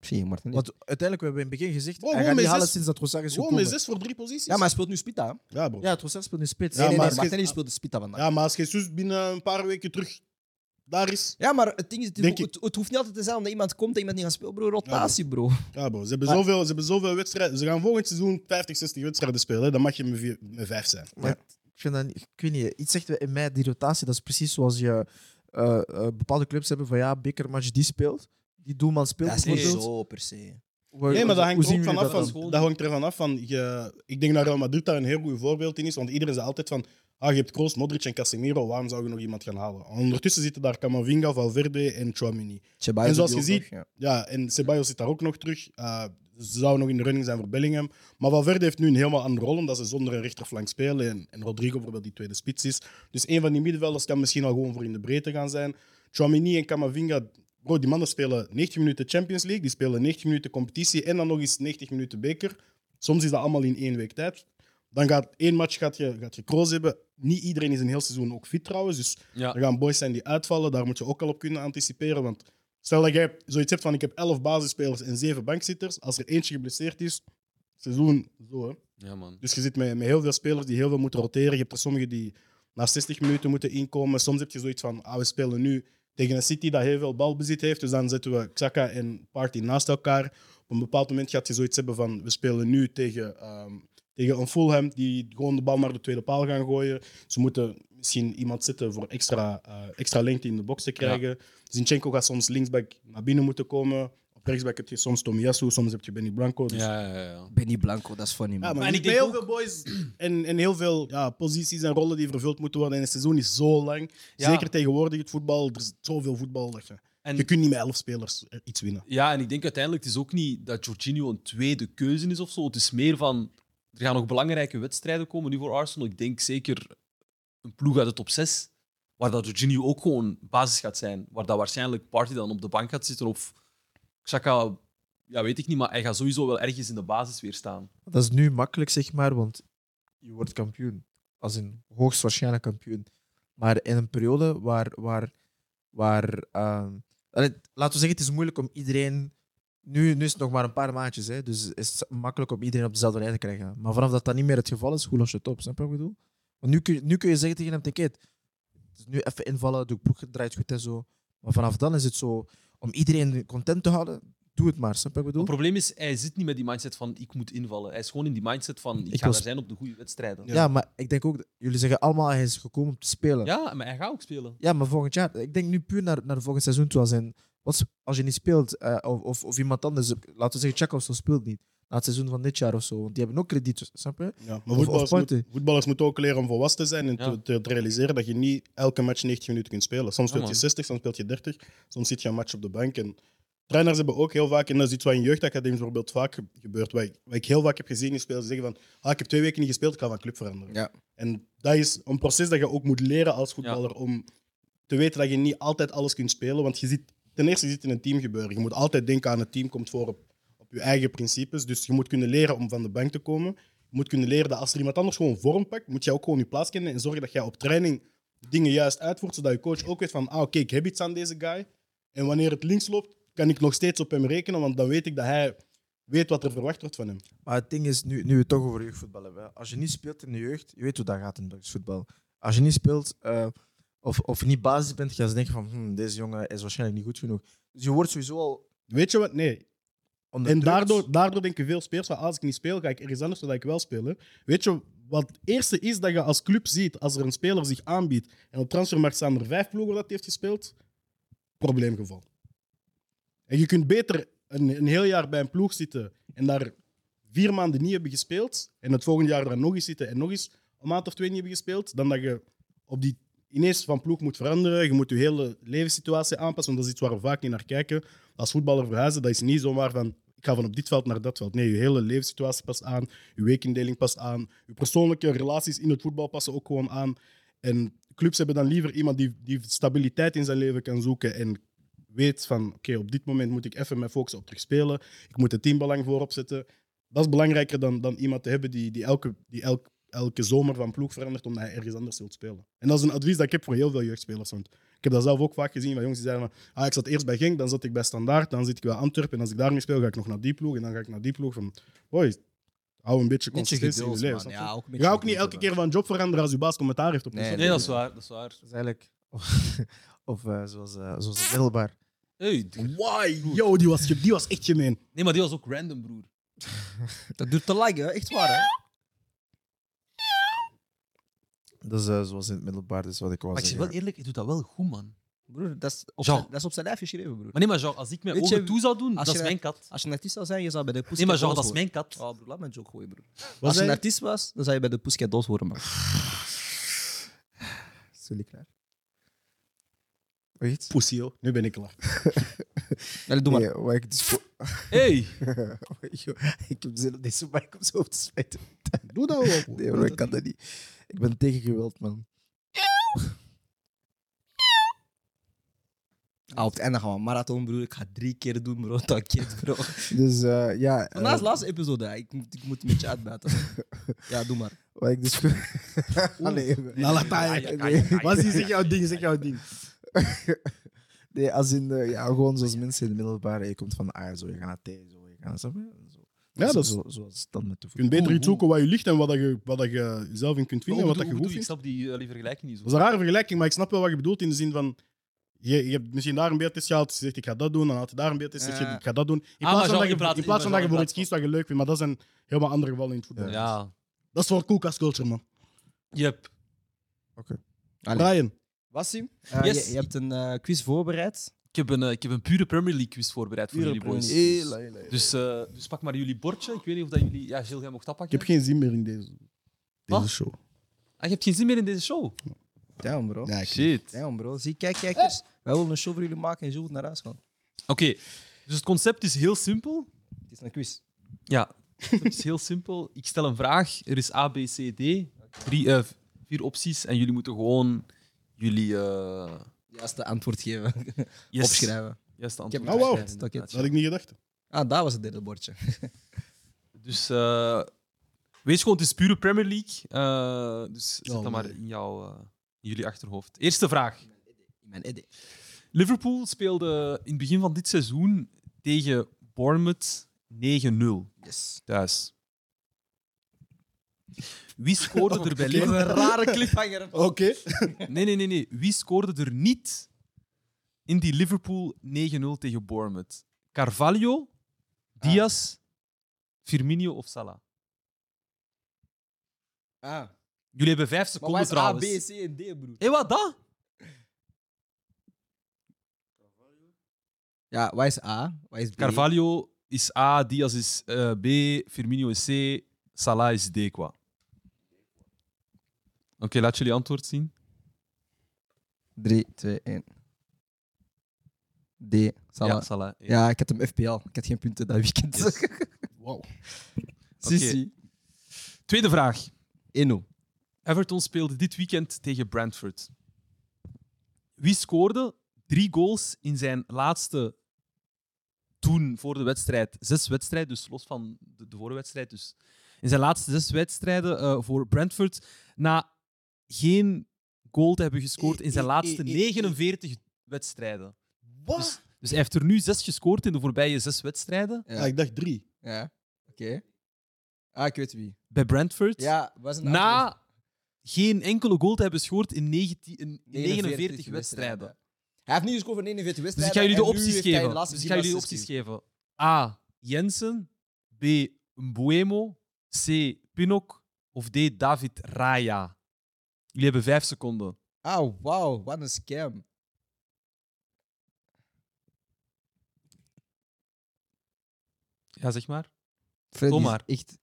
Zie je, Martin.
Want uiteindelijk we hebben we in het begin gezegd.
Wow,
hij
wow,
gaat niet
met
halen
zes-
sinds dat Trossard is
Gewoon met
gekomen.
6 voor 3 posities.
Ja, maar hij speelt nu Spita. hè? Nee,
Ja, bro.
Ja, Trossard speelt nu spits.
Ja,
nee, nee,
maar-
Martinelli speelt de Spita vandaag.
Ja, maar als Jesus binnen een paar weken terug daar is...
Ja, maar het ding is,
Denk
het, het, het hoeft niet altijd te zijn omdat iemand komt en iemand niet gaat spelen, bro.
bro.
Rotatie, bro.
Ja, bro. Ze hebben, zoveel, ze hebben zoveel wedstrijden. Ze gaan volgend seizoen 50, 60 wedstrijden spelen. hè. Dan mag je met vier- met 5 zijn.
Ik, vind dat niet, ik weet niet, iets zegt in mij, die rotatie, dat is precies zoals je eh, eh, bepaalde clubs hebben van ja, bekermatch die speelt, die doelman speelt
Dat is niet
bijvoorbeeld.
zo per se.
Hoe-
Nee, maar dat hangt,
hoe- hoe
er ook
zien jullie
vanaf
dat
van, dat hangt er vanaf van... Je, ik denk dat Real Madrid daar een heel goed voorbeeld in is. Want iedereen zei altijd van... Ah, je hebt Kroos, Modric en Casemiro. Waarom zou je nog iemand gaan halen? Ondertussen zitten daar Camavinga, Valverde en Chouamini.
Ceballos
En zoals
doet
je
die ook
ziet-
nog,
Ja, en Ceballos zit daar ook nog terug. Eh, ze zou nog in de running zijn voor Bellingham. Maar Valverde heeft nu een helemaal andere rol, omdat ze zonder een rechterflank spelen. En, en Rodrigo bijvoorbeeld die tweede spits is. Dus een van die middenvelders kan misschien al gewoon voor in de breedte gaan zijn. Chouamini en Camavinga, bro, die mannen spelen 90 minuten Champions League. Die spelen 90 minuten competitie en dan nog eens 90 minuten beker. Soms is dat allemaal in één week tijd. Dan gaat één match gaat je, gaat je Kroos hebben. Niet iedereen is een heel seizoen ook fit trouwens. Dus
Ja.
er gaan boys zijn die uitvallen, daar moet je ook al op kunnen anticiperen. Want stel dat jij zoiets hebt van: ik heb 11 basisspelers en 7 bankzitters. Als er eentje geblesseerd is, seizoen zo. Hè.
ja, man.
Dus je zit met, met heel veel spelers die heel veel moeten roteren. Je hebt er sommigen die na 60 minuten moeten inkomen. Soms heb je zoiets van: ah, we spelen nu tegen een City dat heel veel balbezit heeft. Dus dan zetten we Xhaka en Party naast elkaar. Op een bepaald moment gaat je zoiets hebben van: we spelen nu tegen, ehm, tegen een Fulham die gewoon de bal naar de tweede paal gaan gooien. Ze moeten misschien iemand zetten voor extra, eh, extra lengte in de box te krijgen. Zinchenko gaat soms linksback naar binnen moeten komen. Op rechtsback heb je soms Tomiyasu, soms heb je Benny Blanco. Dus
Ja, ja, ja.
Benny Blanco, dat is funny, man.
ja, maar
en
en
ik
ik
denk
heel
ook-
veel boys en, en heel veel ja, posities en rollen die vervuld moeten worden. En het seizoen is zo lang.
Ja.
Zeker tegenwoordig het voetbal. Er is zoveel voetbal. Dat je,
En-
je kunt niet met elf spelers eh, iets winnen.
Ja, en ik denk uiteindelijk het is ook niet dat Jorginho een tweede keuze is of zo. Het is meer van er gaan nog belangrijke wedstrijden komen nu voor Arsenal. Ik denk zeker een ploeg uit de top 6, waar dat Jorginho ook gewoon basis gaat zijn. Waar dat waarschijnlijk Party dan op de bank gaat zitten of Xhaka, ja, weet ik niet, maar hij gaat sowieso wel ergens in de basis weer staan.
Dat is nu makkelijk, zeg maar, want je wordt kampioen. Als een hoogstwaarschijnlijk kampioen. Maar in een periode waar. waar, waar eh, allee, laten we zeggen, het is moeilijk om iedereen. Nu, nu is het nog maar een paar maandjes, hè, dus is het makkelijk om iedereen op dezelfde lijn te krijgen. Maar vanaf dat dat niet meer het geval is, hoe los je het op? Snap je wat ik bedoel? Want nu kun, je- nu kun je zeggen tegen hem: "Kijk, het is nu even invallen, de ploeg draait goed en zo. Maar vanaf dan is het zo, om iedereen content te houden, doe het maar. Snap je wat ik bedoel?
Het probleem is, hij zit niet met die mindset van ik moet invallen. Hij is gewoon in die mindset van ik,
Ik
ga
was-
er zijn op de goede wedstrijden.
Ja.
Ja, maar ik denk ook, dat- jullie zeggen allemaal hij is gekomen om te spelen. Ja,
Ja, maar hij gaat ook spelen.
maar volgend jaar, ik denk nu puur naar, naar volgend seizoen toe. Als, in, wat, is- als je niet speelt, eh, of, of, of iemand anders, laten we zeggen, Chaka of zo speelt niet. Na het seizoen van dit jaar of zo, want die hebben ook krediet, snap je?
Ja,
Of-
maar voetballers,
of
moet-
party.
voetballers moeten ook leren om volwassen te zijn en
Ja.
te, te realiseren dat je niet elke match 90 minuten kunt spelen. Soms speelt je
man.
60, soms speelt je 30, soms zit je een match op de bank. En trainers hebben ook heel vaak, en dat is iets wat in jeugdacademies bijvoorbeeld vaak gebeurt, wat ik, wat ik heel vaak heb gezien in spelers zeggen van ah, ik heb twee weken niet gespeeld, ik ga van club veranderen.
Ja.
En dat is een proces dat je ook moet leren als voetballer om te weten dat je niet altijd alles kunt spelen, want je zit, ten eerste je zit in een team gebeuren. Je moet altijd denken aan het team komt voor op, op je eigen principes, dus je moet kunnen leren om van de bank te komen je moet kunnen leren dat als er iemand anders gewoon vorm pakt, moet jij ook gewoon je plaats kennen en zorgen dat jij op training dingen juist uitvoert, zodat je coach ook weet van, ah oké, ik heb iets aan deze guy. En wanneer het links loopt, kan ik nog steeds op hem rekenen, want dan weet ik dat hij weet wat er verwacht wordt van hem.
Maar het ding is, nu, nu we het toch over jeugdvoetbal hebben. hè. Als je niet speelt in de jeugd, je weet hoe dat gaat in Belgisch voetbal. Als je niet speelt eh, of, of niet basis bent, gaan ze denken van, hm, deze jongen is waarschijnlijk niet goed genoeg. Dus je wordt sowieso al
Weet je wat? Nee. En
onderdrukt.
daardoor, daardoor denken veel spelers van, als ik niet speel, ga ik ergens anders zodat ik wel speel. hè. Weet je wat het eerste is dat je als club ziet als er een speler zich aanbiedt en op transfermarkt staan er vijf ploegen dat hij heeft gespeeld? Probleemgeval. En je kunt beter een, een heel jaar bij een ploeg zitten en daar vier maanden niet hebben gespeeld en het volgende jaar daar nog eens zitten en nog eens een maand of twee niet hebben gespeeld, dan dat je op die ineens van ploeg moet veranderen. Je moet je hele levenssituatie aanpassen, want dat is iets waar we vaak niet naar kijken. Als voetballer verhuizen, dat is niet zomaar van ik ga van op dit veld naar dat veld. Nee, je hele levenssituatie past aan, je weekindeling past aan, je persoonlijke relaties in het voetbal passen ook gewoon aan. En clubs hebben dan liever iemand die, die stabiliteit in zijn leven kan zoeken en weet van oké, op dit moment moet ik even mijn focussen op terugspelen. Ik moet het teambelang voorop zetten. Dat is belangrijker dan, dan iemand te hebben die, die, elke, die elk, elke zomer van ploeg verandert omdat hij ergens anders wil spelen. En dat is een advies dat ik heb voor heel veel jeugdspelers. Want ik heb dat zelf ook vaak gezien van jongens die zeiden van ah, ik zat eerst bij Genk, dan zat ik bij Standaard, dan zit ik bij Antwerpen en als ik daarmee speel ga ik nog naar die ploeg en dan ga ik naar die ploeg. Van, hoi, hou een beetje
Beetje
consistentie in je
geduld,
leven.
man.
snap je?
Ja, ook
Je
een beetje
gaat ook niet
geduld
elke
hebben.
keer van job veranderen als je baas commentaar heeft op
Nee,
Instagram.
Nee, dat is waar. Dat is waar.
Dat is eigenlijk. Of, of eh, zoals, eh zoals het middelbaar.
Hey,
Why? Yo, die was, ge- die was echt gemeen.
nee, maar die was ook random, broer.
Dat duurt te lang, hè? Echt waar, hè?
Dat is eh, zoals in het middelbaar, dus wat ik wou
Maar ik zeg wel
zeggen.
eerlijk, ik doe dat wel goed, man.
Broer, dat is op
Jean.
zijn- dat is op zijn lijf geschreven, broer.
Maar nee, maar Jean, als ik mijn
Weet
ogen
je,
toe zou doen,
als
dat
je
is mijn kat.
Als je een artiest zou zijn, je zou bij de Pussycat
Nee, maar Jean, dat
Dolls
is mijn kat.
horen. Oh, broer, laat me een joke gooien, broer.
Was
Als je een
hij,
artiest was, dan zou je bij de Pussycat Dolls horen, man.
Zullen ik klaar? Wacht.
Pussy, joh. Nu ben ik klaar.
Allee, doe maar.
Nee, wat ik dus...
Hey,
Yo, ik heb zin om deze mic op zijn hoofd te smijten.
Doe dat wel. broer.
Nee, maar ik kan dat niet. Ik ben tegen geweld, man.
Ah, op het einde gaan we een marathon, broer. Ik ga drie keer doen, bro. Dat kind, bro.
Dus eh, ja, eh,
Vandaag is de laatste episode. hè. Ik, moet- ik moet een beetje uitbuiten. Ja, doe maar.
wat ik dus... Allee, even.
Nou, laat hij. Wat is zeg jouw ding, zeg jouw ding.
Nee, als in... eh, ja, gewoon zoals mensen in het middelbaar. Je komt van de A, zo, je gaat naar T, zo, je gaat... Snap je? Zo,
Ja, dat is,
zo,
je
zoals dat met de voet.
kunt beter iets zoeken waar je ligt en wat dat je, wat dat je zelf in kunt vinden en wat dat je goed
Ik
vindt.
snap die eh, die vergelijking niet zo.
Dat is een rare vergelijking, maar ik snap wel wat je bedoelt in de zin van... Je, je hebt misschien daar een beeldtest gehaald, je zegt ik ga dat doen, dan had je daar een beeldtest, zeg je
Ja.
ik ga dat doen. In
Ah, maar
plaats van
zo
dat
in plaats-
je- in plaats
maar
van
zo
dat je voor
in
iets kiest
plaats
wat je leuk vindt, maar dat zijn helemaal andere gevallen in het voetbal.
Ja.
Dat is voor koelkast culture, man.
Yep.
Allee.
Brian,
Wassim,
Yes.
je, je hebt een eh, quiz voorbereid.
Ik heb, een, eh, ik heb een pure Premier League quiz voorbereid voor
Pure
jullie boys.
Premier
Dus- Dus, eh, dus pak maar jullie bordje. Ik weet niet of dat jullie... Ja, Gilles, jij mocht dat
ik
pakken.
heb geen zin meer in deze, deze
Wat?
show.
Ah, je hebt geen zin meer in deze show.
Damn, bro.
Ja, ik-
Shit.
Damn, bro. Zie, kijk, kijkers. Wij willen een show voor jullie maken en je moet naar huis gaan.
Oké. Dus het concept is heel simpel.
Het is een quiz.
Ja. Het is heel simpel. Ik stel een vraag. Er is A, B, C, D. Drie, eh, vier opties. En jullie moeten gewoon jullie... eh,
Juiste antwoord geven.
yes.
Opschrijven.
Yes, de
Ik heb
antwoord.
Oh, wauw.
opgeschreven, dat
Dat had ik niet gedacht.
Ah, daar was het derde bordje.
Dus eh, wees gewoon, het is pure Premier League. Eh, dus zet dat maar in, jouw, eh, in jullie achterhoofd. Eerste vraag.
In mijn idee.
Liverpool speelde in het begin van dit seizoen tegen Bournemouth 9-0
Yes.
thuis. Wie scoorde er bij
Dit is een
Liverpool?
rare cliffhanger.
Oké.
Nee, nee, nee, nee. Wie scoorde er niet in die Liverpool 9-0 tegen Bournemouth? Carvalho, Diaz, Firmino of Salah?
Ah.
Jullie hebben vijf
Maar waar is
seconden
A, B,
trouwens.
C en D, broer?
Hé, wat dat?
Ja, waar is A? Waar is B?
Carvalho is A, Diaz is eh, B, Firmino is C, Salah is D qua. Oké, laat jullie antwoord zien.
3, 2, 1. D. Salah.
Ja,
Ja,
Salah. Ja.
ik had hem FPL. Ik had geen punten dat weekend.
Yes.
Wauw.
Sissi.
Tweede vraag.
1-0.
Everton speelde dit weekend tegen Brentford. Wie scoorde drie goals in zijn laatste toen voor de wedstrijd? Zes wedstrijden, dus los van de, de vorige wedstrijd. Dus. In zijn laatste zes wedstrijden eh, voor Brentford, na geen goal te hebben gescoord in zijn laatste 49 wedstrijden. Dus, dus hij heeft er nu zes gescoord in de voorbije zes wedstrijden
Ja, ik dacht drie.
Ja. Oké. Ah, ik weet wie.
bij Brentford.
Ja, was een antwoord.
na
dus.
geen enkele goal te hebben gescoord in, 19, in 49, wedstrijden.
Hij heeft niet gescoord voor 49
Dus ik
wedstrijden.
ga jullie de
en nu
opties
heeft hij de
geven.
laatste
Dus ik
drie
ga jullie de
matches
opties geven. A. Jensen. B. Mbuemo. C. Pinok. Of D. David Raya. Jullie hebben vijf seconden.
Ah, wauw, wat een scam.
Ja, zeg maar.
Fred
Kom maar.
is echt...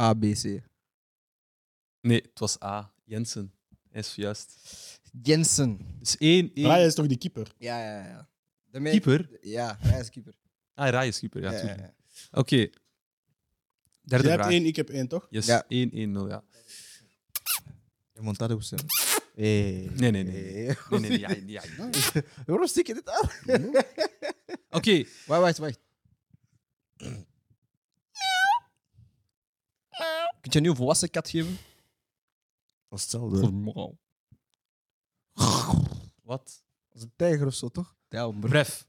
A, B, C.
Nee, het was A. Jensen. Hij is juist.
Jensen.
Dus één, één.
Brian is toch die keeper?
Ja, ja, ja. De me-
Keeper?
Ja, hij is keeper.
Ah, Raya is keeper. Ja,
Ja,
tuurlijk.
ja,
Oké. Derde
Jij
vraag.
hebt één, ik heb één, toch?
Yes,
Ja.
1-1-0, ja.
Je montado's, hè. Hey.
Nee, nee, nee. Nee, nee, nee, ja, ja, ja.
Waarom stik je dit aan?
Oké,
Wacht, wacht, wacht. Kun je nu een volwassen kat geven?
Dat is hetzelfde.
wat?
Dat is een tijger of zo, toch?
Ja,
Bref.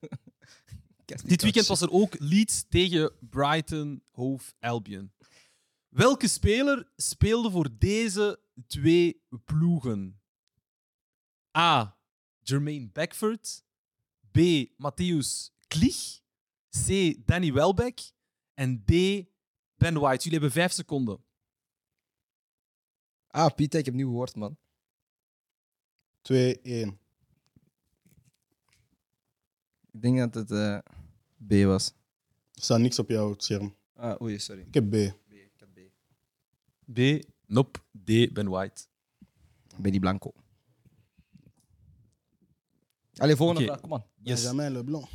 Dit weekend was er ook Leeds tegen Brighton Hove Albion. Welke speler speelde voor deze twee ploegen? A. Jermaine Beckford. B. Matthäus Klich. C. Danny Welbeck. En D. Ben White. Jullie hebben vijf seconden.
Ah, Pieter, ik heb nieuw gehoord, man.
2-1.
Ik denk dat het eh, B was.
Er staat niks op jouw scherm.
Ah, oei, sorry.
Ik heb B.
B, ik had B.
B. Nope. D. Ben White.
Benny Blanco. Allee, volgende
Oké.
vraag, kom aan.
Yes.
Benjamin Leblanc.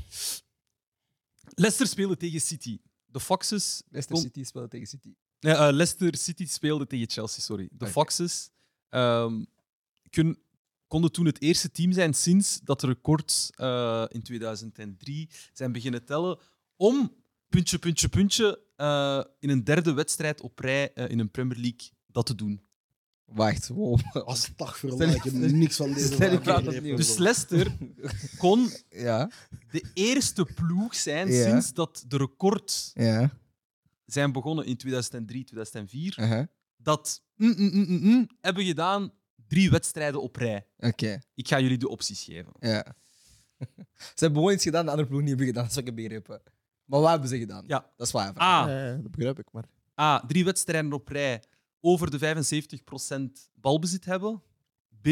Leicester speelde tegen City. De Foxes
Leicester
Kom.
City speelde tegen City.
Nee, eh, Leicester City speelde tegen Chelsea, sorry. De
Oké.
Foxes ehm, kun- konden toen het eerste team zijn sinds dat records eh, in 2003 zijn beginnen tellen om puntje, puntje, puntje eh, in een derde wedstrijd op rij eh, in een Premier League dat te doen.
Wacht, wow.
Astagfirullah, ik heb niks van deze
Stel je
vraag
praat
begrepen,
opnieuw.
bro.
Dus Leicester kon
Ja,
de eerste ploeg zijn
Ja.
sinds dat de records
ja.
zijn begonnen in 2003, 2004
Uh-huh.
dat mm, mm, mm, mm, mm, hebben gedaan drie wedstrijden op rij.
Oké,
Ik ga jullie de opties geven.
ja. ze hebben gewoon iets gedaan, de andere ploeg niet hebben gedaan, dat zou ik heb begrepen. Maar wat hebben ze gedaan?
Ja.
Dat is waar.
A.
Ja, Eh, dat begrijp ik, maar...
Eh, A. Drie wedstrijden op rij over de 75% balbezit hebben. B.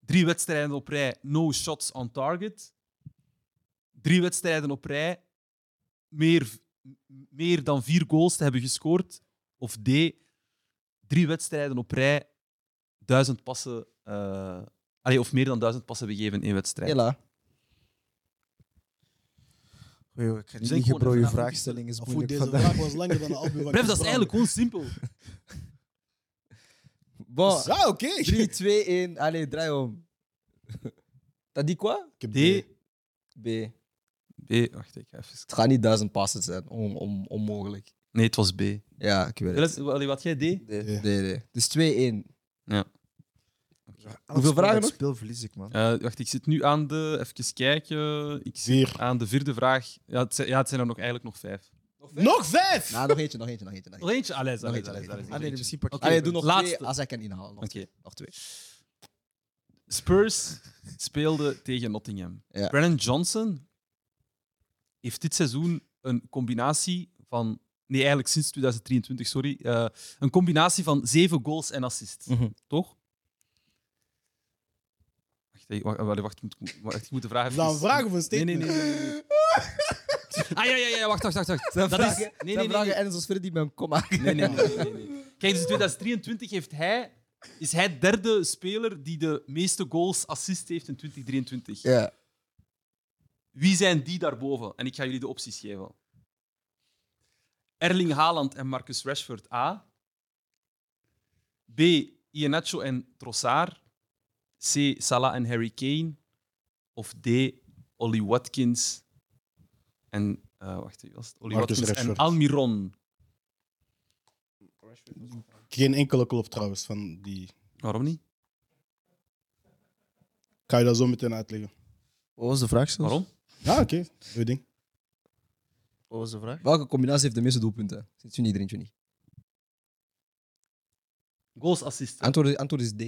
Drie wedstrijden op rij no shots on target. Drie wedstrijden op rij meer, meer dan vier goals te hebben gescoord. Of D. Drie wedstrijden op rij duizend passen. eh, allee, of meer dan duizend passen begeven in wedstrijd.
Hela.
Oei, oei, ik ga
Dus
niet
denk
liegen,
gewoon
bro.
even
Je
na-
vraagstelling is
Of hoe
moeilijk
deze
vandaag.
vraag was langer dan de album.
Bref, dat is eigenlijk gewoon simpel.
Bon,
Ja, oké.
3, 2, 1. Allee, draai om. Dat die qua?
Ik heb
D.
B.
B. Het
B, wacht, ik ga even.
gaat niet duizend passes zijn, on, on- onmogelijk.
Nee, het was B.
Ja, ik weet het.
Willis, Allee, wat jij D?
Nee, nee. Dus 2, 1.
Elk
Hoeveel
spel
vragen
dat
nog?
Ik speel verlies ik, man.
Eh, wacht, ik zit nu aan de. Even kijken. Ik zit
Vier.
aan de vierde vraag. Ja, het zijn, ja, het zijn er nog, eigenlijk nog vijf.
Nog vijf!
Nou, nog eentje, nog eentje, nog eentje. Nog
Nog
eentje.
eentje? Allee,
Nog
allee,
eentje,
allee,
nog
allee,
Ah, nee,
dus-
allee.
misschien pak ik...
Oké.
Allee, doe nog
Laatste.
twee als ik kan inhalen. Nog,
Ah, Oké.
twee, nog twee.
Spurs speelde tegen Nottingham.
Ja.
Brennan Johnson heeft dit seizoen een combinatie van. Nee, eigenlijk sinds 2023, sorry. eh, een combinatie van zeven goals en assists.
Mhm.
Toch? Wacht, eh, wacht, wacht, wacht, ik moet- wacht, ik moet de vraag
Is
even...
dat een Nou, vraag of een
Nee,
statement?
nee, nee. nee, nee, nee. Ah, ja, ja, ja, wacht, wacht, wacht. wacht.
Zijn
Dat is... Nee,
vragen,
nee, nee,
zijn vragen
nee.
en zoals verder die met een komma.
Nee, nee, nee, nee, nee, nee. Kijk, dus in 2023 heeft hij, is hij derde speler die de meeste goals assist heeft in 2023.
Ja.
Wie zijn die daarboven? En ik ga jullie de opties geven. Erling Haaland en Marcus Rashford A. B. Iheanacho en Trossard. C. Salah en Harry Kane. Of D. Ollie Watkins en... eh, wacht even. was het? Ollie
Marcus
Watkins
Rashford.
en Almiron.
Geen enkele klop trouwens van die.
Waarom niet?
Kan je dat zo meteen uitleggen?
Wat was de vraag zelfs?
Waarom?
Ja, oké. Doe je ding.
Wat was de vraag?
Welke combinatie heeft de meeste doelpunten? Zit u niet, drinkt u niet.
Goals assist.
Antwoord, antwoord is D.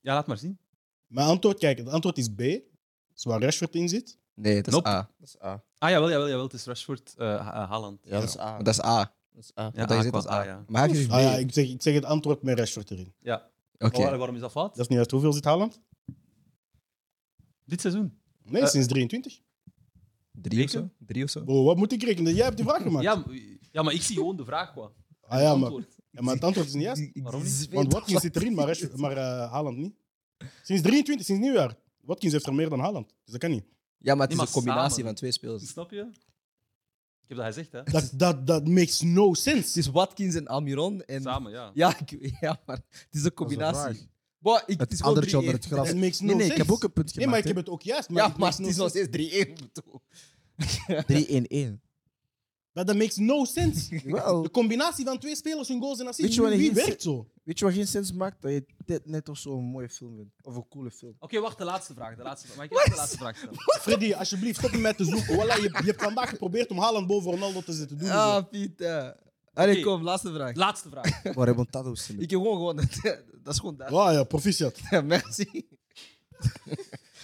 Ja, laat maar zien.
Mijn antwoord, kijk, het antwoord is B. Dat is waar Rashford in zit.
Nee, dat is
Nope.
A.
Dat is A.
Ah, jawel, jawel, jawel. Het is Rashford, eh, Ha- eh, Haaland.
Ja, dat is A.
Want dat is A.
Dat is A.
Ja,
Want hij
A
zit
qua
als A.
A, ja.
Maar hij heeft
Ah ja,
dus B.
ik zeg, ik zeg het antwoord met Rashford erin.
Ja.
Oké.
Waar- waarom is dat fout?
Dat is niet uit hoeveel zit Haaland?
Dit seizoen.
Nee,
Eh.
sinds 23.
Drie of zo?
Zeker?
Drie of zo?
Bro, wat moet ik rekenen? Jij hebt die vraag gemaakt.
Ja, maar- ja, maar ik zie gewoon de vraag qua.
ah, ja, maar,
Antwoord.
ja, maar het antwoord is niet juist.
Waarom niet?
Want Watkins zit erin, maar, Rashford, maar eh, Haaland niet. Sinds 23, sinds nieuwjaar. Watkins heeft er meer dan Haaland. Dus dat kan niet.
Ja, maar het
Nee,
is
maar
een combinatie
samen.
van twee spelers.
Snap je? Ik heb dat gezegd, hè?
Dat, dat, dat makes no
Het
sense.
is Watkins en Almiron. En...
Samen, ja.
Ja, ik- ja, maar het is een combinatie. Boah, ik, het
Het
is gewoon
andertje onder
3-1.
het gras.
Het makes no
Nee, nee, ik heb
sense.
ook een punt
Nee, maar ik
gemaakt.
heb het ook juist. Maar
Ja,
it
maar
makes
het
no
is nog
sense.
steeds 3-1. toch?
hè. 3-1-1.
Maar dat makes no sense.
Wel,
De combinatie van twee spelers, hun goals en assists,
Weet je wat
wie,
ik
wie
hier-
werkt zo?
weet je wat geen sens maakt? Dat je dit net of zo een mooie film vindt. Of een coole film.
Oké, wacht, de laatste vraag. De laatste, vraag. mag ik even de laatste vraag stellen?
Freddy, alsjeblieft, stop me met te zoeken. Voilà, je, je hebt vandaag geprobeerd om Haaland boven Ronaldo te zetten. Doe niet zo.
Ah, Pieter. Allee,
Oké.
kom, laatste vraag.
Laatste vraag.
Waar hebben dat ook zin in?
Ik heb gewoon gewonnen. dat is gewoon daar.
Ah, Ja, ja, proficiat.
Merci.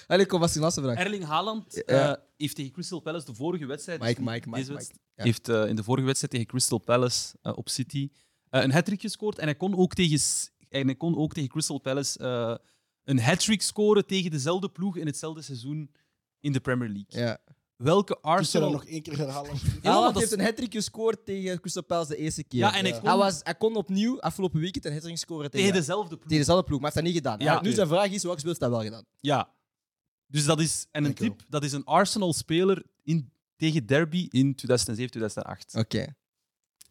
Allee, kom, was die laatste vraag?
Erling Haaland eh,
Ja.
heeft tegen Crystal Palace de vorige wedstrijd.
Mike,
dus niet
Mike, Mike,
deze
Mike.
wedstrijd,
Ja.
Heeft eh, in de vorige wedstrijd tegen Crystal Palace eh, op City eh, een hat gescoord. En hij kon ook tegen, s- en hij kon ook tegen Crystal Palace eh, een hat-trick scoren tegen dezelfde ploeg in hetzelfde seizoen in de Premier League.
Ja.
Welke
Ik zal
Arsenal.
dat nog één keer herhalen.
Ja,
Haaland
want dat
heeft
is-
een hat gescoord tegen Crystal Palace de eerste keer.
Ja, en hij
Ja.
kon
Hij, was, hij kon opnieuw afgelopen weekend een hat scoren tegen,
tegen
tegen,
dezelfde ploeg.
dezelfde ploeg, maar hij heeft dat niet gedaan.
Ja,
Ja, nu
oké.
zijn vraag is, welke speelt heeft dat wel gedaan?
Ja. Dus dat is. En een
Dankjewel.
tip: dat is een Arsenal-speler in- tegen Derby in 2007, 2008.
Oké.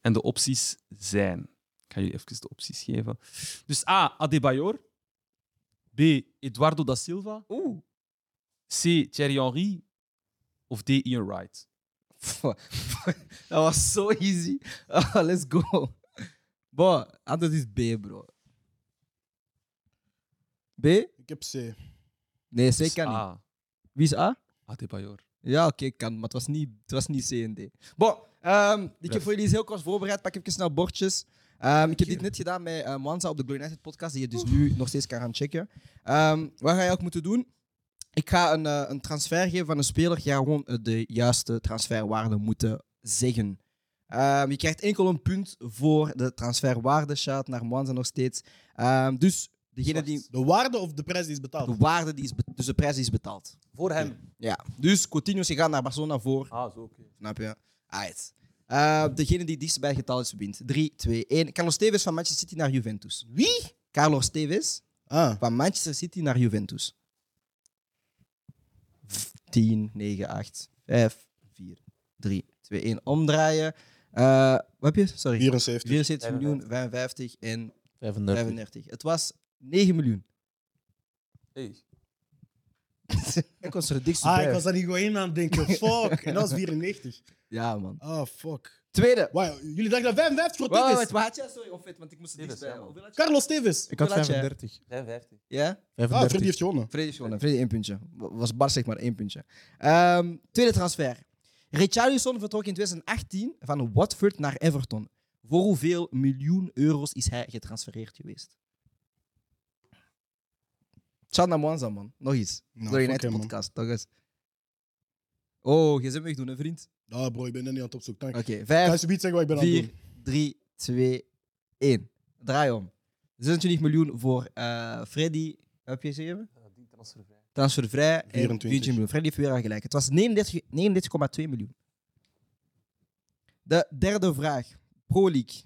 En de opties zijn... Ik ga jullie even de opties geven. Dus A, Adebayor. B, Eduardo da Silva.
Oeh.
C, Thierry Henry. Of D, Ian Wright.
Pff, dat was zo easy. Ah, é let's go. Boah, antwoord is B, bro. B?
Ik heb C.
Nee, C kan niet.
Dus A,
Wie is A?
Adebayor.
Ja, oké, kan. Maar het was niet, het was niet C en D. Bon, ehm, ik heb voor jullie iets heel kort voorbereid. Pak even snel bordjes. Ehm, ik heb dit net gedaan met eh Mwanza op de Glory United podcast, die je dus nu nog steeds kan gaan checken. Ehm, wat ga je ook moeten doen? Ik ga een, eh, een transfer geven van een speler. Je gaat gewoon eh, de juiste transferwaarde moeten zeggen. Ehm, je krijgt enkel een punt voor de transferwaarde. Shout naar Mwanza nog steeds. Ehm, dus degene die...
De waarde of de prijs die is betaald?
De waarde die is... be- Dus de prijs die is betaald.
Voor hem.
Ja. Dus Coutinho, je gaat naar Barcelona voor
Ah, zo, oké.
Snap je? Alright. Eh, degene die het dichtst bij het getal is, wint. 3, 2, 1. Carlos Tevez van Manchester City naar Juventus. Wie? Carlos Tevez
Ah,
van Manchester City naar Juventus. 10, 9, 8, 5, 4, 3, 2, 1. Omdraaien. Eh, wat heb je? Sorry.
74.
74 miljoen, 55 en
35.
35. Het was 9 miljoen.
Hey.
Ik was er dichtst
Ah,
bij.
ik was aan Higuain aan het denken. Fuck. En dat was 94.
Ja, man.
Ah, fuck.
Tweede.
Wauw, jullie dachten dat 55 voor
Wacht, wacht,
Tevez?
wacht, wat had jij? Sorry, of het, want ik moest het
Tevez,
dichtst bij.
ja, man.
Hoeveel had je?
Carlos Tevez.
Ik had
Hoeveel had jij?
35.
55.
Ja?
Ah, Freddy
35.
heeft gewonnen.
Vrede heeft gewonnen. Vrede één puntje. Was Bar zeg maar één puntje. Ehm, tweede transfer. Richarlison vertrok in 2018 van Watford naar Everton. Voor hoeveel miljoen euro's is hij getransfereerd geweest? Shout naar Mwanza, man. Nog iets.
Nou,
Door je
fuck
net
hem, man.
podcast. Nog eens. Oh, je zit me doen, hè, vriend?
Ah, bro, ik ben er niet aan het opzoeken. Dank.
Oké,
Ik ga
vijf,
je zoiets zeggen wat ik ben aan het
vier,
doen.
drie, twee, één. Draai om. 26 miljoen voor eh, Freddy. Heb je ze gegeven? Transfervrij en
24.
24 miljoen. Freddy heeft weer aan gelijk. Het was 39 39,2 miljoen. De derde vraag. Pro League.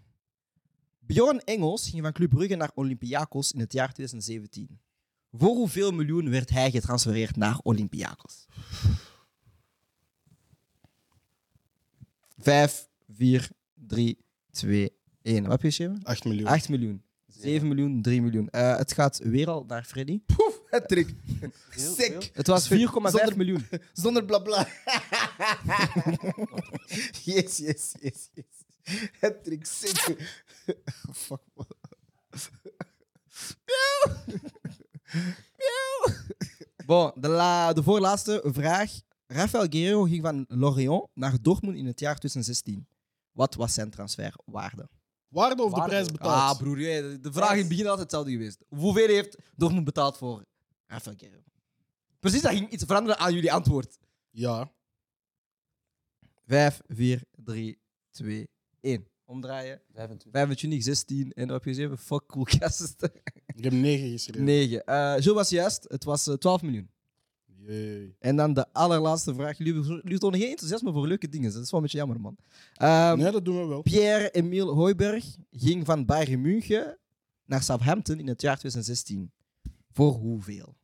Bjorn Engels ging van Club Brugge naar Olympiakos in het jaar 2017. Voor hoeveel miljoen werd hij getransfereerd naar Olympiakos? 5, 4, 3, 2, 1. Wat heb je geschreven?
8 miljoen.
8 miljoen. 7 miljoen, 3 miljoen. Eh, het gaat weer al naar Freddy.
Patrick,
Sick. Het was 4,5 miljoen.
zonder blabla. yes, yes, yes, yes. Patrick, sick. Fuck, man.
Bon, de, la- de voorlaatste vraag. Rafael Guerrero ging van Lorient naar Dortmund in het jaar 2016. Wat was zijn transferwaarde?
Waarde of de prijs
Ah,
betaald?
Ah, broer, jij- de vraag in het begin altijd hetzelfde geweest. Hoeveel heeft Dortmund betaald voor Rafael Guerrero? Precies, dat ging iets veranderen aan jullie antwoord.
Ja.
5, 4, 3, 2, 1. Omdraaien.
25.
25, 16 en dan heb je zeven. Fuck cool gasten.
Ik heb 9 geschreven.
9. Eh Jules was juist. Het was eh, 12 miljoen.
Jee.
En dan de allerlaatste vraag. Jullie, jullie tonen geen enthousiasme voor leuke dingen. Dat is wel een beetje jammer, man. Ehm,
Nee, dat doen we wel.
Pierre-Emile Hooiberg ging van Bayern München naar Southampton in het jaar 2016. Voor hoeveel?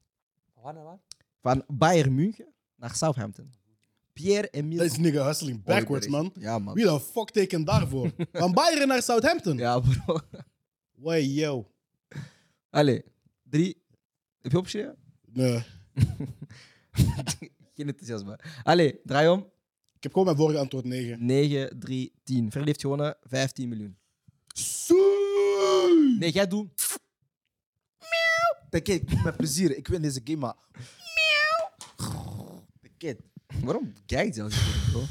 Waar naar waar?
Van Bayern München naar Southampton. Pierre Emile.
Dat is nigga hustling backwards, man.
Ja, man.
Wie de fuck teken daarvoor? Van Bayern naar Southampton.
Ja, bro.
Way, yo.
Allee, drie. Heb je opgeschreven?
Nee.
Geen enthousiasme. Allee, draai om.
Ik heb gewoon mijn vorige antwoord 9.
9, 3, 10. Verder heeft gewonnen 15 miljoen. Nee, jij doet.
Kijk, kijk, met plezier. Ik win deze game, maar...
Kid. Waarom kijkt je als je bro?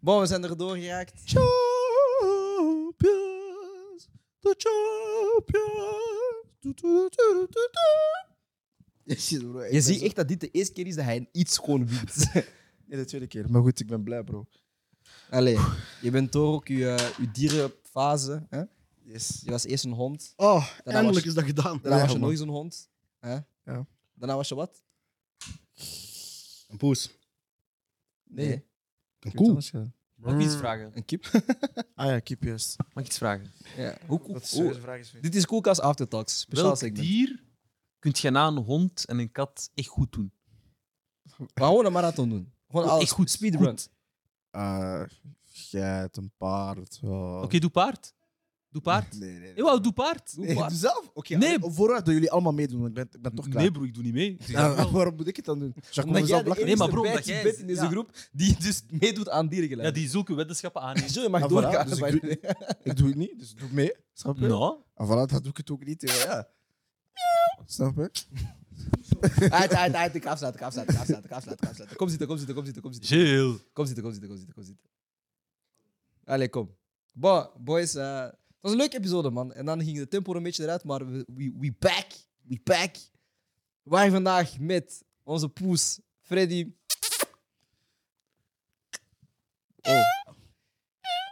Bon, we zijn er doorgeraakt.
Champions, de champions. Du- du- du- du- du- du. Shit, bro, ik
Je
ben
ziet
zo-
echt dat dit de eerste keer is dat hij iets gewoon wint.
Nee, de tweede keer. Maar goed, ik ben blij, bro.
Allee, je bent door ook je, eh, je dierenfase. Hè?
Yes.
Je was eerst een hond.
Oh,
Daarna
Eindelijk
was
is dat gedaan.
je, daarna was je
man.
nog eens een hond. Hè?
Ja.
Daarna was je wat?
Een poes.
nee.
Nee.
Een
Ik
koe.
weet het anders,
Mag ik iets vragen?
Een kip?
ja. Ah ja, keep juist.
Mag ik iets vragen?
Ja. Hoe cool.
Wat is de vraag is.
Dit is Koelkast Aftertalks. Speciaal
Welk
segment.
dier kunt je na een hond en een kat echt goed doen?
Maar gewoon een marathon doen. Gewoon
Oh,
alles.
echt goed,
Speedrun.
Eh, Geit, een paard.
Oké, doe paard. Doe paard.
Nee, nee.
Ewa, doe paard.
Doe
Nee,
maar.
doe zelf? Oké,
Nee.
allee, vooruit dat jullie allemaal meedoen, want ik ben, ik ben toch Ah, klaar.
Nee, broer, ik doe niet mee.
Ja, waarom moet ik het dan doen? Zou ik
Omdat jij
mezelf
de
lachen?
enige
Nee, maar bro,
bijtje
omdat jij-
bent in deze
ja.
groep die dus meedoet aan dierengeleid.
Ja, die zulke weddenschappen aanneemt.
Sorry, je mag
Ah, voilà,
doorgaan.
dus ik
maar-
doe- Ik doe het niet, dus doe mee. Snap je?
Nou,
En Ah, voilà, dat doe ik het ook niet. Ja. ja. Snap je?
Uit, uit, uit. Ik afsluit, ik afsluit, ik afsluit, ik afsluit, ik afsluit. Kom zitten, kom zitten, kom zitten, kom zitten.
Geel.
Kom zitten, kom zitten, kom zitten, kom zitten. Allee, kom. Bon, boys. eh, het was een leuke episode, man. En dan ging de tempo er een beetje eruit, maar we, we, we back. We back. We waren vandaag met onze poes, Freddy. Oh.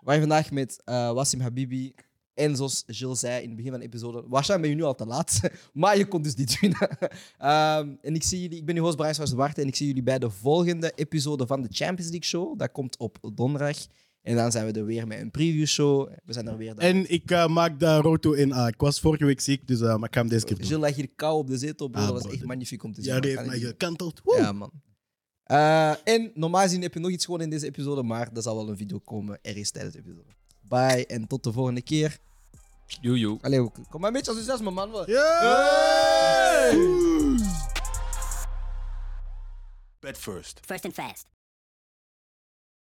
We waren vandaag met eh Wassim Habibi. En zoals Gilles zei in het begin van de episode, waarschijnlijk ben je nu al te laat, maar je kon dus niet winnen. Ehm, en ik zie jullie, ik ben uw host Brian van Zwarte en ik zie jullie bij de volgende episode van de Champions League Show. Dat komt op donderdag. En dan zijn we er weer met een preview show. We zijn er weer. Dan.
En ik eh, maak daar roto in. Ah, ik was vorige week ziek, dus eh, maar ik ga hem deze keer doen.
Gilles lag hier kou op de zetel, bro.
Ah,
dat was
bro,
echt
dit-
magnifiek om te zien.
Ja,
man.
die heeft
Kan
mij
ik niet-
gekanteld. Woe.
Ja, man. Eh, en normaal gezien heb je nog iets gewoon in deze episode, maar er zal wel een video komen ergens tijdens de episode. Bye en tot de volgende keer.
Jojo.
Allee, kom maar een beetje enthousiasme, man. Wat-
Yeah!
First and fast.